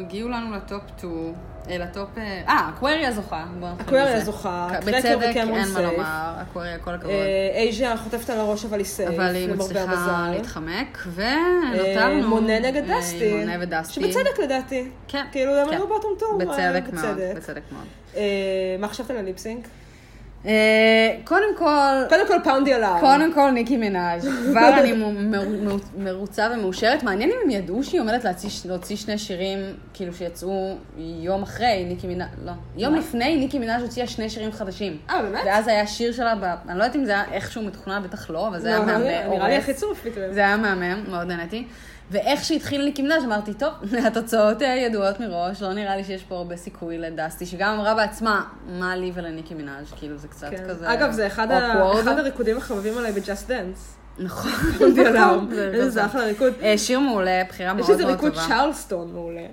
B: הגיעו לנו לטופ 2, אה, לטופ... אה, אה, אקווריה זוכה. בוא נתחיל
A: אקווריה
B: מזה.
A: זוכה,
B: כ-
A: קרקר
B: בצדק,
A: וקמרון
B: אין מה
A: סייף.
B: לומר, אקווריה, כל הכבוד.
A: אה, אייז'ה חוטפת על הראש אבל היא סייף,
B: אבל היא
A: למרבה
B: מצליחה
A: המזל.
B: להתחמק, ונותרנו...
A: אה, מונה נגד
B: אה,
A: דסטי,
B: מונה ודסטי.
A: שבצדק לדעתי,
B: כן.
A: כאילו הם
B: כן.
A: היו בוטום טור,
B: בצדק מאוד, בצדק מאוד.
A: מה חשבת על הליפסינק?
B: אה, קודם כל,
A: קודם כל פאונדי עליו.
B: קודם כל ניקי מנאז', כבר אני מ- מ- מ- מרוצה ומאושרת. מעניין אם הם ידעו שהיא עומדת להוציא, להוציא שני שירים, כאילו שיצאו יום אחרי ניקי מנאז', לא. יום לפני ניקי מנאז' הוציאה שני שירים חדשים.
A: אה, באמת?
B: ואז היה שיר שלה, ב... אני לא יודעת אם זה היה איכשהו מתוכנן, בטח לא, אבל זה היה
A: לא,
B: מהמם.
A: נראה לי- נראה לי
B: הורס.
A: הכי צורף בקרב.
B: זה היה מהמם, מאוד נהניתי. ואיך שהתחיל לי קימנאז' אמרתי, טוב, *laughs* התוצאות אה, ידועות מראש, לא נראה לי שיש פה הרבה סיכוי לדסטי, שגם אמרה בעצמה, מה לי ולניקי מנאז', כאילו זה קצת
A: כן.
B: כזה...
A: אגב, זה אחד ה-
B: awkward.
A: אחד הריקודים החביבים עליי בג'אסט דנס.
B: *laughs* נכון.
A: פאונדי עליו. איזה
B: כזה.
A: זה אחלה ריקוד.
B: אה, שיר מעולה, בחירה מאוד
A: יש
B: מאוד
A: איזה
B: טובה. *laughs*
A: *laughs* ריקוד צ'רלסטון מעולה.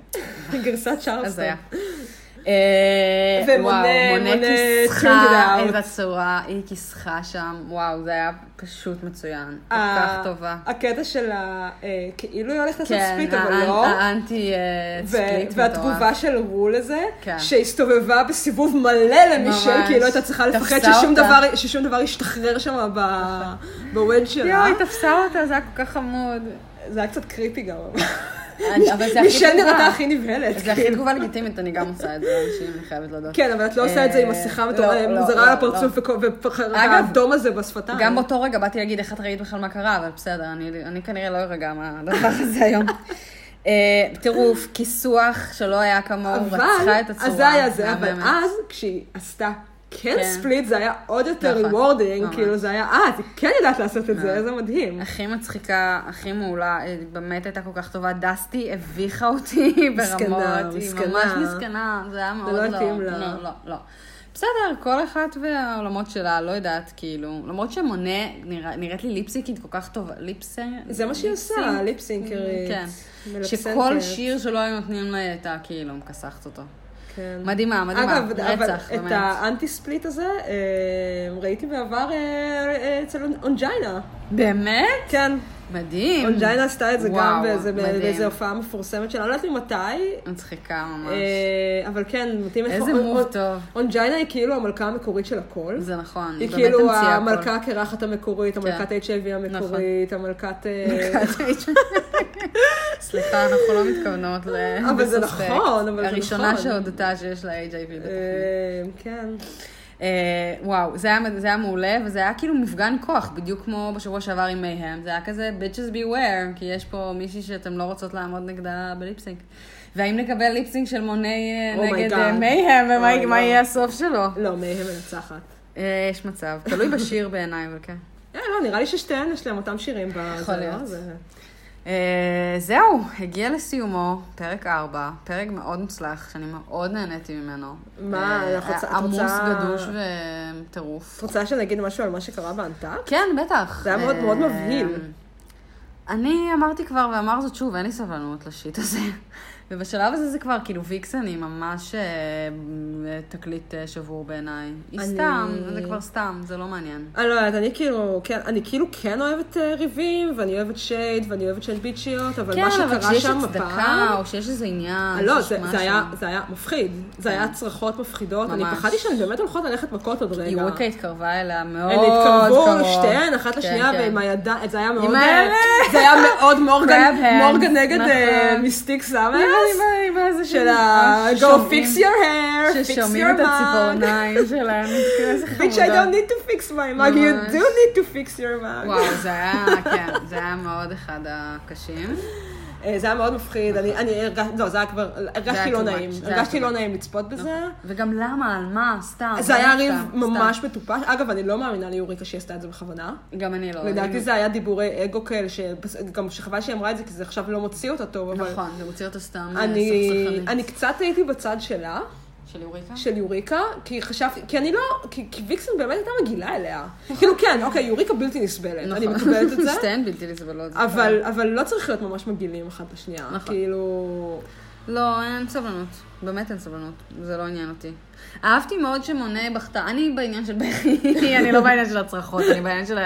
A: גרסת צ'רלסטון.
B: הזיה. אה,
A: ומונה,
B: וואו,
A: מונה,
B: מונה
A: turned
B: כיסחה,
A: it out.
B: איזה צורה, היא כיסחה שם, וואו, זה היה פשוט מצוין, כל
A: ה-
B: כך טובה. כן,
A: הקטע של ה... אה, כאילו היא הולכת לעשות ספליט, אה, אבל
B: האנ-
A: לא.
B: האנטי אה,
A: ו-
B: ספליט מטורף.
A: והתגובה של רו לזה,
B: כן.
A: שהסתובבה בסיבוב מלא למישל,
B: ממש.
A: כי היא לא הייתה צריכה לפחד
B: תפסה
A: ששום
B: אותה.
A: דבר- ששום דבר ישתחרר שם ב-
B: *laughs*
A: בווד שלה.
B: יואו, היא תפסה אותה, זה היה כל כך חמוד.
A: זה היה קצת קריפי גם.
B: אני- אבל זה הכי
A: מישל
B: תגובה.
A: נראתה הכי נבהלת.
B: זה הכי
A: כאילו.
B: תגובה לגיטימית, אני גם עושה את זה לאנשים, אני חייבת להודות.
A: כן, אבל את לא עושה את זה עם
B: אה,
A: מסכה
B: לא,
A: מטורפת,
B: לא,
A: מוזרה
B: לא,
A: על הפרצוף וכו- ופח-
B: אגב,
A: והאדום הזה בשפתיים.
B: גם באותו רגע באתי להגיד איך את ראית בכלל מה קרה, אבל בסדר, אני, אני כנראה לא ארגע *laughs* מהדבר הזה היום. אה, טירוף, כיסוח שלא היה כמוהו,
A: אבל,
B: רצחה את הצורה. אה,
A: אז זה היה זה, אבל אה.
B: מהממת.
A: אז כשהיא עשתה כן
B: כן.
A: ספליט, זה היה עוד יותר
B: נכון,
A: ריוורדינג,
B: ממש. אה.
A: כאילו זה היה, אה, את כן יודעת לעשות את זה, איזה מדהים.
B: הכי מצחיקה, הכי מעולה, אה, באמת הייתה כל כך טובה. דסטי הביכה אותי *laughs*
A: מסכנה,
B: ברמות. היא
A: מסכנה.
B: ממש מסכנה, זה היה מאוד
A: לא
B: לא.
A: התאים לה.
B: לא, לא, לא. בסדר, כל אחת והעולמות שלה, לא יודעת, כאילו. למרות שמונה, נראה- נראית לי ליפסיקית כל כך טובה. ליפסי...
A: זה מה שהיא עושה,
B: ליפסינק?
A: ליפסינקרית.
B: כן.
A: מלפסנטרת.
B: שכל שיר שלא היו נותנים לה, היא הייתה כאילו מכסחת אותו.
A: כן.
B: מדהימה, מדהימה.
A: אגב, אבל
B: רצח,
A: את
B: באמת.
A: האנטי ספליט הזה אה, ראיתי בעבר אה, אה, אצל אונג'יינה.
B: באמת?
A: כן,
B: מדהים.
A: אונג'יינה עשתה את זה גם
B: וואו,
A: באיזה-
B: מדהים.
A: באיזו הופעה מפורסמת שלה, לא יודעת ממתי,
B: מצחיקה ממש.
A: אה, אבל כן, מתאים לך-
B: איזה
A: און-
B: מוב
A: און-
B: טוב.
A: אונג'יינה היא כאילו המלכה המקורית של הכל.
B: זה נכון,
A: היא
B: באמת
A: כאילו
B: המציאה הכל. כן. נכון.
A: המלכה הקרחת המקורית, המלכת HIV המקורית, המלכת... אה,
B: *laughs* סליחה, אנחנו לא מתכוונות ל...
A: אבל זה
B: בספק.
A: נכון, אבל זה
B: הראשונה
A: נכון.
B: שהודתה שיש לה HIV בתוכנית.
A: אה, כן.
B: אה, וואו, זה היה- זה היה מעולה, וזה היה כאילו מפגן כוח, בדיוק כמו בשבוע שעבר עם מייהם. זה היה כזה bitches beware, כי יש פה מישהי שאתם לא רוצות לעמוד נגדה בליפסינג. והאם נקבל ליפסינג של מוני אה,
A: Oh my God.
B: נגד מייהם,
A: אוי, לא.
B: ומה מה יהיה הסוף שלו?
A: לא, מהם מנצחת.
B: אה, יש מצב, תלוי בשיר בעיניי, אבל כן.
A: אה, לא, נראה לי ששתיהן יש להן אותם שירים. בזה,
B: יכול
A: לא?
B: להיות.
A: זה-
B: אה, זהו, הגיע לסיומו פרק 4, פרק מאוד מוצלח, שאני מאוד נהניתי ממנו.
A: מה,
B: אה,
A: את רוצה- את
B: עמוס,
A: רוצה-
B: גדוש
A: את
B: וטירוף.
A: רוצה שנגיד משהו על מה שקרה באנטארק?
B: כן, בטח.
A: זה היה מאוד
B: אה,
A: מאוד מבהיל.
B: אני אמרתי כבר, ואמר זאת שוב, אין לי סבלנות לשיט הזה. *laughs* ובשלב הזה זה כבר, כאילו, ויקסן היא ממש אה, תקליט אה, שבור בעיניי. היא
A: אני-
B: סתם, זה כבר סתם, זה לא מעניין.
A: אני לא יודעת, אני כאילו, כן, אני כאילו כן אוהבת אה, ריבים, ואני אוהבת שייד, ואני אוהבת שייד ביצ'יות, אבל מה שקרה
B: שיש
A: שם
B: כן, הצדקה,
A: הפעם...
B: או שיש איזה עניין,
A: לא,
B: שיש
A: זה, זה,
B: משהו. כן.
A: היה, זה היה מפחיד, זה היה צרחות מפחידות, אני
B: ממש.
A: פחדתי שהן באמת הולכות ללכת מכות עוד רגע.
B: יוריקה התקרבה אליה מאוד
A: הן
B: קרוב.
A: התקרבו שתיהן, אחת
B: כן,
A: לשנייה,
B: כן.
A: ועם הידיים, זה היה מאוד...
B: עם
A: אה,
B: האלה.
A: זה היה מאוד מורגן,
B: Grab hands,
A: מורגן נגד אה,
B: נכון.
A: מיסטיק
B: עם ה-
A: סאמרס,
B: עם ה- עם איזה
A: של
B: שיר.
A: ה...
B: אה,
A: Go
B: ששומעים-
A: fix your hair, fix
B: ששומעים את
A: your mug.
B: הציפורניים שלהם, כאילו, איזה
A: *laughs* Bitch, I
B: חמודות.
A: don't need to fix my mug, you
B: ממש.
A: do need to fix your mug.
B: וואו, זה היה, כן, זה היה מאוד אחד הקשים.
A: אה, זה היה מאוד מפחיד, אני אני הרגשתי, לא, זה היה כבר, הרגשתי
B: too
A: לא
B: much,
A: נעים,
B: זה היה
A: הרגשתי
B: too
A: לא
B: much.
A: נעים לצפות בזה. אה,
B: וגם למה, על מה, סתם.
A: זה היה
B: סתם,
A: ריב
B: סתם.
A: ממש מטופש. אגב, אני לא מאמינה ליוריקה שהיא עשתה את זה בכוונה.
B: גם אני לא.
A: לדעתי
B: אני-
A: זה היה דיבורי אגו כאלה, שבס- גם שחבל שהיא אמרה את זה, כי זה עכשיו לא מוציא אותה טוב, אבל...
B: נכון, זה מוציא אותו סתם אה,
A: אני,
B: סכסכנית.
A: אני קצת הייתי בצד שלה,
B: של יוריקה?
A: של יוריקה, כי חשבתי, כי אני לא, כי, כי ויקסן באמת הייתה מגעילה אליה. כאילו כן, אוקיי, יוריקה בלתי נסבלת, אני
B: נכון.
A: מקבלת
B: *laughs*
A: את זה,
B: שתיהן בלתי נסבלות. זה
A: אבל, אבל לא צריך להיות ממש מגעילים אחת את השנייה.
B: נכון.
A: כאילו...
B: לא, אין סבלנות. באמת אין סבלנות. זה לא עניין אותי. אהבתי מאוד שמונה בכתה. אני בעניין של בכי, *laughs* אני לא בעניין של הצרחות, אני בעניין של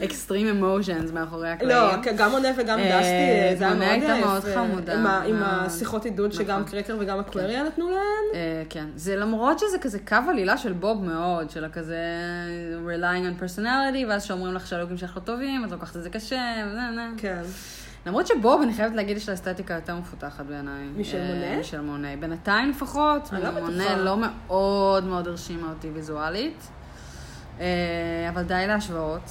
B: האקסטרים אמושנס מאחורי הקלעים.
A: לא, גם עונה וגם
B: אה,
A: דסטי, זה היה מאוד אה,
B: מונה הייתה
A: יפה.
B: מאוד חמודה.
A: עם ה- עם
B: מאוד.
A: השיחות עידוד שגם
B: נכון.
A: קרקר וגם אקווריה נתנו להן.
B: אה, כן. זה למרות שזה כזה קו עלילה של בוב מאוד, של הכזה relying on personality, ואז שאומרים לך שהלוגים שלך לא טובים, את לוקחת את זה קשה, וזה, זה.
A: כן.
B: למרות שבוב, אני חייבת להגיד, יש לה אסתטיקה יותר מפותחת בעיניי.
A: משל
B: אה,
A: מונה?
B: משל מונה. בינתיים לפחות,
A: אני לא בטוחה.
B: מונה לא מאוד מאוד הרשימה אותי ויזואלית. אה, אבל די להשוואות.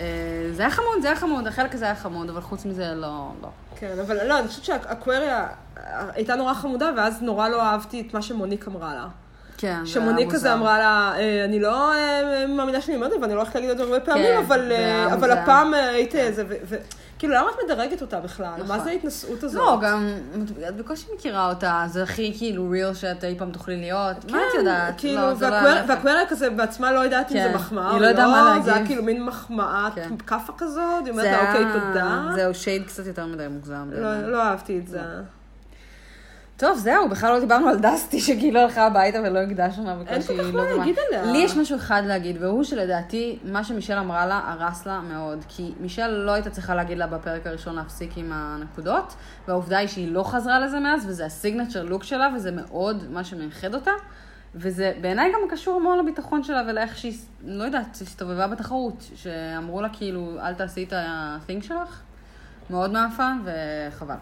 B: אה, זה היה חמוד, זה היה חמוד, החלק הזה היה חמוד, אבל חוץ מזה לא, לא.
A: כן, אבל לא, אני חושבת שהאקווריה אה, הייתה נורא חמודה, ואז נורא לא אהבתי את מה שמוניק אמרה לה.
B: כן, זה היה
A: שמוניק
B: מוזר.
A: כזה אמרה לה, "אה, אני לא אה, מאמינה שאני אומרת, ואני לא הולכת להגיד את זה הרבה פעמים,
B: כן,
A: אבל,
B: זה היה
A: אה, אבל
B: מוזר. כן.
A: הפעם אה, היית איזה, ו- ו- כאילו, למה את מדרגת אותה בכלל? מה
B: נכון.
A: זה ההתנשאות הזאת?
B: לא, גם, את בקושי מכירה אותה, זה הכי כאילו real שאת אי פעם תוכלי להיות. מה את יודעת?
A: כאילו,
B: לא, זה לא
A: והקוור-
B: היה יפה.
A: והקווריה כזה בעצמה לא יודעת אם
B: כן.
A: זה מחמאה
B: היא
A: או
B: לא
A: לא,
B: ידעה מה
A: זה היה
B: להגיב.
A: כאילו מין מחמאה,
B: כן.
A: כאפה כזאת, היא אומרת
B: זה
A: לה,
B: היה-
A: אוקיי, תודה.
B: זהו, שייד קצת יותר מדי מוגזם.
A: לא-
B: בעיניי.
A: לא אהבתי את זה.
B: טוב, זהו, בכלל לא דיברנו על דסטי, שכאילו הלכה הביתה ולא הקדשנו לה
A: אין
B: בגלל
A: כל
B: שהיא
A: כך
B: לא
A: מה
B: דומה.
A: להגיד עליה.
B: לי יש משהו אחד להגיד, והוא שלדעתי, מה שמישל אמרה לה, הרס לה מאוד. כי מישל לא הייתה צריכה להגיד לה בפרק הראשון להפסיק עם הנקודות, והעובדה היא שהיא לא חזרה לזה מאז, וזה הסיגנצ'ר לוק שלה, וזה מאוד מה שמייחד אותה. וזה בעיניי גם קשור המון לביטחון שלה ולאיך שהיא, לא יודעת, הסתובבה בתחרות. שאמרו לה כאילו, אל תעשי את ה-thing שלך. מאוד מאפן, וחבל.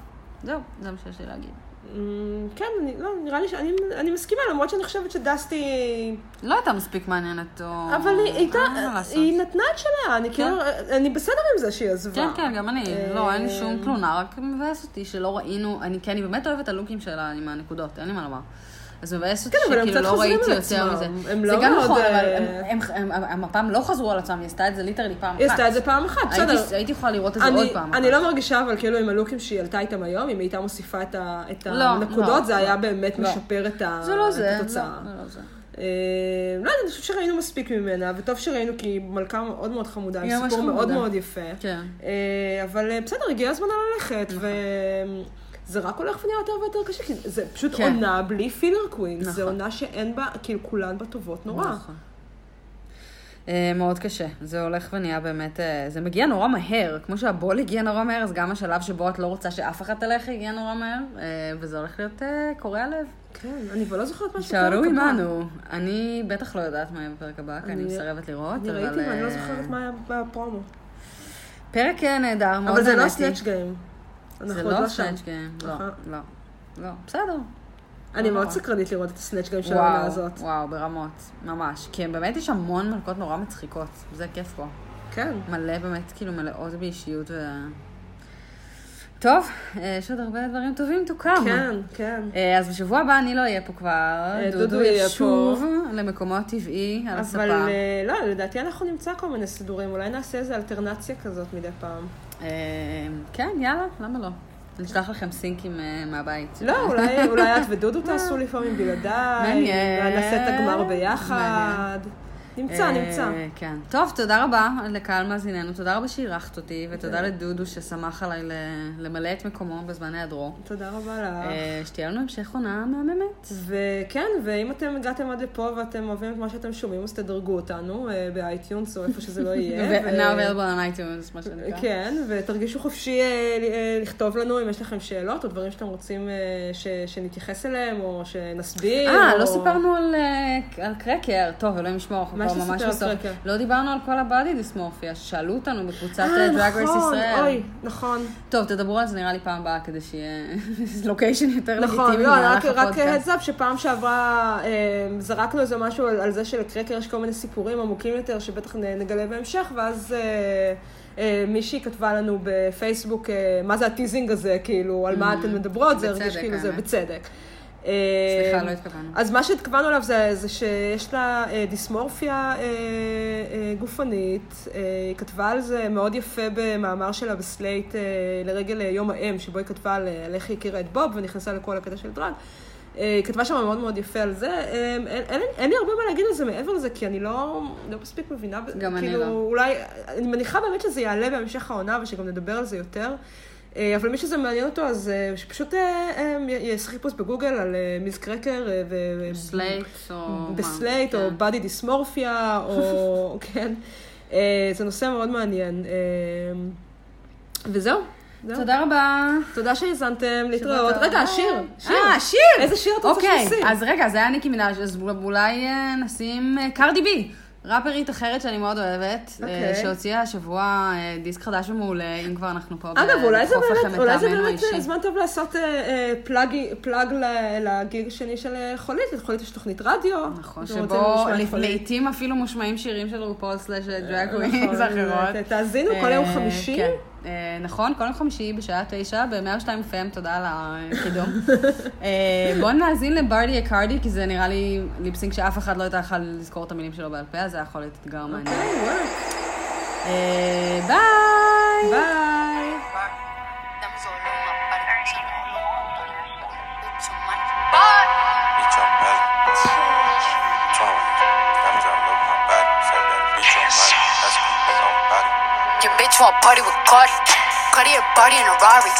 B: זהו, זה מה שיש לי להגיד.
A: אמ, כן, אני, לא, נראה לי שאני אני מסכימה, למרות שאני חושבת שדסטי...
B: לא הייתה מספיק מעניינת, או...
A: אבל היא הייתה,
B: אין מה לעשות.
A: היא נתנה את שלה, אני כאילו, אני בסדר עם זה שהיא עזבה.
B: כן, כן, גם אני. לא, אין לי שום
A: אה,
B: תלונה, רק מבאס אותי שלא ראינו, אני, כי אני באמת אוהבת את הלוקים שלה עם הנקודות, אין לי מה לומר. אז מבאס אותי
A: כן, אבל הם
B: שכאילו
A: קצת
B: לא
A: חוזרים
B: ראיתי
A: על
B: יותר מזה.
A: עצמם. הם
B: זה
A: לא
B: גם
A: מאוד,
B: נכון, אבל
A: אה,
B: הם- הם- הם- הם הפעם לא חזרו על עצמם, היא עשתה את זה ליטרלי פעם אחת.
A: היא עשתה את זה פעם אחת,
B: הייתי-
A: בסדר.
B: הייתי יכולה לראות את זה
A: אני-
B: עוד פעם.
A: אני
B: אחת.
A: לא מרגישה, אבל כאילו עם הלוקים שהיא עלתה איתם היום, אם היא הייתה מוסיפה את ה- את
B: לא,
A: הנקודות,
B: לא,
A: זה היה
B: לא.
A: באמת
B: לא.
A: משפר את ה-
B: זה לא
A: את
B: זה, לא,
A: התוצאה.
B: זה לא זה.
A: אה, לא יודעת, אני חושבת שראינו מספיק ממנה, וטוב שראינו, כי היא מלכה מאוד מאוד חמודה,
B: היא
A: עם
B: ממש
A: סיפור מאוד
B: חמודה.
A: מאוד יפה.
B: כן. נכון.
A: אה, אבל אה, בסדר, הגיע הזמן ללכת, וזה רק הולך ונהיה יותר ויותר קשה, כי זה פשוט
B: כן.
A: עונה בלי פילר קווינס,
B: נכון.
A: זה עונה שאין בה, כאילו כולן בה טובות נורא.
B: נכון. אה, מאוד קשה, זה הולך ונהיה באמת, אה, זה מגיע נורא מהר, כמו שהבול הגיע נורא מהר, אז גם השלב שבו את לא רוצה שאף אחת תלך הגיע נורא מהר, אה, וזה הולך להיות אה, קורע לב.
A: כן, אני כבר לא זוכרת מה שקורה.
B: שערו עמנו, אני בטח לא יודעת מה יהיה בפרק הבא, כי אני מסרבת לראות,
A: אני
B: אבל...
A: ראיתי ואני לא
B: אה,
A: זוכרת מה היה בפרומו.
B: פרק אה, נהדר, מאוד
A: אבל זה לא
B: נהניתי.
A: סנאצ' גיים.
B: זה
A: אנחנו עוד
B: לא
A: לא שם.
B: סנאצ' גיים, לא,
A: נכון.
B: לא, לא, בסדר.
A: אני מאוד
B: נורא.
A: סקרנית לראות את הסנאצ' גיים של העונה
B: אה. וואו,
A: הזאת.
B: וואו, ברמות, ממש. כי הם באמת יש המון מלכות נורא מצחיקות, זה כיף פה.
A: כן.
B: מלא באמת, כאילו מלאות באישיות ו... טוב, אה, יש עוד הרבה דברים טובים to come.
A: כן, כן.
B: אה, אז בשבוע הבא אני לא אהיה פה כבר.
A: אה,
B: דודו
A: דודו יהיה
B: ישוב למקומו הטבעי על הספה.
A: אבל אה, לא, לדעתי אנחנו נמצא כל מיני סידורים, אולי נעשה איזה אלטרנציה כזאת מדי פעם.
B: אה, כן, יאללה, למה לא? נשלח לכם סינקים אה, מהבית.
A: לא, אולי, אולי את
B: *laughs*
A: ודודו תעשו לפעמים בלעדיי.
B: מעניין.
A: אולי נעשה את הגמר ביחד. נמצא,
B: אה,
A: נמצא.
B: כן. טוב, תודה רבה לקהל מאזיננו, תודה רבה שאירחת אותי,
A: כן.
B: ותודה לדודו ששמח עליי ל- למלא את מקומו בזמן היעדרו.
A: תודה רבה לך.
B: אה, שתהיה לנו המשך עונה מהממת.
A: וכן, ואם אתם הגעתם עד לפה ואתם אוהבים את מה שאתם שומעים, אז תדרגו אותנו אה, באייטיונס או איפה שזה
B: *laughs*
A: לא יהיה.
B: ו-
A: ו-
B: Now available on iTunes, מה שנקרא.
A: כן, ותרגישו חופשי אה, ל- אה, לכתוב לנו אם יש לכם שאלות או דברים שאתם רוצים אה, ש- שנתייחס אליהם או שנסביר.
B: אה,
A: או-
B: לא סיפרנו על, אה, על קרקר. טוב, אלוהים ישמור, אנחנו
A: כאילו- מה
B: כבר
A: שסיפר
B: ממש
A: על
B: בסוף.
A: קרקר.
B: לא דיברנו על כל הבאדי דיסמורפיה, ששאלו אותנו בקבוצת
A: אה,
B: דרג רייס
A: נכון,
B: ישראל.
A: אוי, נכון.
B: טוב, תדברו על זה נראה לי פעם הבאה, כדי שיהיה *laughs* לוקיישן יותר
A: נכון,
B: לגיטימי
A: לא, רק,
B: במהלך
A: רק
B: הפודקאסט.
A: הדסאפ שפעם שעברה אה, זרקנו איזה משהו על, על זה שלקרקר יש כל מיני סיפורים עמוקים יותר שבטח נ- נגלה בהמשך, ואז אה, אה, מישהי כתבה לנו בפייסבוק אה, מה זה הטיזינג הזה, כאילו, על מה אתן מדברות, זה
B: Mm, בצדק,
A: הרגיש כאילו זה
B: האמת.
A: בצדק. אה,
B: סליחה, לא התכוונו.
A: אז מה שהתכוונו אליו זה, זה שיש לה אה, דיסמורפיה אה, אה, גופנית, אה, היא כתבה על זה מאוד יפה במאמר שלה בסלייט אה, לרגל אה, יום האם, שבו היא כתבה על אה, על איך היא הכירה את בוב ונכנסה לכל הקטע של דרג. אה, היא כתבה שם מאוד מאוד יפה על זה. אה, אין, אין, לי- אין לי הרבה מה להגיד על זה מעבר לזה, כי אני לא, לא מספיק מבינה, ב-
B: גם אני
A: כאילו,
B: לא.
A: אולי, אני מניחה באמת שזה יעלה בהמשך העונה ושגם נדבר על זה יותר. אה, אבל מי שזה מעניין אותו, אז אה, שפשוט אה, אה, י- יעשה חיפוש בגוגל על אה, מיס קרקר אה, ו...
B: סלייט או... מה?
A: בסלייט, או
B: כן.
A: בדי דיסמורפיה,
B: *laughs*
A: או... כן. אה, זה נושא מאוד מעניין. אה, וזהו. זהו.
B: תודה רבה.
A: תודה שהאזנתם, להתראות.
B: טוב.
A: רגע, שיר.
B: אה, שיר!
A: איזה שיר את רוצה
B: אוקיי,
A: שנשים?
B: אז רגע, זה היה ניקי מנאז', אז אולי אה, נשים אה, קרדי בי. ראפרית אחרת שאני מאוד אוהבת, אה,
A: אוקיי.
B: שהוציאה השבוע אה, דיסק חדש ומעולה, אם כבר אנחנו פה. ב-
A: אגב, אולי זה
B: לדחוף לכם
A: באמת,
B: את
A: אולי זה
B: טעמנו
A: באמת
B: האישי.
A: אה, זמן טוב לעשות אה, אה, פלאגי- פלאג ל- לגיג השני של אה, חולית. לחולית יש תוכנית רדיו.
B: נכון,
A: אתם רוצים
B: שבו
A: לשמוע את
B: לפ-
A: חולית?
B: לעתים אפילו מושמעים שירים של רופול סלאש דרג
A: נכון,
B: ווינס אחרות.
A: ת- תאזינו, כל יום
B: אה,
A: חמישי.
B: כן. אה, נכון, כל יום חמישי בשעה תשע, ב-102 FM, תודה על
A: *laughs*
B: הקידום. אה, בואו נאזין לברדי אקרדי, כי זה נראה לי ליפסינג שאף אחד לא הייתה יכול לזכור את המילים שלו בעל פה, אז זה יכול להיות אתגר מעניין.
A: אוקיי, וואו.
B: אה, ביי!
A: ביי.
C: Estamos solo una parte, solo mucho más.
D: Bitch, I'm back. Trump. Diamonds all over my body. Fuck that. Bitch, I'm back. That's cool, bitch, I'm back.
C: Your bitch want party with Cardi. Cardi a party in a Rari.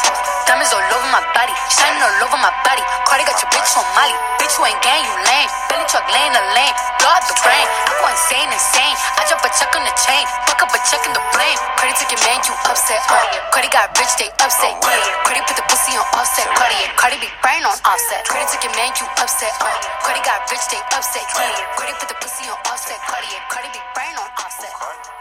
C: Diamonds all over my body, shining all over my her body. Cardi got your bitch on Molly. Bitch, you ain't gang, you lame. Billy truck lane a lane. Blow out the brain. I go insane, insane. I drop a check on the chain. Fuck up a check in the blame. Cardi took your man, you upset. Uh. Cardi got rich, they upset. Yeah. Cardi put the pussy on offset. Cardi, yeah. Cardi be brain on offset. Cardi took your man, you upset. Uh. Cardi got rich, they upset. Yeah. Cardi put the pussy on offset. Cardi, yeah. Cardi be brain on offset.